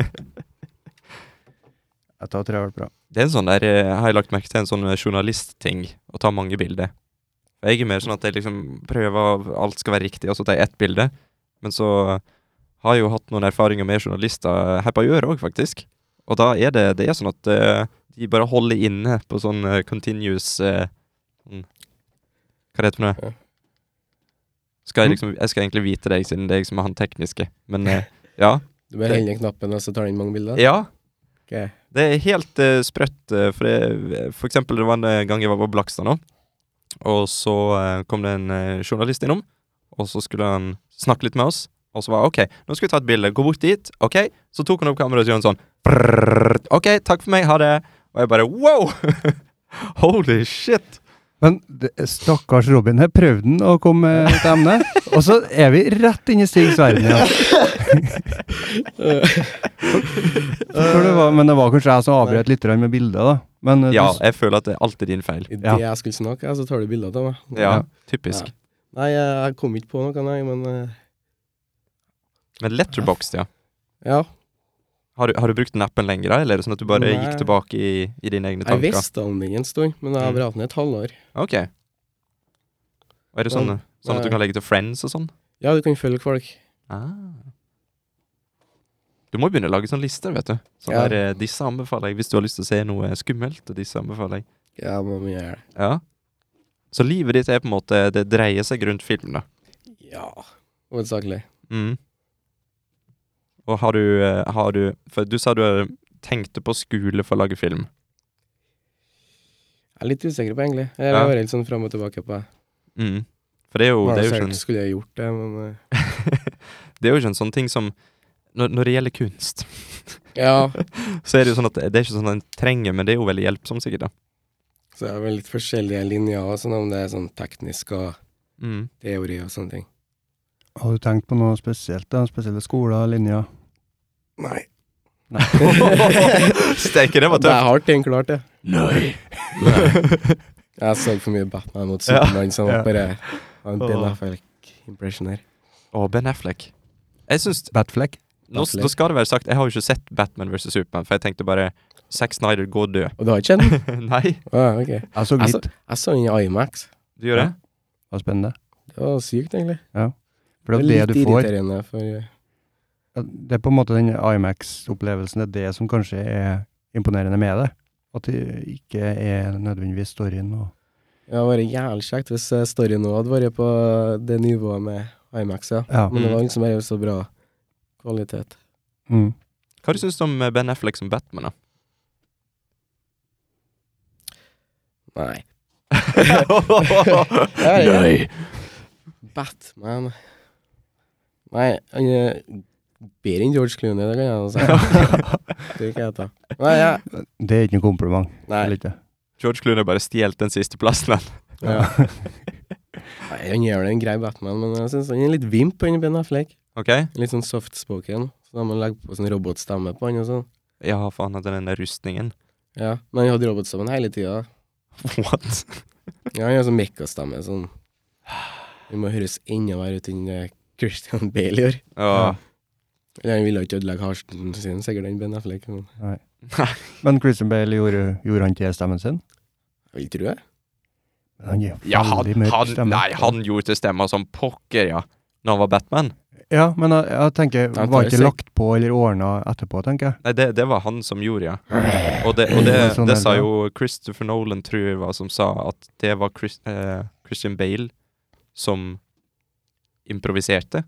Speaker 1: Jeg tar tre vel bra.
Speaker 2: Det er en sånn der, eh, har jeg lagt merke til, en sånn eh, journalistting, å ta mange bilder. For Jeg er mer sånn at jeg liksom prøver å- alt skal være riktig, og så tar jeg ett bilde. Men så har jeg jo hatt noen erfaringer med journalister eh, her på Gjør òg, faktisk. Og da er det, det er sånn at eh, de bare holder inne på sånn eh, continuous eh, mm, Hva er det for
Speaker 3: Ja.
Speaker 2: noe? Skal jeg, liksom, jeg skal egentlig vite deg, siden det er jeg som er han tekniske. Men eh, ja.
Speaker 3: Du bare holder ned knappen, og så tar den mange bilder?
Speaker 2: ja.
Speaker 3: Ok.
Speaker 2: Det er helt eh, sprøtt, eh, for, det, for eksempel det var en eh, gang jeg var på Blakstad nå, og så eh, kom det en eh, journalist innom, og så skulle han snakke litt med oss, og så var jeg, ok, nå skal vi ta et bilde, gå bort dit, ok, så tok han opp kameraet og så gjorde han sånn, brrrr, ok, takk for meg, ha det, og jeg bare, wow, holy shit,
Speaker 1: Men det, stakkars Robin her prøvde han å komme med et emne, og så er vi rett inn i Stigs verden igjen. For det var, men det var kanskje jeg som avbrøt litt grann med bildet, da. Men eh,
Speaker 2: ja,
Speaker 1: du,
Speaker 2: jeg føler at det er alltid din feil,
Speaker 3: I det
Speaker 1: Ja.
Speaker 3: jeg skulle snakke, ja, så tar du bilder av meg.
Speaker 2: ja,
Speaker 1: Ja.
Speaker 2: typisk,
Speaker 3: Ja. Nei, jeg, jeg kom ikke på noe, nei, men eh,
Speaker 2: men Letterboxd, ja,
Speaker 3: ja.
Speaker 2: har du, har du brukt den appen lenger da, eller er det sånn at du bare
Speaker 3: Nei.
Speaker 2: gikk tilbake i, i dine egne
Speaker 3: Jeg
Speaker 2: tanker? Mm.
Speaker 3: visste om den en stund, men jeg har bare hatt den i et halvår.
Speaker 2: Ok. Og er det
Speaker 3: Men- eh,
Speaker 2: sånn, sånn at du
Speaker 3: nei.
Speaker 2: kan legge til friends og sånn? Ah.
Speaker 3: Ja, du kan følge folk.
Speaker 2: Du må jo begynne å lage sånn lister, vet du. Sånn
Speaker 3: Ja.
Speaker 2: der, eh, disse anbefaler jeg hvis du har lyst til å se noe skummelt. og disse anbefaler jeg.
Speaker 3: Ja, må vi gjøre det.
Speaker 2: Ja. Så livet ditt er på en måte Det dreier seg rundt film, da.
Speaker 3: Ja. Hovedsakelig.
Speaker 2: Mm. Og har du, eh, har du For du sa du eh, tenkte på skole for å lage film.
Speaker 3: Jeg er litt usikker på, egentlig. Jeg
Speaker 2: Ja.
Speaker 3: har vært litt sånn fram og tilbake på det.
Speaker 2: Mm. For det er jo,
Speaker 3: Bare
Speaker 2: det er jo
Speaker 3: så
Speaker 2: ikke
Speaker 3: jeg
Speaker 2: en-
Speaker 3: Skulle jeg gjort det, men eh,
Speaker 2: det er jo ikke en sånn ting som når, når det gjelder kunst,
Speaker 3: Ja,
Speaker 2: så er det jo sånn at det er ikke sånn at en trenger, men det er jo veldig hjelpsomt, sikkert. da.
Speaker 3: så er det vel litt forskjellige linjer og sånn, om det er sånn teknisk og
Speaker 2: Mm.
Speaker 3: teori og sånne ting.
Speaker 1: har du tenkt på noe spesielt, da? Spesielle skoler, linjer?
Speaker 3: Nei.
Speaker 1: Nei.
Speaker 2: Steike, det var
Speaker 3: Det
Speaker 2: tøft.
Speaker 3: er hardt, egentlig, klart det.
Speaker 2: Nei.
Speaker 3: Jeg så for mye Batman mot Supermann, så jeg
Speaker 1: Ja.
Speaker 3: må bare ha en Ben
Speaker 2: Åh.
Speaker 3: Affleck-impression her.
Speaker 2: Og Ben Affleck. Jeg synes,
Speaker 1: Batfleck.
Speaker 2: nå,
Speaker 3: Affleck.
Speaker 2: nå skal det være sagt, jeg har jo ikke sett Batman vs. Supermann, for jeg tenkte bare Zack Snyder, gå og dø.
Speaker 3: Og du har ikke den?
Speaker 2: Nei,
Speaker 3: Ah, ok. Jeg
Speaker 1: Jeg så
Speaker 3: så,
Speaker 1: litt.
Speaker 3: jeg så den i IMAX.
Speaker 2: du gjør det?
Speaker 1: Det var spennende.
Speaker 3: Det var sykt, egentlig.
Speaker 1: For det er jo det du
Speaker 3: litt
Speaker 1: får.
Speaker 3: irriterende for eh,
Speaker 1: Det er på en måte den IMAX-opplevelsen, det er det som kanskje er imponerende med det. At det ikke er nødvendigvis storyen og
Speaker 3: Det hadde vært jævlig kjekt hvis eh, storyen nå hadde vært på det nivået med IMAX, ja.
Speaker 1: Ja.
Speaker 3: Men det var
Speaker 2: Mm.
Speaker 3: liksom bare så bra kvalitet.
Speaker 1: Mm.
Speaker 2: Hva syns du om eh, Ben Affleck som Batman, da?
Speaker 3: Nei.
Speaker 2: Nei.
Speaker 3: Nei. Batman Nei, han er bedre enn George Clooney, det kan jeg jo si. det kan jeg ta. Nei, ja.
Speaker 1: Det er ikke noe kompliment.
Speaker 3: Nei.
Speaker 1: eller ikke.
Speaker 2: George Clooney har bare stjålet den siste plassen. han.
Speaker 3: Ja. Nei, han gjør det en grei Batman, men jeg syns han er litt vimp, han Ben Affleck.
Speaker 2: Ok?
Speaker 3: Litt sånn softspoken. Så da må han legge på sånn robotstemme på han og sånn.
Speaker 2: Ja, faen, hadde den der rustningen.
Speaker 3: Ja, Men han hadde robotstemmen hele tida.
Speaker 2: What?
Speaker 3: Ja, han har sånn mekkastemme, sånn. Vi må høres enda verre ut enn eh, Christian Bale gjør.
Speaker 2: Ja.
Speaker 3: Eller Han ville jo ikke ødelegge harsen sin, sikkert den Ben Affleck. Men
Speaker 1: Men Christian Bale gjorde, gjorde han til stemmen sin?
Speaker 3: jeg vil tro det.
Speaker 1: Men han gir
Speaker 2: Ja, han,
Speaker 1: veldig mørk
Speaker 2: han,
Speaker 1: stemme.
Speaker 2: nei, han gjorde til stemma som pokker, ja. Når han var Batman.
Speaker 1: Ja, men jeg, jeg tenker,
Speaker 3: Han
Speaker 1: var
Speaker 3: tar
Speaker 1: ikke
Speaker 3: seg-
Speaker 1: lagt på eller ordna etterpå, tenker jeg.
Speaker 2: Nei, det, det var han som gjorde, ja. Og det, og det,
Speaker 1: Det er sånn
Speaker 2: det
Speaker 1: det
Speaker 2: sa
Speaker 1: er, ja.
Speaker 2: jo Christopher Nolan, tror jeg var, som sa at det var Chris, eh, Christian Bale som improviserte.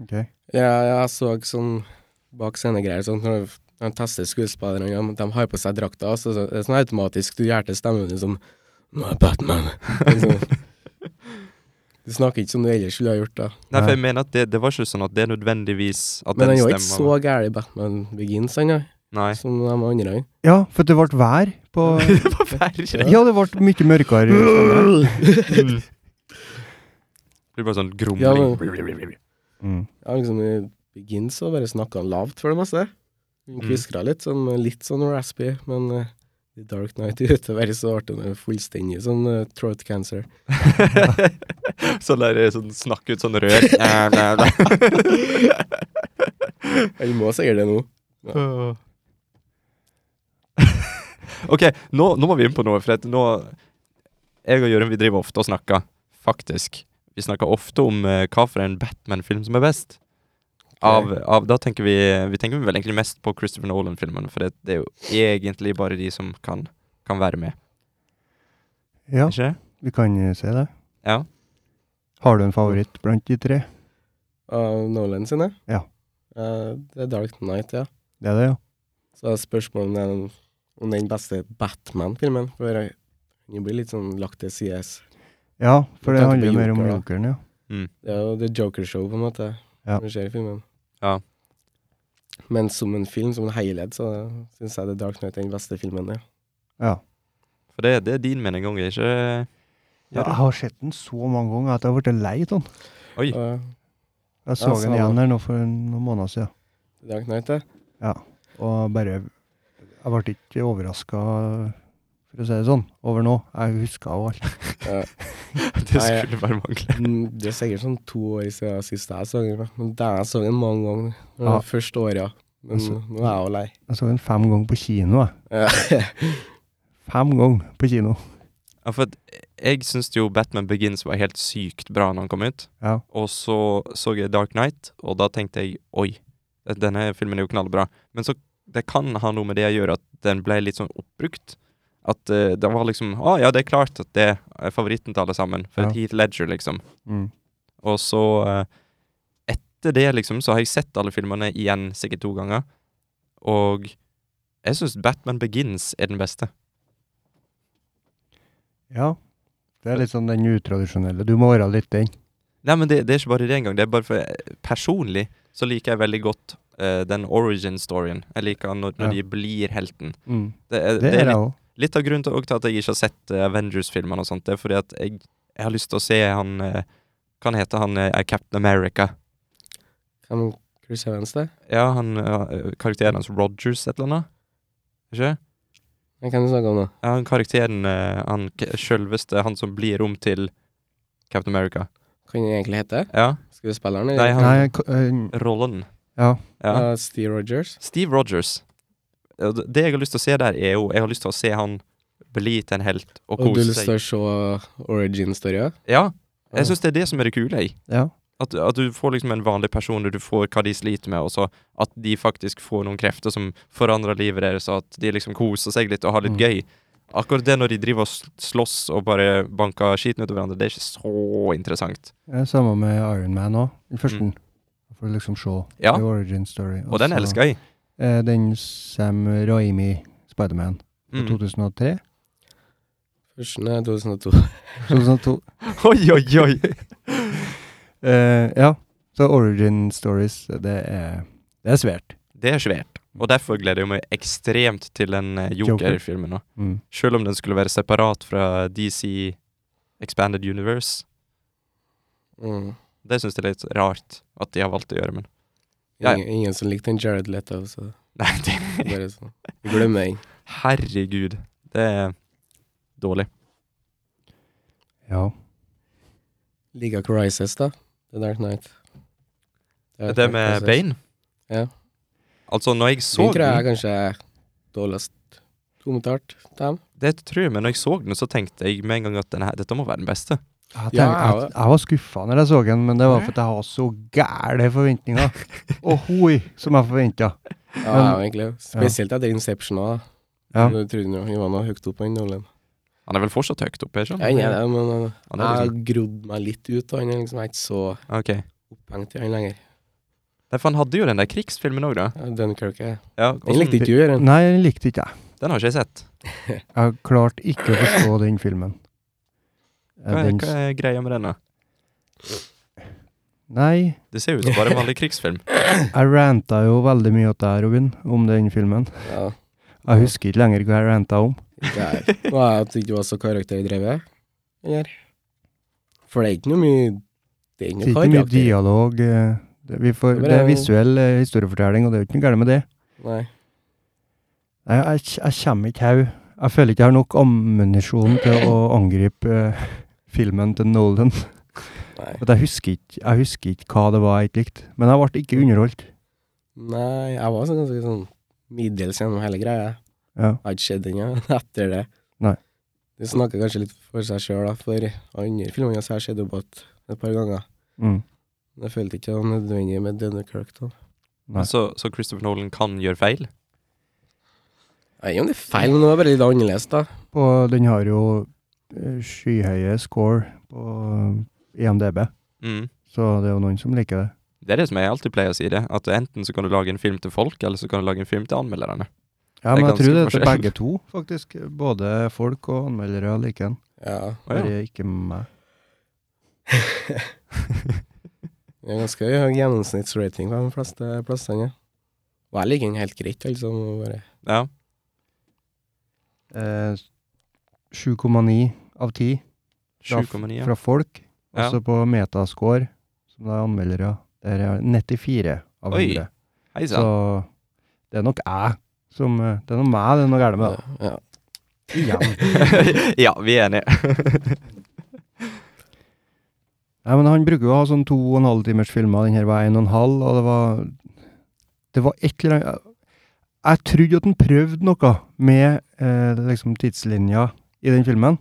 Speaker 1: Ok.
Speaker 3: Ja, jeg så sånn bak scenegreier sånn når de tester skuespillerne, ja, men de har på seg drakta, og så så- det er sånn automatisk du gjør til stemmen din som liksom, Nå er jeg Batman. Liksom. Du snakker ikke som du ellers ville ha gjort, da.
Speaker 2: Nei, for
Speaker 1: Ja.
Speaker 2: jeg mener at det, det var ikke sånn at det nødvendigvis at
Speaker 3: Men han
Speaker 2: den
Speaker 3: er jo ikke
Speaker 2: stemma var-
Speaker 3: så gæren i Batman Begins, han, ja,
Speaker 2: Nei.
Speaker 3: som de andre.
Speaker 1: Ja, for det ble vær på
Speaker 2: det var verre.
Speaker 1: Ja, det ble mye mørkere.
Speaker 2: Mm. Det blir bare sånn
Speaker 3: Ja,
Speaker 2: grumling.
Speaker 3: men,
Speaker 1: Mm.
Speaker 3: ja, liksom i Begins så bare snakka han lavt for det meste. Han
Speaker 2: Mm.
Speaker 3: kviskra litt, sånn, litt sånn raspy, men eh, The Dark Night ute være så artig med fullstendig sånn eh, throat cancer.
Speaker 2: sånn der sånn, snakk ut sånn rør. Nei, nei, nei.
Speaker 3: Han må sikkert det nå.
Speaker 2: ok, nå, nå må vi inn på noe, for at nå Jeg og Jørund, vi driver ofte og snakker, faktisk. Vi snakker ofte om eh, hva for en Batman-film som er best. Av, av, da tenker vi Vi tenker vel egentlig mest på Christopher Nolan-filmene, for det, det er jo egentlig bare de som kan, kan være med.
Speaker 1: Ja,
Speaker 2: Ikke?
Speaker 1: vi kan eh, se det.
Speaker 2: Ja.
Speaker 1: Har du en favoritt blant de tre?
Speaker 3: Av Nolan sine?
Speaker 1: Ja.
Speaker 3: Eh, det er Dark Night, ja.
Speaker 1: Det er det, ja.
Speaker 3: Så er spørsmålet om den, om den beste Batman-filmen. For jeg- den blir litt sånn lagt til sides.
Speaker 1: Ja, for det
Speaker 3: Jeg tenkte på
Speaker 1: handler jo mer om
Speaker 3: Joker, da.
Speaker 1: jokeren, ja.
Speaker 2: Mm.
Speaker 3: Det er jo The Joker Show, på en måte,
Speaker 1: Ja.
Speaker 3: når du ser filmen.
Speaker 2: Ja.
Speaker 3: Men som en film, som en helhet, så syns jeg The Dark Night er den beste filmen. Ja.
Speaker 1: ja.
Speaker 2: For det, det er din mening, Gonge, ikke
Speaker 1: Ja, jeg har sett den så mange ganger at jeg har blitt lei av den.
Speaker 2: Oi.
Speaker 3: Og
Speaker 1: Jeg så den
Speaker 3: samme.
Speaker 1: igjen her nå for noen måneder siden,
Speaker 3: The Dark Night, ja.
Speaker 1: og bare Jeg ble ikke overraska, for å si det sånn, over nå. Jeg huska jo alt.
Speaker 3: ja.
Speaker 2: Det
Speaker 3: Nei, jeg-
Speaker 2: skulle bare mangle.
Speaker 3: Mm, Det er sikkert sånn to år siden sist jeg så den. da. Men da jeg så den mange ganger. Det var
Speaker 1: Ja.
Speaker 3: Første året, ja. Men
Speaker 1: Altså-
Speaker 3: nå er jeg jo lei.
Speaker 1: Jeg så den fem ganger på kino, jeg.
Speaker 3: Ja.
Speaker 1: Fem ganger på kino.
Speaker 2: Ja, for at eh, jeg syns jo Batman Begins var helt sykt bra når han kom ut.
Speaker 1: Ja.
Speaker 2: Og så så jeg Dark Knight, og da tenkte jeg oi, denne filmen er jo knallbra. Men så det kan ha noe med det å gjøre at den ble litt sånn oppbrukt. At eh, det var liksom Å ah, ja, det er klart at det er favoritten til alle sammen. For
Speaker 1: Ja.
Speaker 2: et Heath Ledger, liksom.
Speaker 1: Mm.
Speaker 2: Og så eh, Etter det, liksom, så har jeg sett alle filmene igjen sikkert to ganger. Og jeg syns Batman Begins er den beste.
Speaker 1: Ja. Det er litt sånn den utradisjonelle. Du må være litt den.
Speaker 2: Nei, men det, det er ikke bare det engang. Det er bare for Personlig så liker jeg veldig godt eh, den origin-storyen. Jeg liker når, når
Speaker 1: Ja.
Speaker 2: de blir helten. Det, er-
Speaker 1: Det
Speaker 2: Mm. det
Speaker 1: er
Speaker 2: er
Speaker 1: jeg
Speaker 2: litt,
Speaker 1: òg.
Speaker 2: litt av grunnen til, også til at jeg ikke har sett eh, Avengers-filmene og sånt. Det er fordi at jeg, jeg har lyst til å se han eh, Kan hete han eh, er Captain America.
Speaker 3: Hvem Chris Evans, det?
Speaker 2: Ja, han eh, karakteren hans Rogers et eller annet. Ikke?
Speaker 3: Men Hvem snakker du om nå?
Speaker 2: Ja, han karakteren, eh, han k- sjølveste, han som blir om til Captain America.
Speaker 3: Kan han egentlig hete?
Speaker 2: Ja,
Speaker 3: Skuespilleren?
Speaker 2: Nei,
Speaker 3: Eller?
Speaker 2: han-
Speaker 1: Nei, ko- eh,
Speaker 2: rollen.
Speaker 1: ja.
Speaker 2: Ja.
Speaker 3: Ja, Steve Rogers?
Speaker 2: Steve Rogers. Ja, d- Det jeg har lyst til å se der, er jo Jeg har lyst til å se han bli til en helt
Speaker 3: Og
Speaker 2: og
Speaker 3: du har
Speaker 2: kose
Speaker 3: lyst til
Speaker 2: seg.
Speaker 3: å se origin-storyen?
Speaker 2: Ja. Jeg syns det er det som er det kule, jeg.
Speaker 1: ja.
Speaker 2: At, at du får liksom en vanlig person, og du får hva de sliter med, og så at de faktisk får noen krefter som forandrer livet deres, og at de liksom koser seg litt og har litt
Speaker 1: Mm.
Speaker 2: gøy. Akkurat det når de driver og sl- slåss og bare banker skiten ut av hverandre, det er ikke så interessant.
Speaker 1: Ja, Samme med Iron Man òg, den første.
Speaker 2: Mm.
Speaker 1: For å liksom se
Speaker 2: Ja.
Speaker 1: the origin story.
Speaker 2: Og den
Speaker 1: så,
Speaker 2: elsker jeg.
Speaker 1: Eh, den Sam Raimi, Spiderman, fra
Speaker 2: Mm.
Speaker 1: 2003.
Speaker 3: Førsten er 2002.
Speaker 1: 2002.
Speaker 2: Oi, oi, oi!
Speaker 1: Eh, ja, så origin stories, det er, det er svært.
Speaker 2: Det er svært. Og derfor gleder jeg meg ekstremt til den eh, Joker-filmen nå.
Speaker 1: Mm.
Speaker 2: Selv om den skulle være separat fra DC Expanded Universe.
Speaker 3: Mm.
Speaker 2: Det syns jeg er litt rart at de har valgt å gjøre, men Ja, ja.
Speaker 3: Ingen, ingen som likte den Jared Leto, så
Speaker 2: Nei, det
Speaker 3: bare sånn. Glem den.
Speaker 2: Herregud. Det er dårlig.
Speaker 1: Ja.
Speaker 3: Liga Crisis, da. The Dark Knight.
Speaker 2: Det, med Bane
Speaker 3: Ja.
Speaker 2: Altså, når jeg
Speaker 3: Så
Speaker 2: så
Speaker 3: den tror jeg
Speaker 2: den
Speaker 3: kanskje er dårligst kommentert til dem.
Speaker 2: Det tror jeg, men når jeg så den, så tenkte jeg med en gang at den her, dette må være den beste.
Speaker 1: Jeg, tenker,
Speaker 3: Ja,
Speaker 1: jeg, jeg var skuffa når jeg så den, men det var fordi jeg har så gæle forventninger. Ohoi, som jeg forventa.
Speaker 3: Ja, ja, egentlig. Spesielt etter Inception òg.
Speaker 1: Ja.
Speaker 3: Du trodde jo han var noe høyt opp på den Nolan.
Speaker 2: Han er vel fortsatt høyt oppe, ikke
Speaker 3: Ja, han er det, men han- jeg
Speaker 2: Han er
Speaker 3: har
Speaker 2: liksom,
Speaker 3: grodd meg litt ut av han. Jeg er liksom jeg er ikke så
Speaker 2: ok.
Speaker 3: opphengt i han lenger.
Speaker 2: Nei, for han hadde jo den der krigsfilmen òg, da.
Speaker 3: Ja, Dunkerque. Den
Speaker 2: Ja, og
Speaker 3: likte ikke du, Jørgen.
Speaker 1: Nei, den likte ikke jeg.
Speaker 2: den har ikke jeg sett.
Speaker 1: Jeg klarte ikke å forstå den filmen. Eh,
Speaker 2: Hva er,
Speaker 1: den s-
Speaker 2: hva er greia med den, da?
Speaker 1: Nei,
Speaker 2: Det ser jo ut som bare en vanlig krigsfilm.
Speaker 1: jeg ranta jo veldig mye til deg, Robin, om den filmen.
Speaker 3: Ja.
Speaker 1: Jeg husker ikke lenger hva jeg ranta om.
Speaker 3: Der. Og jeg at du ikke var så karakterdrevet. Eller? For det er ikke noe mye Det er
Speaker 1: Det er
Speaker 3: ikke
Speaker 1: ikke
Speaker 3: noe
Speaker 1: mye
Speaker 3: karakter.
Speaker 1: dialog. eh, Det, vi får,
Speaker 3: Det er
Speaker 1: det er
Speaker 3: bare-
Speaker 1: visuell eh, historiefortelling, og det er jo ikke noe galt med det.
Speaker 3: Nei.
Speaker 1: Nei, jeg, jeg kommer ikke her. Jeg føler ikke jeg har nok ammunisjon til å angripe eh, filmen til Nolan.
Speaker 3: Nei.
Speaker 1: At jeg, husker ikke, jeg husker ikke hva det var jeg ikke likte, men jeg ble ikke underholdt.
Speaker 3: Nei, jeg var sånn ganske sånn middels gjennom hele greia.
Speaker 1: Ja.
Speaker 3: Jeg har ikke sett den ja, etter det.
Speaker 1: Nei.
Speaker 3: Det snakker kanskje litt for seg sjøl, da. For andre filmer hans har sett opp igjen et par ganger.
Speaker 1: Mm.
Speaker 3: Men jeg følte ikke det var nødvendig med denne karakteren.
Speaker 1: Nei.
Speaker 2: Så, så Christopher Nolan kan gjøre feil?
Speaker 3: Jeg vet ikke om det er feil, men det var bare litt annerledes, da.
Speaker 1: Og den har jo eh, skyhøye score på eh, IMDb,
Speaker 2: Mm.
Speaker 1: så det er jo noen som liker det.
Speaker 2: Det er det som jeg alltid pleier å si det. At enten så kan du lage en film til folk, eller så kan du lage en film til anmelderne.
Speaker 1: Ja,
Speaker 2: Det er
Speaker 1: men jeg
Speaker 2: ganske
Speaker 1: tror det er til
Speaker 2: forskjellig.
Speaker 1: begge to, faktisk. Både folk og anmeldere liker den.
Speaker 3: Ja.
Speaker 2: Å, ja.
Speaker 1: Bare ikke meg.
Speaker 3: Det er ganske høy gjennomsnittsrating på de fleste plassene. ja. Og jeg liker den helt greit, liksom. og Bare
Speaker 2: ja.
Speaker 1: Eh, 7,9 av 10 fra,
Speaker 2: 7,9. ja.
Speaker 1: fra folk.
Speaker 2: Ja.
Speaker 1: Også på metascore, som det er anmeldere. Der er 94 av
Speaker 2: Oi,
Speaker 1: 100.
Speaker 2: Hei
Speaker 1: Så
Speaker 2: sann.
Speaker 1: det er nok jeg som eh, Det er noe meg det er noe galt med, da.
Speaker 3: Ja.
Speaker 1: Igjen.
Speaker 2: ja, vi er enige.
Speaker 1: Nei, men han bruker jo å ha sånn to og en halv timers filmer. Den her var en og en halv, og det var Det var et eller annet Jeg trodde at han prøvde noe med eh, liksom tidslinja i den filmen.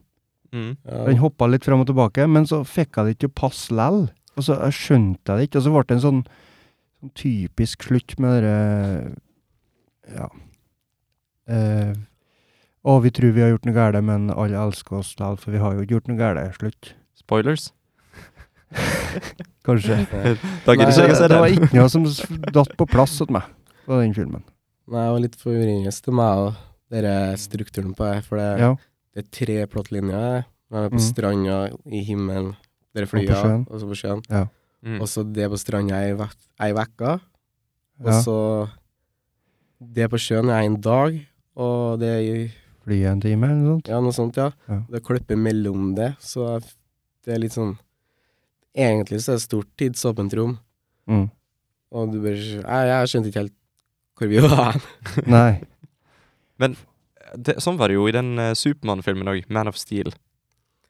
Speaker 2: Mm.
Speaker 3: Ja.
Speaker 1: Den hoppa litt fram og tilbake, men så fikk jeg det ikke til å passe lell. Og så jeg skjønte jeg det ikke, og så ble det en sånn, sånn typisk slutt med dere Ja. Eh, å, vi tror vi har gjort noe galt, men alle elsker oss lell, for vi har jo ikke gjort noe galt. Slutt.
Speaker 2: Spoilers.
Speaker 1: Kanskje.
Speaker 3: Nei.
Speaker 2: Da gidder
Speaker 3: Nei,
Speaker 1: Så
Speaker 2: ikke jeg å se
Speaker 1: altså, det var
Speaker 2: den.
Speaker 1: ikke noe som s- datt på plass hos meg på den filmen.
Speaker 3: Nei, det var litt forvirrende til meg og dere strukturen på det. For det,
Speaker 1: Ja.
Speaker 3: det er tre plottlinjer. De er på
Speaker 1: Mm.
Speaker 3: stranda, i himmelen, der
Speaker 1: på
Speaker 3: flya,
Speaker 1: sjøen.
Speaker 3: og så på sjøen.
Speaker 2: Mm.
Speaker 3: Og så det på stranda ei vek- ei vekka, og
Speaker 1: ja.
Speaker 3: så det på sjøen er en dag, og det er i-
Speaker 1: Fly en time, eller noe sånt.
Speaker 3: Ja, noe sånt, ja.
Speaker 1: Ja.
Speaker 3: Det klipper mellom det, så jeg f- det er litt sånn Egentlig så er det stort tidsåpent rom,
Speaker 1: Mm.
Speaker 3: og du bare Jeg, jeg skjønte ikke helt hvor vi var.
Speaker 1: Nei.
Speaker 2: Men det, Sånn var det jo i den eh, Supermann-filmen òg, Man of Steel.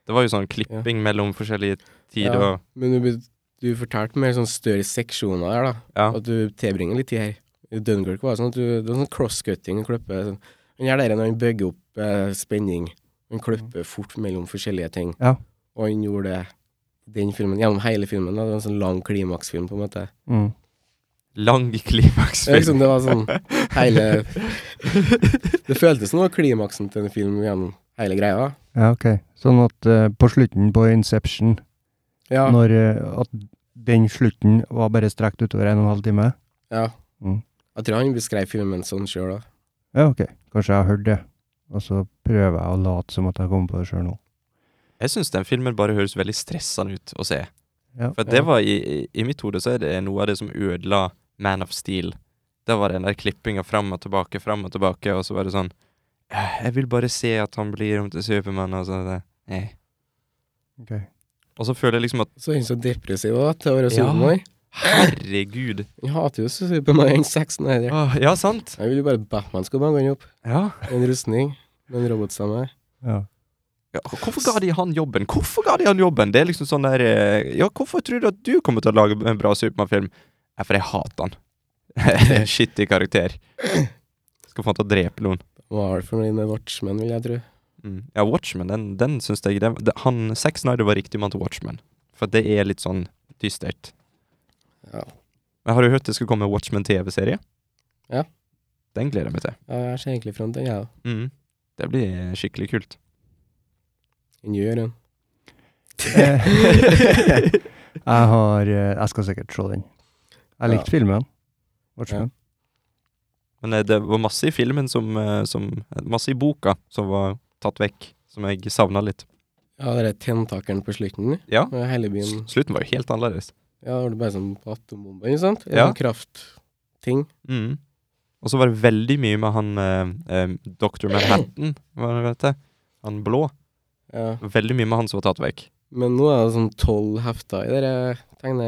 Speaker 2: Det var jo sånn klipping mellom forskjellige tider
Speaker 3: Ja.
Speaker 2: og
Speaker 3: Men du, be- du fortalte mer sånn større seksjoner her, da.
Speaker 2: Ja.
Speaker 3: At du tilbringer litt tid her. I Dunkirk var det sånn at du Det var sånn cross-cutting og klippe. Sånn. Han gjør det her når han bygger opp eh, spenning. Han klipper fort mellom forskjellige ting.
Speaker 1: Ja.
Speaker 3: Og han gjorde det i den filmen, gjennom hele filmen. Da. Det var en sånn lang klimaksfilm, på en måte.
Speaker 1: Mm.
Speaker 2: lang
Speaker 3: Det, er
Speaker 2: klimaksfilm.
Speaker 3: liksom, det var sånn hele Det føltes som det var klimaksen til en film gjennom hele greia.
Speaker 1: Ja, ok. Sånn at eh, på slutten på Inception,
Speaker 3: Ja.
Speaker 1: når eh, at den slutten var bare strekt utover en og en halv time.
Speaker 3: ja.
Speaker 1: Mm.
Speaker 3: Jeg tror han beskrev filmen sånn sjøl òg.
Speaker 1: Ja, ok. Kanskje jeg har hørt det. Og så prøver jeg å late som at jeg kommer på det sjøl nå.
Speaker 2: Jeg syns den filmen bare høres veldig stressende ut å se.
Speaker 1: Ja.
Speaker 2: For
Speaker 3: Ja.
Speaker 2: det var i, i, i mitt hode så er det noe av det som ødela Man of Steel. Det var den der klippinga fram og tilbake, fram og tilbake, og så var det sånn «Eh, Jeg vil bare se at han blir om til Supermann, og så det eh.
Speaker 1: Ok.
Speaker 2: Og så føler jeg liksom at
Speaker 3: Så er han så depressiv òg, til å være
Speaker 2: Ja.
Speaker 3: Supermann.
Speaker 2: Herregud!
Speaker 3: Jeg hater jo Supermann i sexen. her.
Speaker 2: Åh, ja, sant?
Speaker 3: Jeg vil jo bare at Batman skal banke han opp.
Speaker 2: Ja.
Speaker 3: En rustning med en robotstemme.
Speaker 1: Ja.
Speaker 2: Ja, Hvorfor ga de han jobben? Hvorfor ga de han jobben? Det er liksom sånn der eh, Ja, hvorfor tror du at du kommer til å lage en bra Supermann-film? Nei, for jeg hater han. Skittig karakter. Skal få han til å drepe noen.
Speaker 3: Var det fornøyd med Watchmen, vil jeg tro.
Speaker 2: Mm. Ja, Watchmen, den, den syns jeg det, det, han, Zack Snyder var riktig mann til Watchmen. For det er litt sånn dystert.
Speaker 3: Ja.
Speaker 2: Men Har du hørt det skal komme Watchmen-TV-serie?
Speaker 3: Ja.
Speaker 2: Den gleder jeg meg til.
Speaker 3: Ja, jeg ser egentlig fram til den, jeg òg.
Speaker 2: Mm. Det blir skikkelig kult.
Speaker 3: Den gjør den.
Speaker 1: Eh, jeg har eh, Jeg skal sikkert se den. Jeg likte filmen. Watchmen.
Speaker 2: Men eh, det var masse i filmen som, eh, som Masse i boka som var tatt vekk, som jeg savna litt.
Speaker 3: Ja, det er tentakelen på slutten.
Speaker 2: Ja.
Speaker 3: med Hele
Speaker 2: S
Speaker 3: byen
Speaker 2: slutten var jo helt annerledes.
Speaker 3: Ja, det var bare sånn på atombomber, ikke sant?
Speaker 2: Ja.
Speaker 3: Ja. Sånn kraftting.
Speaker 2: Mm. Og så var det veldig mye med han eh, eh, Dr. Manhattan, hva vet jeg. Han blå.
Speaker 3: Ja.
Speaker 2: Veldig mye med han som var tatt vekk.
Speaker 3: Men nå er det sånn tolv hefter i den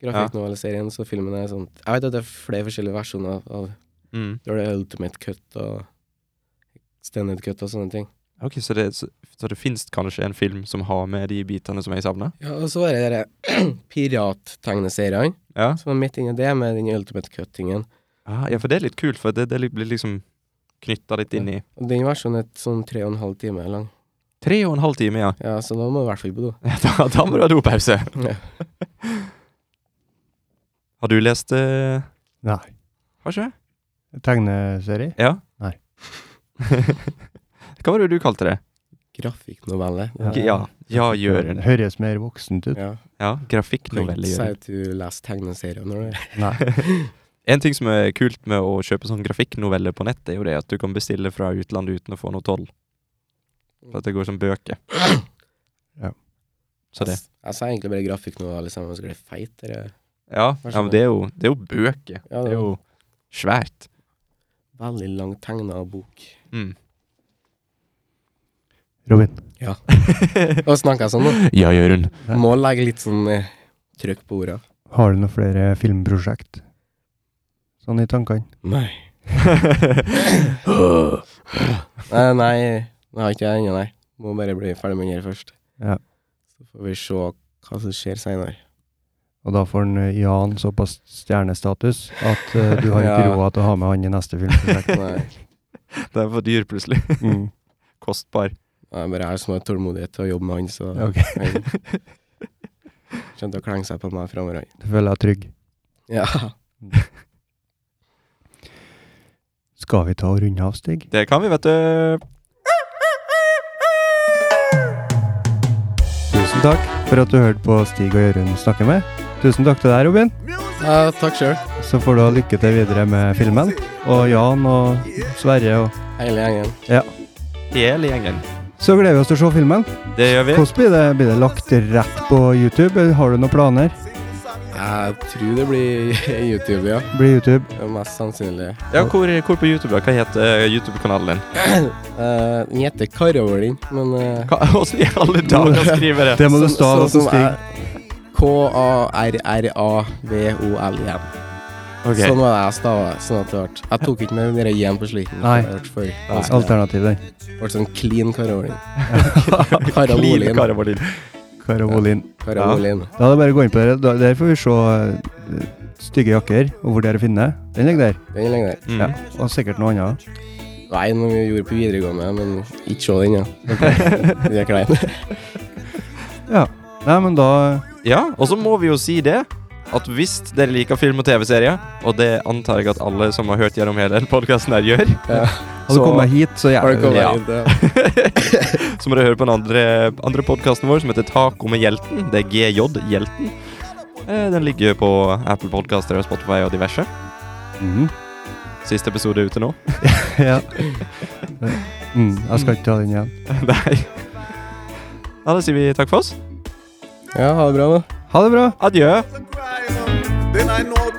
Speaker 3: tegnegrafikknovelserien, så filmen er sånn Jeg vet at det er flere forskjellige versjoner av
Speaker 2: Mm.
Speaker 3: Da er det Ultimate Cut og Extended Cut og sånne ting.
Speaker 2: Ok, så det, så, så det finnes kanskje en film som har med de bitene som jeg savner?
Speaker 3: Ja, og så var det de pirattegneseriene.
Speaker 2: Ja.
Speaker 3: Så var midt inni det med den ultimate cut-tingen.
Speaker 2: Ah, ja, for det er litt kult, for det, det blir liksom knytta litt inn i
Speaker 3: Og den versjonen er sånn tre og en halv time lang.
Speaker 2: Tre og en halv time, ja.
Speaker 3: Ja, så da må du i hvert fall på do.
Speaker 2: Da, da må du ha dopause.
Speaker 3: Ja.
Speaker 2: Har du lest eh,
Speaker 1: Nei.
Speaker 2: Har ikke det?
Speaker 1: Tegneserie?
Speaker 2: Ja?
Speaker 1: Nei.
Speaker 2: Hva var det du kalte det?
Speaker 3: Grafikknovelle.
Speaker 1: Ja.
Speaker 2: Ja, ja Jøren.
Speaker 1: Høres mer voksent ut.
Speaker 3: Ja.
Speaker 2: Ja, grafikknovelle,
Speaker 3: Si
Speaker 2: Jøren.
Speaker 3: at du leser tegneserier når du er
Speaker 1: Nei.
Speaker 2: En ting som er kult med å kjøpe sånn grafikknovelle på nett, er jo det at du kan bestille fra utlandet uten å få noe toll. For at det går som bøker.
Speaker 1: Ja.
Speaker 2: Så det.
Speaker 3: Jeg, jeg sa egentlig bare grafikknovelle sammen med liksom, skulle feit. Eller?
Speaker 2: Ja,
Speaker 3: Hva
Speaker 2: ja men
Speaker 3: skjer?
Speaker 2: det er, jo, det er jo bøker.
Speaker 3: Ja,
Speaker 2: Det er jo svært.
Speaker 3: veldig langt tegna bok.
Speaker 2: Mm.
Speaker 1: Robin.
Speaker 3: Og snakker jeg sånn nå.
Speaker 2: Ja, Jørund.
Speaker 1: Nei.
Speaker 3: Må legge litt sånn eh, trykk på orda.
Speaker 1: Har du noen flere filmprosjekt? Sånn i tankene?
Speaker 3: Nei. Nei, nei, det har ikke jeg ennå, nei. Må bare bli ferdig med den her først.
Speaker 1: Ja.
Speaker 3: Så får vi se hva som skjer seinere.
Speaker 1: Og da får han, eh, Jan såpass stjernestatus at eh, du har ikke
Speaker 3: Ja.
Speaker 1: råd til å ha med han i neste filmprosjekt.
Speaker 3: Nei,
Speaker 2: det er for dyr, plutselig.
Speaker 1: Mm.
Speaker 2: Kostbar.
Speaker 3: jeg bare er som har tålmodighet til å jobbe med han, så
Speaker 1: Ok.
Speaker 3: han kommer til å klenge seg på meg framover. han.
Speaker 1: Du føler deg trygg.
Speaker 3: Ja.
Speaker 1: Skal vi ta og runde av, Stig?
Speaker 2: Det kan vi, vet du.
Speaker 1: Tusen takk for at du hørte på Stig og Jørund snakke med. Tusen takk til deg, Robin.
Speaker 3: ja takk sjøl,
Speaker 1: Så får du ha lykke til videre med filmen. Og Jan og Sverre og
Speaker 3: hele gjengen.
Speaker 2: Hele gjengen.
Speaker 1: Så gleder vi oss til å se filmen.
Speaker 2: Det gjør vi.
Speaker 1: Hvordan blir det? Blir det lagt rett på YouTube? eller Har du noen planer?
Speaker 3: Jeg tror det blir YouTube, ja.
Speaker 1: Blir YouTube
Speaker 3: Det er mest sannsynlig.
Speaker 2: Ja, hvor, hvor på YouTube? da? Hva heter eh, YouTube-kanalen din?
Speaker 3: Eh, Den heter Karavolen, men eh,
Speaker 2: Hva- Åssen i alle dager skriver jeg det?
Speaker 1: Det må du
Speaker 3: sånn-
Speaker 1: stave
Speaker 3: sånn
Speaker 1: til
Speaker 3: som
Speaker 1: Stig.
Speaker 3: jeg- K-a-r-r-a-v-o-l-i-n.
Speaker 2: Ok.
Speaker 3: Sånn var det jeg stava. Sånn at det ble. Jeg tok ikke med mer igjen på sliten.
Speaker 1: Nei.
Speaker 3: Det ble for-
Speaker 2: Nei.
Speaker 1: Alternativ der.
Speaker 3: det ble sånn clean Karolin.
Speaker 2: Clean
Speaker 3: Karolin.
Speaker 2: Karavolin.
Speaker 1: Karavolin.
Speaker 3: Karolin.
Speaker 1: Da er det bare å gå inn på det. Da- Der får vi se eh, stygge jakker, og hvor det er å finne. Den ligger der.
Speaker 3: Den er lenge der.
Speaker 2: Mm.
Speaker 1: Ja. Og sikkert noe annet.
Speaker 3: Nei, noe vi gjorde på videregående, men ikke se den, ja. Den er klein.
Speaker 1: Ja. Nei, men da
Speaker 2: Ja, og så må vi jo si det at hvis dere liker film og TV-serier, og det antar jeg at alle som har hørt gjennom hele den podkasten her, gjør,
Speaker 3: Ja.
Speaker 1: Hadde
Speaker 2: Så-
Speaker 1: du kommet hit, så
Speaker 3: Har du
Speaker 1: gjerne
Speaker 3: kommet
Speaker 2: Ja.
Speaker 3: hit? Ja.
Speaker 2: så må dere høre på den andre, andre podkasten vår som heter Taco med Hjelten. Det er GJ Hjelten. Eh, Den ligger på Apple Podcaster og Spotify og diverse.
Speaker 1: Mhm.
Speaker 2: Siste episode er ute nå.
Speaker 1: ja. Mm, jeg skal ikke ta den igjen.
Speaker 2: Nei. Ja, da sier vi takk for oss.
Speaker 3: ja, ha det bra, da.
Speaker 1: Ha det bra!
Speaker 2: Adjø.
Speaker 4: Then I know